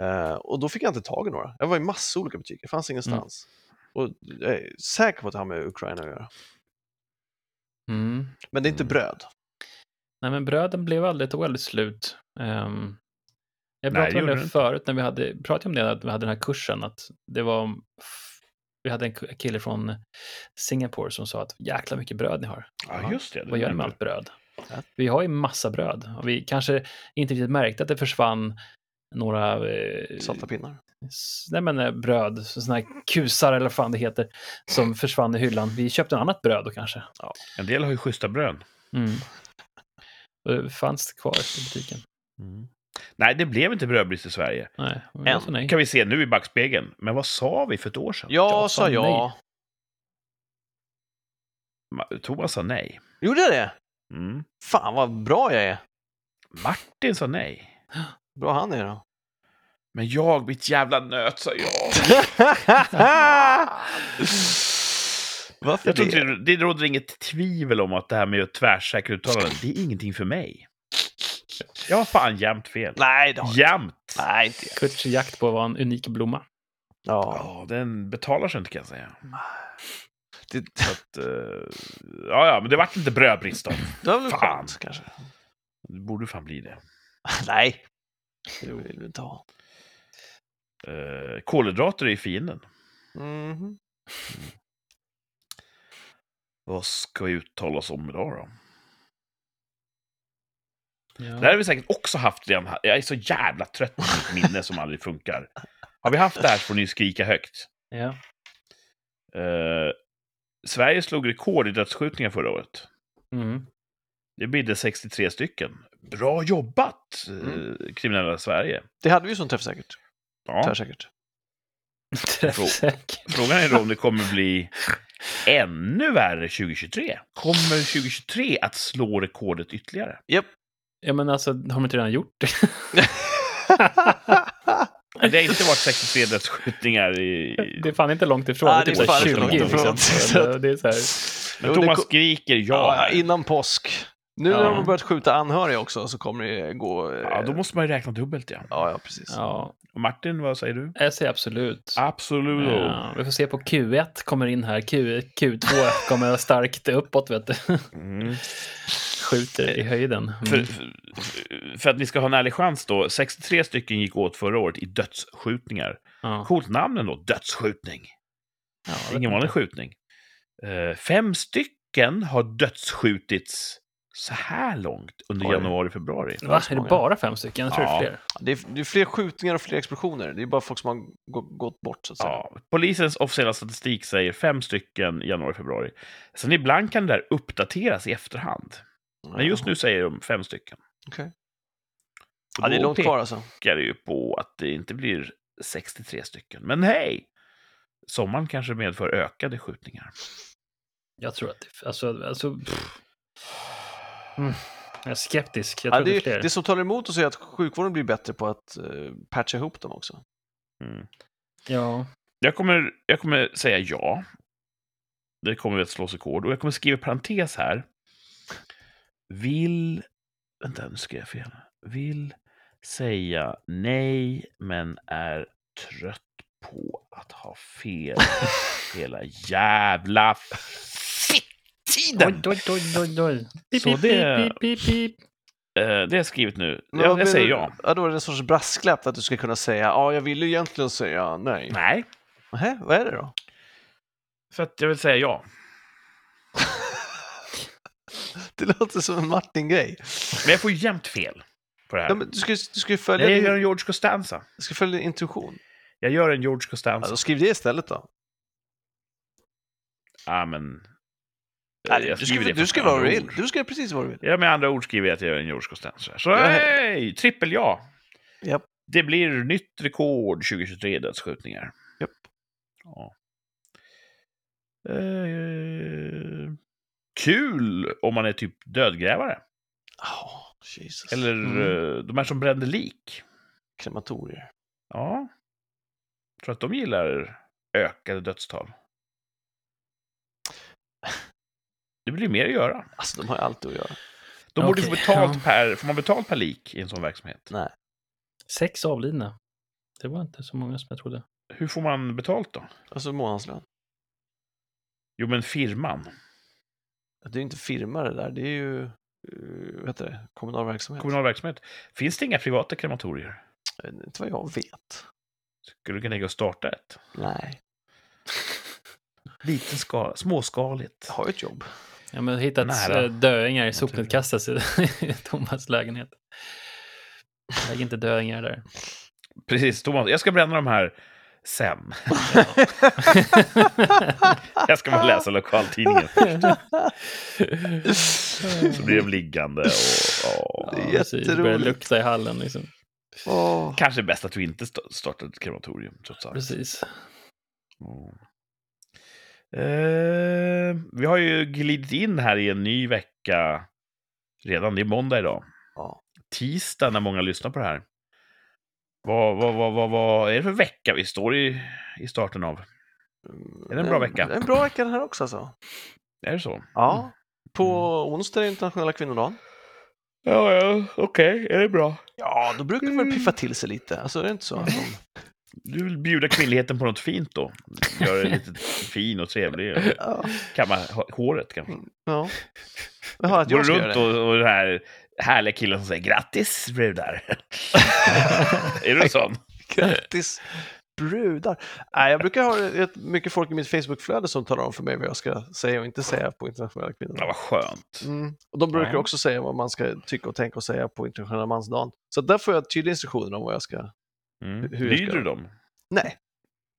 Speaker 3: Eh, och då fick jag inte tag i några. Jag var i massa olika butiker, det fanns ingenstans. Och jag är säker på att det har med Ukraina att göra.
Speaker 1: Mm.
Speaker 3: Men det är inte
Speaker 2: Mm.
Speaker 3: bröd.
Speaker 1: Nej, men bröden blev aldrig ett oändligt slut. Ehm, jag
Speaker 2: Nej, det
Speaker 1: pratade om
Speaker 2: gjorde det
Speaker 1: det
Speaker 2: inte.
Speaker 1: förut när vi hade, pratade om det att vi hade den här kursen, att det var, vi hade en k- kille från Singapore som sa att jäkla mycket bröd ni har.
Speaker 2: Ja, just det.
Speaker 1: Vad gör ni med allt bröd?
Speaker 3: Ja.
Speaker 1: Vi har ju massa bröd och vi kanske inte riktigt märkte att det försvann några eh,
Speaker 3: Salta pinnar.
Speaker 1: s- nej men, eh, bröd, sådana här kusar eller vad fan det heter,
Speaker 2: [LAUGHS]
Speaker 1: som försvann i hyllan. Vi köpte annat bröd då kanske.
Speaker 2: En del har ju schyssta brön.
Speaker 1: Mm. Och Det fanns kvar i butiken.
Speaker 2: Nej, det blev inte brödbrist i Sverige.
Speaker 1: Nej, men
Speaker 3: Än.
Speaker 1: alltså nej.
Speaker 2: kan vi se nu i backspegeln. Men vad sa vi för ett år sedan?
Speaker 3: Ja,
Speaker 1: sa
Speaker 3: sa jag.
Speaker 2: Ma- Thomas sa nej.
Speaker 3: Gjorde jag det?
Speaker 2: Mm.
Speaker 3: Fan vad bra jag är.
Speaker 2: Martin sa nej.
Speaker 3: Bra han är då.
Speaker 2: Men jag, mitt jävla nöt, sa jag.
Speaker 3: Varför
Speaker 2: jag tror
Speaker 3: det?
Speaker 2: inte det, det råder inget tvivel om att det här med att tvärsäkra uttalanden, det är ingenting för mig. Jag har fan jämt fel.
Speaker 3: Nej, det har
Speaker 2: Jämt!
Speaker 3: Nej, inte jag.
Speaker 1: Kurts jakt på var en unik blomma.
Speaker 3: Ja.
Speaker 2: Ja, den betalar sig inte kan jag säga.
Speaker 3: Det,
Speaker 2: Att, eh, ja, ja, men det vart inte brödbrist då.
Speaker 3: det var väl
Speaker 2: Fan.
Speaker 3: skönt kanske.
Speaker 2: Det borde fan bli det.
Speaker 3: Nej. Det vill vi inte ha.
Speaker 2: Uh, kolhydrater är ju fienden.
Speaker 3: Mhm.
Speaker 2: Vad ska vi uttala oss om idag då?
Speaker 1: Ja.
Speaker 2: Det här har vi säkert också haft redan. här. Jag är så jävla trött på mitt minne som aldrig funkar. Har vi haft det här så får ni skrika högt.
Speaker 1: Ja.
Speaker 2: Eh, Sverige slog rekord i dödsskjutningar förra året.
Speaker 1: Mm. [LAUGHS]
Speaker 2: Det bidde 63 stycken. Bra jobbat, eh, kriminella Sverige.
Speaker 3: Det hade vi ju som träffsäkert.
Speaker 2: Ja.
Speaker 3: Tvärsäkert.
Speaker 1: Träffsäker.
Speaker 2: Frågan är då om det kommer bli ännu värre 2023. Kommer 2023 att slå rekordet ytterligare?
Speaker 1: Ja, men alltså, har de inte redan gjort det?
Speaker 2: Det har inte varit 63 dödsskjutningar i...
Speaker 1: Det är fan inte långt ifrån.
Speaker 3: Nej,
Speaker 1: det är
Speaker 2: det är
Speaker 1: typ så här
Speaker 2: fan
Speaker 1: 20
Speaker 2: inte
Speaker 1: till
Speaker 2: långt ifrån. [LAUGHS]
Speaker 1: exempel. Det är så här,
Speaker 2: Men
Speaker 3: Jo, det
Speaker 2: Thomas
Speaker 3: kom-
Speaker 2: skriker
Speaker 3: ja,
Speaker 2: ja.
Speaker 3: innan påsk. Nu när
Speaker 1: Ja.
Speaker 3: de har börjat skjuta anhöriga också så kommer det gå... eh,
Speaker 2: Ja, då måste man ju räkna dubbelt, ja.
Speaker 3: ja, ja, precis.
Speaker 1: ja,
Speaker 2: Och Martin, vad säger du?
Speaker 1: jag säger absolut.
Speaker 2: Absolut.
Speaker 1: Ja, vi får se på Q1 kommer in här. Q, Q2 kommer starkt uppåt, vet du.
Speaker 2: Mm.
Speaker 1: Skjuter i höjden. Mm.
Speaker 2: För, för- för att ni ska ha en ärlig chans då, 63 stycken gick åt förra året i dödsskjutningar.
Speaker 1: ja.
Speaker 2: Coolt namn ändå, dödsskjutning.
Speaker 1: Ja, jag vet
Speaker 2: Ingen
Speaker 1: inte.
Speaker 2: vanlig skjutning. Eh, Fem stycken har dödsskjutits så här långt under
Speaker 3: Oj.
Speaker 2: januari februari.
Speaker 1: Va? Är det bara fem stycken? Jag tror det är
Speaker 2: Ja.
Speaker 1: fler.
Speaker 3: Det är, det är fler skjutningar och fler explosioner. Det är bara folk som har gå- gått bort, så att säga.
Speaker 2: Ja, polisens officiella statistik säger fem stycken januari-februari. Sen ibland kan det där uppdateras i efterhand. Men just nu säger de fem stycken.
Speaker 3: Okej.
Speaker 2: Och
Speaker 3: Ja, det är
Speaker 2: då
Speaker 3: långt kvar alltså.
Speaker 2: pekar det ju på att det inte blir 63 stycken. Men hej! Sommaren kanske medför ökade skjutningar.
Speaker 1: Jag tror att det alltså, alltså, pff. mm. Jag är skeptisk. Jag
Speaker 3: Ja,
Speaker 1: tror
Speaker 3: det,
Speaker 1: det är
Speaker 3: är-
Speaker 1: fler.
Speaker 3: det som talar emot oss är att sjukvården blir bättre på att eh, patcha ihop dem också.
Speaker 2: Mm.
Speaker 1: Ja.
Speaker 2: Jag, kommer, jag kommer säga ja. Det kommer att slås rekord. Och jag kommer skriva parentes här. Vill... Vänta, nu skrev jag fel. Vill säga nej, men är trött på att ha
Speaker 3: [LAUGHS]
Speaker 2: fel hela jävla
Speaker 1: Oj,
Speaker 2: tiden.
Speaker 1: oj, oj, oj, oj. Pip,
Speaker 2: Så
Speaker 1: pip,
Speaker 2: det-
Speaker 1: pip, pip, pip, pip.
Speaker 2: Eh, det har jag skrivit nu.
Speaker 3: Men
Speaker 2: Jag,
Speaker 3: vad
Speaker 2: jag säger
Speaker 3: menar
Speaker 2: ja.
Speaker 3: du? Ja, då är det en sorts brasklapp att du ska kunna säga ja, jag ville egentligen säga nej.
Speaker 2: Nej,
Speaker 3: Nähä, vad är det då?
Speaker 2: för att jag vill säga ja.
Speaker 3: Det låter som en Martin-grej.
Speaker 2: Men jag får ju jämt fel på det här.
Speaker 3: Ja, men du, ska, ju- du, ska ju följa
Speaker 2: Nej, jag gör
Speaker 3: din,
Speaker 2: en George Costanza.
Speaker 3: du ska följa din intuition.
Speaker 2: Jag gör en George Costanza.
Speaker 3: Alltså, skriv det istället då.
Speaker 2: Ja, men... eh,
Speaker 3: Nej,
Speaker 2: jag
Speaker 3: du
Speaker 2: skriver
Speaker 3: ska,
Speaker 2: det
Speaker 3: du
Speaker 2: fast
Speaker 3: ska
Speaker 2: med
Speaker 3: vara vad
Speaker 2: andra
Speaker 3: du vill.
Speaker 2: ord.
Speaker 3: Du ska göra precis vad du vill.
Speaker 2: Ja, med andra ord skriver jag att jag gör en George Costanza. Så
Speaker 3: Ja.
Speaker 2: hej! Trippel ja!
Speaker 3: Japp.
Speaker 2: Det blir nytt rekord 2023 dödsskjutningar.
Speaker 3: Japp.
Speaker 2: Ja. Eh, kul om man är typ dödgrävare.
Speaker 3: Oh, Jesus.
Speaker 2: Eller
Speaker 3: Mm.
Speaker 2: eh, de här som brände lik.
Speaker 3: Krematorier.
Speaker 2: Ja. Tror att de gillar ökade
Speaker 3: [LAUGHS]
Speaker 2: dödstal. Det blir mer att göra.
Speaker 3: Alltså, de har ju alltid att göra.
Speaker 2: De borde
Speaker 1: Okej,
Speaker 2: få betalt
Speaker 1: ja.
Speaker 2: per... Får man betalt per lik i en sån verksamhet?
Speaker 3: Nej.
Speaker 1: Sex avlidna. Det var inte så många som jag trodde.
Speaker 2: Hur får man betalt då?
Speaker 3: Alltså månadslön.
Speaker 2: Jo, men firman.
Speaker 3: Det är ju inte firma det där. Det är ju, eh, vad heter det, kommunal verksamhet.
Speaker 2: Kommunal verksamhet. Finns det inga privata krematorier?
Speaker 3: Jag vet Inte vad jag vet.
Speaker 2: Skulle du kunna tänka dig att starta ett?
Speaker 3: Nej.
Speaker 2: Liten skala, småskaligt.
Speaker 3: Jag har ju ett jobb.
Speaker 1: Ja, men hittats
Speaker 2: Nära.
Speaker 1: eh, döingar i
Speaker 2: tror det.
Speaker 1: sopnedkastet i [LAUGHS] Tomas lägenhet. Lägg inte döingar där.
Speaker 2: Precis, Thomas. Jag ska bränna de här sen. Jag ska bara läsa lokaltidningen. Så blir de liggande och... och...
Speaker 3: Det är
Speaker 1: precis. Det börjar
Speaker 3: jätteroligt.
Speaker 1: lukta i hallen liksom.
Speaker 3: [LAUGHS] Åh.
Speaker 2: Kanske bäst att du inte sta- startar ett krematorium, trots allt.
Speaker 1: Precis.
Speaker 2: Mm. Eh, vi har ju glidit in här i en ny vecka redan. Det är måndag idag.
Speaker 3: Ja.
Speaker 2: Tisdag när många lyssnar på det här. Vad, vad, vad, vad, vad är det för vecka vi står i, i starten av? Är det en bra vecka?
Speaker 3: Det är en bra vecka Mm. den här också alltså.
Speaker 2: Är det så?
Speaker 3: Ja. På onsdag är det internationella kvinnodagen.
Speaker 2: Ja, ja okej. Är det bra?
Speaker 3: Ja, då brukar man
Speaker 2: Mm.
Speaker 3: piffa till sig lite. Alltså är det inte så? att de-
Speaker 2: Du vill bjuda kvinnligheten på något fint då? Göra den [LAUGHS] lite fin och trevlig. och
Speaker 3: Ja.
Speaker 2: Kamma h- håret kanske.
Speaker 3: ja. Jag hör att
Speaker 2: Går
Speaker 3: jag
Speaker 2: du
Speaker 3: ska göra
Speaker 2: runt
Speaker 3: det.
Speaker 2: och, och den här härliga killen som säger grattis [LAUGHS] brudar? är du en sån?
Speaker 3: Grattis brudar. Nej, jag brukar ha ett, mycket folk i mitt Facebookflöde som talar om för mig vad jag ska säga och inte säga på internationella
Speaker 2: Ja,
Speaker 3: kvinnodagen.
Speaker 2: vad skönt.
Speaker 3: Mm. Och de brukar
Speaker 2: Ja.
Speaker 3: också säga vad man ska tycka och tänka och säga på internationella mansdagen. Så där får jag tydliga instruktioner om vad jag ska...
Speaker 2: Mm.
Speaker 3: Hur jag ska
Speaker 2: Lyder du dem?
Speaker 3: Nej.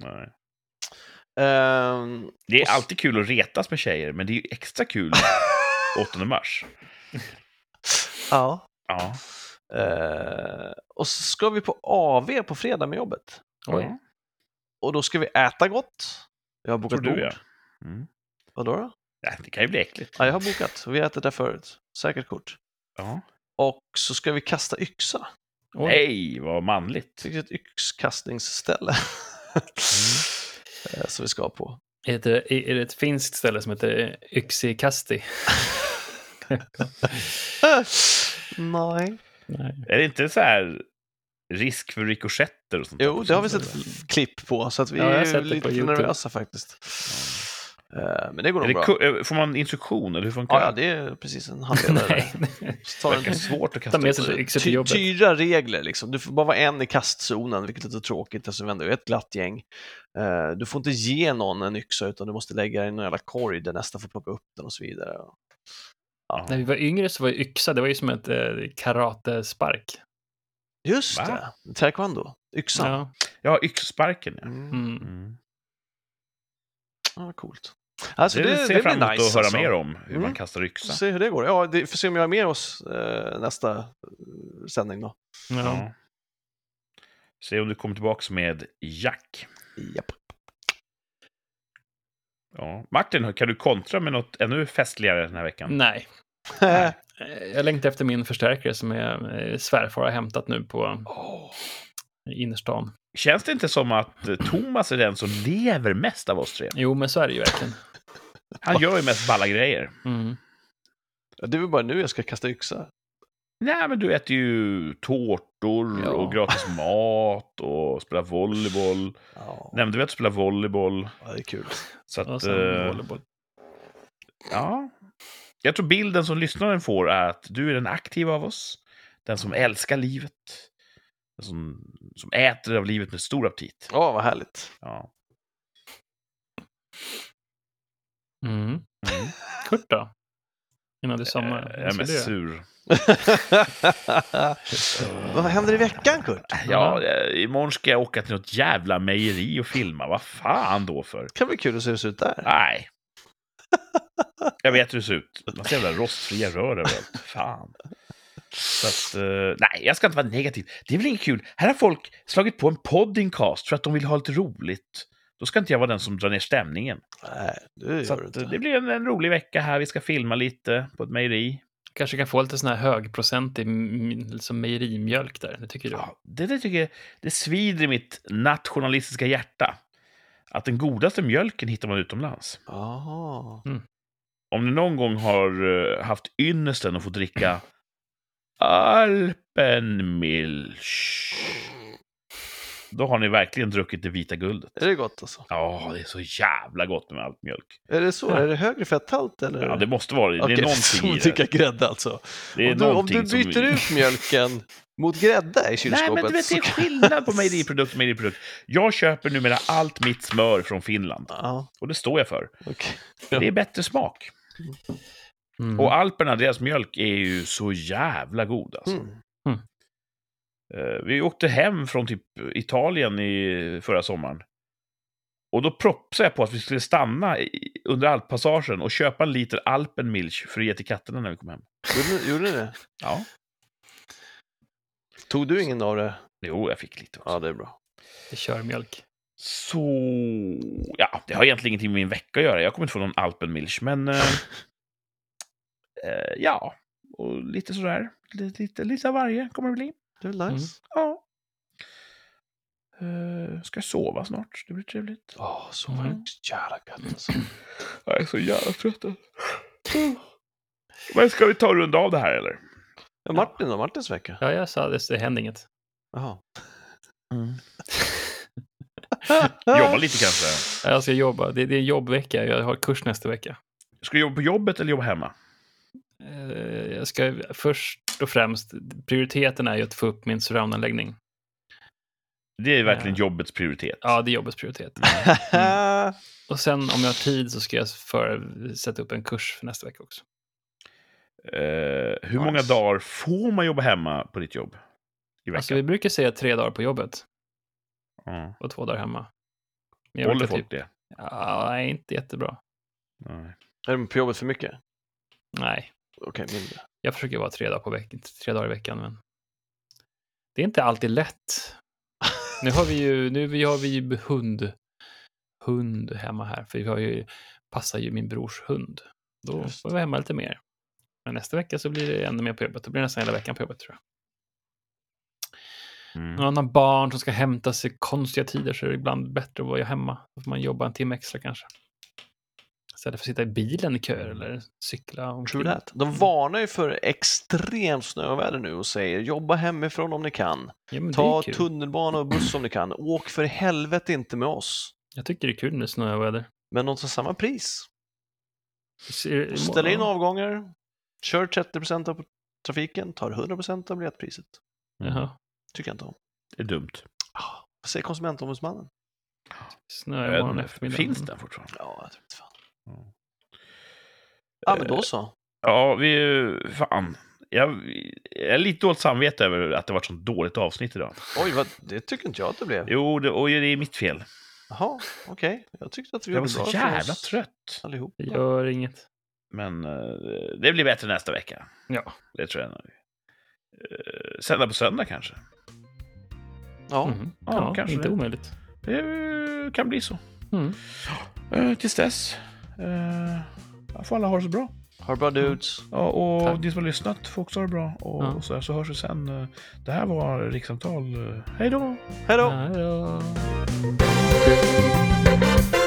Speaker 2: Nej.
Speaker 3: Ehm,
Speaker 2: Det
Speaker 3: Och
Speaker 2: är
Speaker 3: s-
Speaker 2: alltid kul att retas med tjejer, men det är ju extra kul
Speaker 3: [LAUGHS]
Speaker 2: 8 mars.
Speaker 3: ja.
Speaker 2: Ja.
Speaker 3: Eh, och så ska vi på AV på fredag med jobbet.
Speaker 1: Oj.
Speaker 3: Och då ska vi äta gott. Jag har
Speaker 2: Tror
Speaker 3: bokat
Speaker 2: du
Speaker 3: bord.
Speaker 2: ja. Mm.
Speaker 3: Vadå då?
Speaker 2: Nej, Det kan ju bli äckligt.
Speaker 3: Ja, jag har bokat. Vi har ätit där förut. Säkert kort.
Speaker 2: Ja.
Speaker 3: Och så ska vi kasta yxa.
Speaker 1: Oj.
Speaker 2: Nej, vad manligt.
Speaker 3: Vilket yxkastningsställe.
Speaker 1: Mm.
Speaker 3: [LAUGHS] Eh, Som vi ska på.
Speaker 1: Heter, det- är är det ett finskt ställe som heter [LAUGHS] Yxikasti?
Speaker 3: Nej.
Speaker 1: Nej.
Speaker 2: Är det inte så här risk för rikoschetter och sånt? där
Speaker 3: Jo,
Speaker 2: på
Speaker 3: det har vi
Speaker 2: sånt
Speaker 3: sett
Speaker 2: där?
Speaker 3: klipp på, så att vi
Speaker 1: Ja, jag har
Speaker 3: är
Speaker 1: sett det
Speaker 3: lite
Speaker 1: på YouTube.
Speaker 3: nervösa faktiskt. Eh, Men det går
Speaker 2: Är
Speaker 3: nog
Speaker 2: det
Speaker 3: bra.
Speaker 2: ku- eh, får man instruktion eller hur funkar
Speaker 3: Ja, ja, det är precis en handledare.
Speaker 1: [LAUGHS] Nej.
Speaker 3: Så
Speaker 2: det?
Speaker 3: tar
Speaker 2: verkar
Speaker 3: en-
Speaker 2: svårt att kasta
Speaker 1: Ta med
Speaker 2: upp
Speaker 1: sig
Speaker 2: det.
Speaker 1: yxor till
Speaker 3: Typ, Ty,
Speaker 1: jobbet.
Speaker 3: tyra regler liksom. Du får bara vara en i kastzonen, vilket är lite tråkigt eftersom vi ändå är ett glatt gäng. Eh, Du får inte ge någon en yxa utan du måste lägga den i en jävla korg där nästa får plocka upp den och så vidare.
Speaker 1: När vi var yngre så var ju yxa, det var ju som ett eh, karatespark.
Speaker 3: Just
Speaker 2: Va?
Speaker 3: det, taekwondo, yxan.
Speaker 1: Ja.
Speaker 2: Ja, yxsparken ja.
Speaker 3: Mm.
Speaker 1: Mm.
Speaker 2: Mm.
Speaker 3: Ja, vad coolt. Alltså,
Speaker 2: det,
Speaker 3: det,
Speaker 2: ser jag
Speaker 3: blir
Speaker 2: fram emot
Speaker 3: nice
Speaker 2: att höra
Speaker 3: alltså.
Speaker 2: mer om, hur man
Speaker 3: Mm.
Speaker 2: kastar yxa.
Speaker 3: Se hur det går. Ja, det, får se om jag är med oss eh, nästa eh, sändning då.
Speaker 1: Ja.
Speaker 2: Ja. Se om du kommer tillbaka med Jack.
Speaker 3: Japp.
Speaker 2: Ja. Martin, kan du kontra med något ännu festligare den här veckan?
Speaker 1: Nej.
Speaker 2: [LAUGHS]
Speaker 1: Eh, Jag längtar efter min förstärkare som är eh, svärfar har hämtat nu på
Speaker 3: Åh,
Speaker 1: innerstan.
Speaker 2: Känns det inte som att eh, Thomas är den som lever mest av oss tre?
Speaker 1: Jo, men så är det ju verkligen.
Speaker 2: Han gör ju mest balla grejer.
Speaker 1: Mm.
Speaker 3: ja, Det är väl bara nu jag ska kasta yxa.
Speaker 2: Nej, men du äter ju tårtor
Speaker 3: Ja.
Speaker 2: och gratis mat och spelar volleyboll.
Speaker 3: Ja,
Speaker 2: Nämnde vi att du spelar volleyboll?
Speaker 3: ja, det är kul.
Speaker 2: Så att,
Speaker 1: Och sen
Speaker 2: eh,
Speaker 1: volleyboll.
Speaker 2: ja. Jag tror bilden som lyssnaren får är att du är den aktiva av oss. Den som älskar livet. Den som, som äter av livet med stor aptit.
Speaker 3: Ja, vad härligt. [LAUGHS]
Speaker 2: Ja.
Speaker 1: Mm. Kurt då? Innan du
Speaker 2: Eh,
Speaker 1: somnar?
Speaker 2: Jag är mest sur.
Speaker 3: Vad händer i veckan, Kurt?
Speaker 2: Ja, eh, imorgon ska jag åka till något jävla mejeri och filma. Vad fan då för?
Speaker 3: Det kan bli kul att se hur det ser ut där.
Speaker 2: Nej. Jag vet hur det ser ut. Massa jävla rostfria rör överallt. Fan. Så att, eh, nej, jag ska inte vara negativ. Det är väl inget kul. Här har folk slagit på en poddingcast för att de vill ha lite roligt. Då ska inte jag vara den som drar ner stämningen.
Speaker 3: Nej, det
Speaker 2: Så
Speaker 3: gör du
Speaker 2: att, eh,
Speaker 3: inte.
Speaker 2: det blir en, en rolig vecka här. Vi ska filma lite på ett mejeri.
Speaker 1: Kanske kan få lite sån här högprocentig m- m- liksom mejerimjölk där, det tycker du?
Speaker 2: Ja, det, det tycker jag, det svider i mitt nationalistiska hjärta. Att den godaste mjölken hittar man utomlands.
Speaker 3: Jaha.
Speaker 2: Om ni någon gång har eh, haft ynnesten att få dricka Alpenmilch, då har ni verkligen druckit det vita guldet.
Speaker 3: Är det gott alltså?
Speaker 2: Ja, det är så jävla gott med allt mjölk.
Speaker 3: Är det så? Är det högre fetthalt eller?
Speaker 2: Ja, det måste vara det. Det är
Speaker 3: Okej, som
Speaker 2: någonting i
Speaker 3: dricka
Speaker 2: det.
Speaker 3: grädde alltså.
Speaker 2: det är
Speaker 3: om, du, om du
Speaker 2: någonting som-
Speaker 3: byter ut
Speaker 2: [LAUGHS]
Speaker 3: mjölken mot grädde i
Speaker 2: Nej,
Speaker 3: kylskåpet
Speaker 2: men du vet, det
Speaker 3: så
Speaker 2: är
Speaker 3: kan-
Speaker 2: skillnad på mejeriprodukt och mejeriprodukt. Jag köper numera allt mitt smör från Finland.
Speaker 3: Ja,
Speaker 2: Och det står jag för.
Speaker 3: okej.
Speaker 2: Det är bättre smak.
Speaker 1: Mm.
Speaker 2: Och Alperna, deras mjölk är ju så jävla god alltså.
Speaker 3: Mm.
Speaker 2: Eh, Vi åkte hem från typ Italien i förra sommaren. Och då propsade jag på att vi skulle stanna i, under Alppassagen och köpa en liter Alpenmilch för att ge till katterna när vi kom hem.
Speaker 3: Gjorde, ni- gjorde ni det?
Speaker 2: Ja.
Speaker 3: Tog du ingen av det?
Speaker 2: Jo, jag fick lite också.
Speaker 3: Ja, det är bra.
Speaker 1: Det kör mjölk.
Speaker 2: Så... Ja, det har egentligen ingenting med min vecka att göra. Jag kommer inte få någon Alpenmilch, men... Eh, eh, ja, och lite sådär. Lite, lite, lite av varje kommer det bli.
Speaker 3: Det är väl
Speaker 2: Mm.
Speaker 3: nice.
Speaker 2: Ja. Eh, ska jag sova snart? Det blir trevligt.
Speaker 3: Åh, så
Speaker 1: Mm.
Speaker 3: sjukt jävla gött alltså.
Speaker 2: Jag är så jävla trött. alltså. Men ska vi ta och runda av det här eller?
Speaker 3: Ja, Martin då? Martins vecka?
Speaker 1: Ja, jag sa det, det händer inget.
Speaker 3: Jaha.
Speaker 2: Mm.
Speaker 3: [LAUGHS]
Speaker 2: Jobba lite kanske.
Speaker 1: Ja, Jag ska jobba, det, det är jobbvecka, jag har kurs nästa vecka.
Speaker 2: Ska du jobba på jobbet eller jobba hemma?
Speaker 1: Eh, Jag ska först och främst, prioriteten är ju att få upp min surroundanläggning.
Speaker 2: Det är verkligen
Speaker 1: Ja.
Speaker 2: jobbets prioritet.
Speaker 1: Ja, det är jobbets prioritet. Och sen om jag har tid så ska jag för, sätta upp en kurs för nästa vecka också.
Speaker 2: Eh, hur många
Speaker 3: Nice.
Speaker 2: dagar får man jobba hemma på ditt jobb? I veckan?
Speaker 1: Alltså vi brukar säga tre dagar på jobbet
Speaker 2: ja.
Speaker 1: och två dagar hemma. Men jag
Speaker 2: Håller
Speaker 1: brukar
Speaker 2: folk
Speaker 1: typ-
Speaker 2: det?
Speaker 1: Ja, nej, inte jättebra.
Speaker 2: Nej.
Speaker 3: Är du på jobbet för mycket?
Speaker 1: Nej,
Speaker 3: Okej, mindre.
Speaker 1: jag försöker
Speaker 3: [LAUGHS]
Speaker 1: vara tre dagar, på veck- tre dagar i veckan, men det är inte alltid lätt. Nu har vi ju, nu vi- har vi ju hund, hund hemma här, för vi har ju, passar ju min brors hund. Då
Speaker 3: Just.
Speaker 1: får vi vara hemma lite mer. Men nästa vecka så blir det ännu mer på jobbet. Då blir det nästan hela veckan på jobbet tror jag.
Speaker 2: Mm.
Speaker 1: När man har barn som ska hämtas i konstiga tider så är det ibland bättre att vara hemma. Då får man jobba en timme extra kanske. Istället för att sitta i bilen i köer eller cykla. omkring.
Speaker 3: Mm. True that. De varnar ju för extremt snöväder nu och säger jobba hemifrån om ni kan.
Speaker 1: Ja, men det är
Speaker 3: Ta
Speaker 1: kul.
Speaker 3: tunnelbana och buss om ni kan. Åk för helvete inte med oss.
Speaker 1: Jag tycker det är kul med snöväder.
Speaker 3: Men de tar samma pris.
Speaker 1: Ser-
Speaker 3: Ställ in avgångar, kör 30 av trafiken, tar 100 av biljettpriset.
Speaker 1: Jaha.
Speaker 3: Tycker jag inte om.
Speaker 2: Det är dumt.
Speaker 3: Ah, Vad säger konsumentombudsmannen?
Speaker 1: Snö
Speaker 2: Jag
Speaker 1: imorgon
Speaker 2: vet inte,
Speaker 1: eftermiddag.
Speaker 2: Eh, Finns den fortfarande?
Speaker 3: Ja, jag tror inte fan. Eh,
Speaker 2: Ja.
Speaker 3: Ja, men då så.
Speaker 2: Ja, vi... Fan. Jag, jag är lite dåligt samvete över att det var ett sånt dåligt avsnitt idag.
Speaker 3: Oj, vad, det tycker inte jag att det blev.
Speaker 2: Jo, det, och det är mitt fel.
Speaker 3: Jaha, okej. Jag tyckte att vi
Speaker 2: Jag var
Speaker 3: gjorde bra
Speaker 2: så
Speaker 3: ifrån
Speaker 2: jävla
Speaker 3: oss
Speaker 2: trött.
Speaker 3: Allihop.
Speaker 1: Det Gör inget.
Speaker 2: Men eh, det blir bättre nästa vecka.
Speaker 1: Ja.
Speaker 2: Det tror jag nog. Eh, Sända på söndag kanske.
Speaker 3: Ja,
Speaker 1: Mhm.
Speaker 2: Ja,
Speaker 1: Ja,
Speaker 2: kanske
Speaker 1: inte
Speaker 2: det.
Speaker 1: omöjligt.
Speaker 2: Det eh, kan bli så.
Speaker 1: Mm.
Speaker 2: Eh, Tills dess. eh, Får alla ha det så bra.
Speaker 3: ha det bra dudes.
Speaker 2: Ja, och
Speaker 1: Tack.
Speaker 2: ni som har lyssnat får också ha det bra. Och,
Speaker 1: Ja.
Speaker 2: och så, här, så hörs vi sen. Eh, Det här var Rikssamtal. Eh, Hej då!
Speaker 3: Hej då!
Speaker 1: Hej då.
Speaker 2: Thank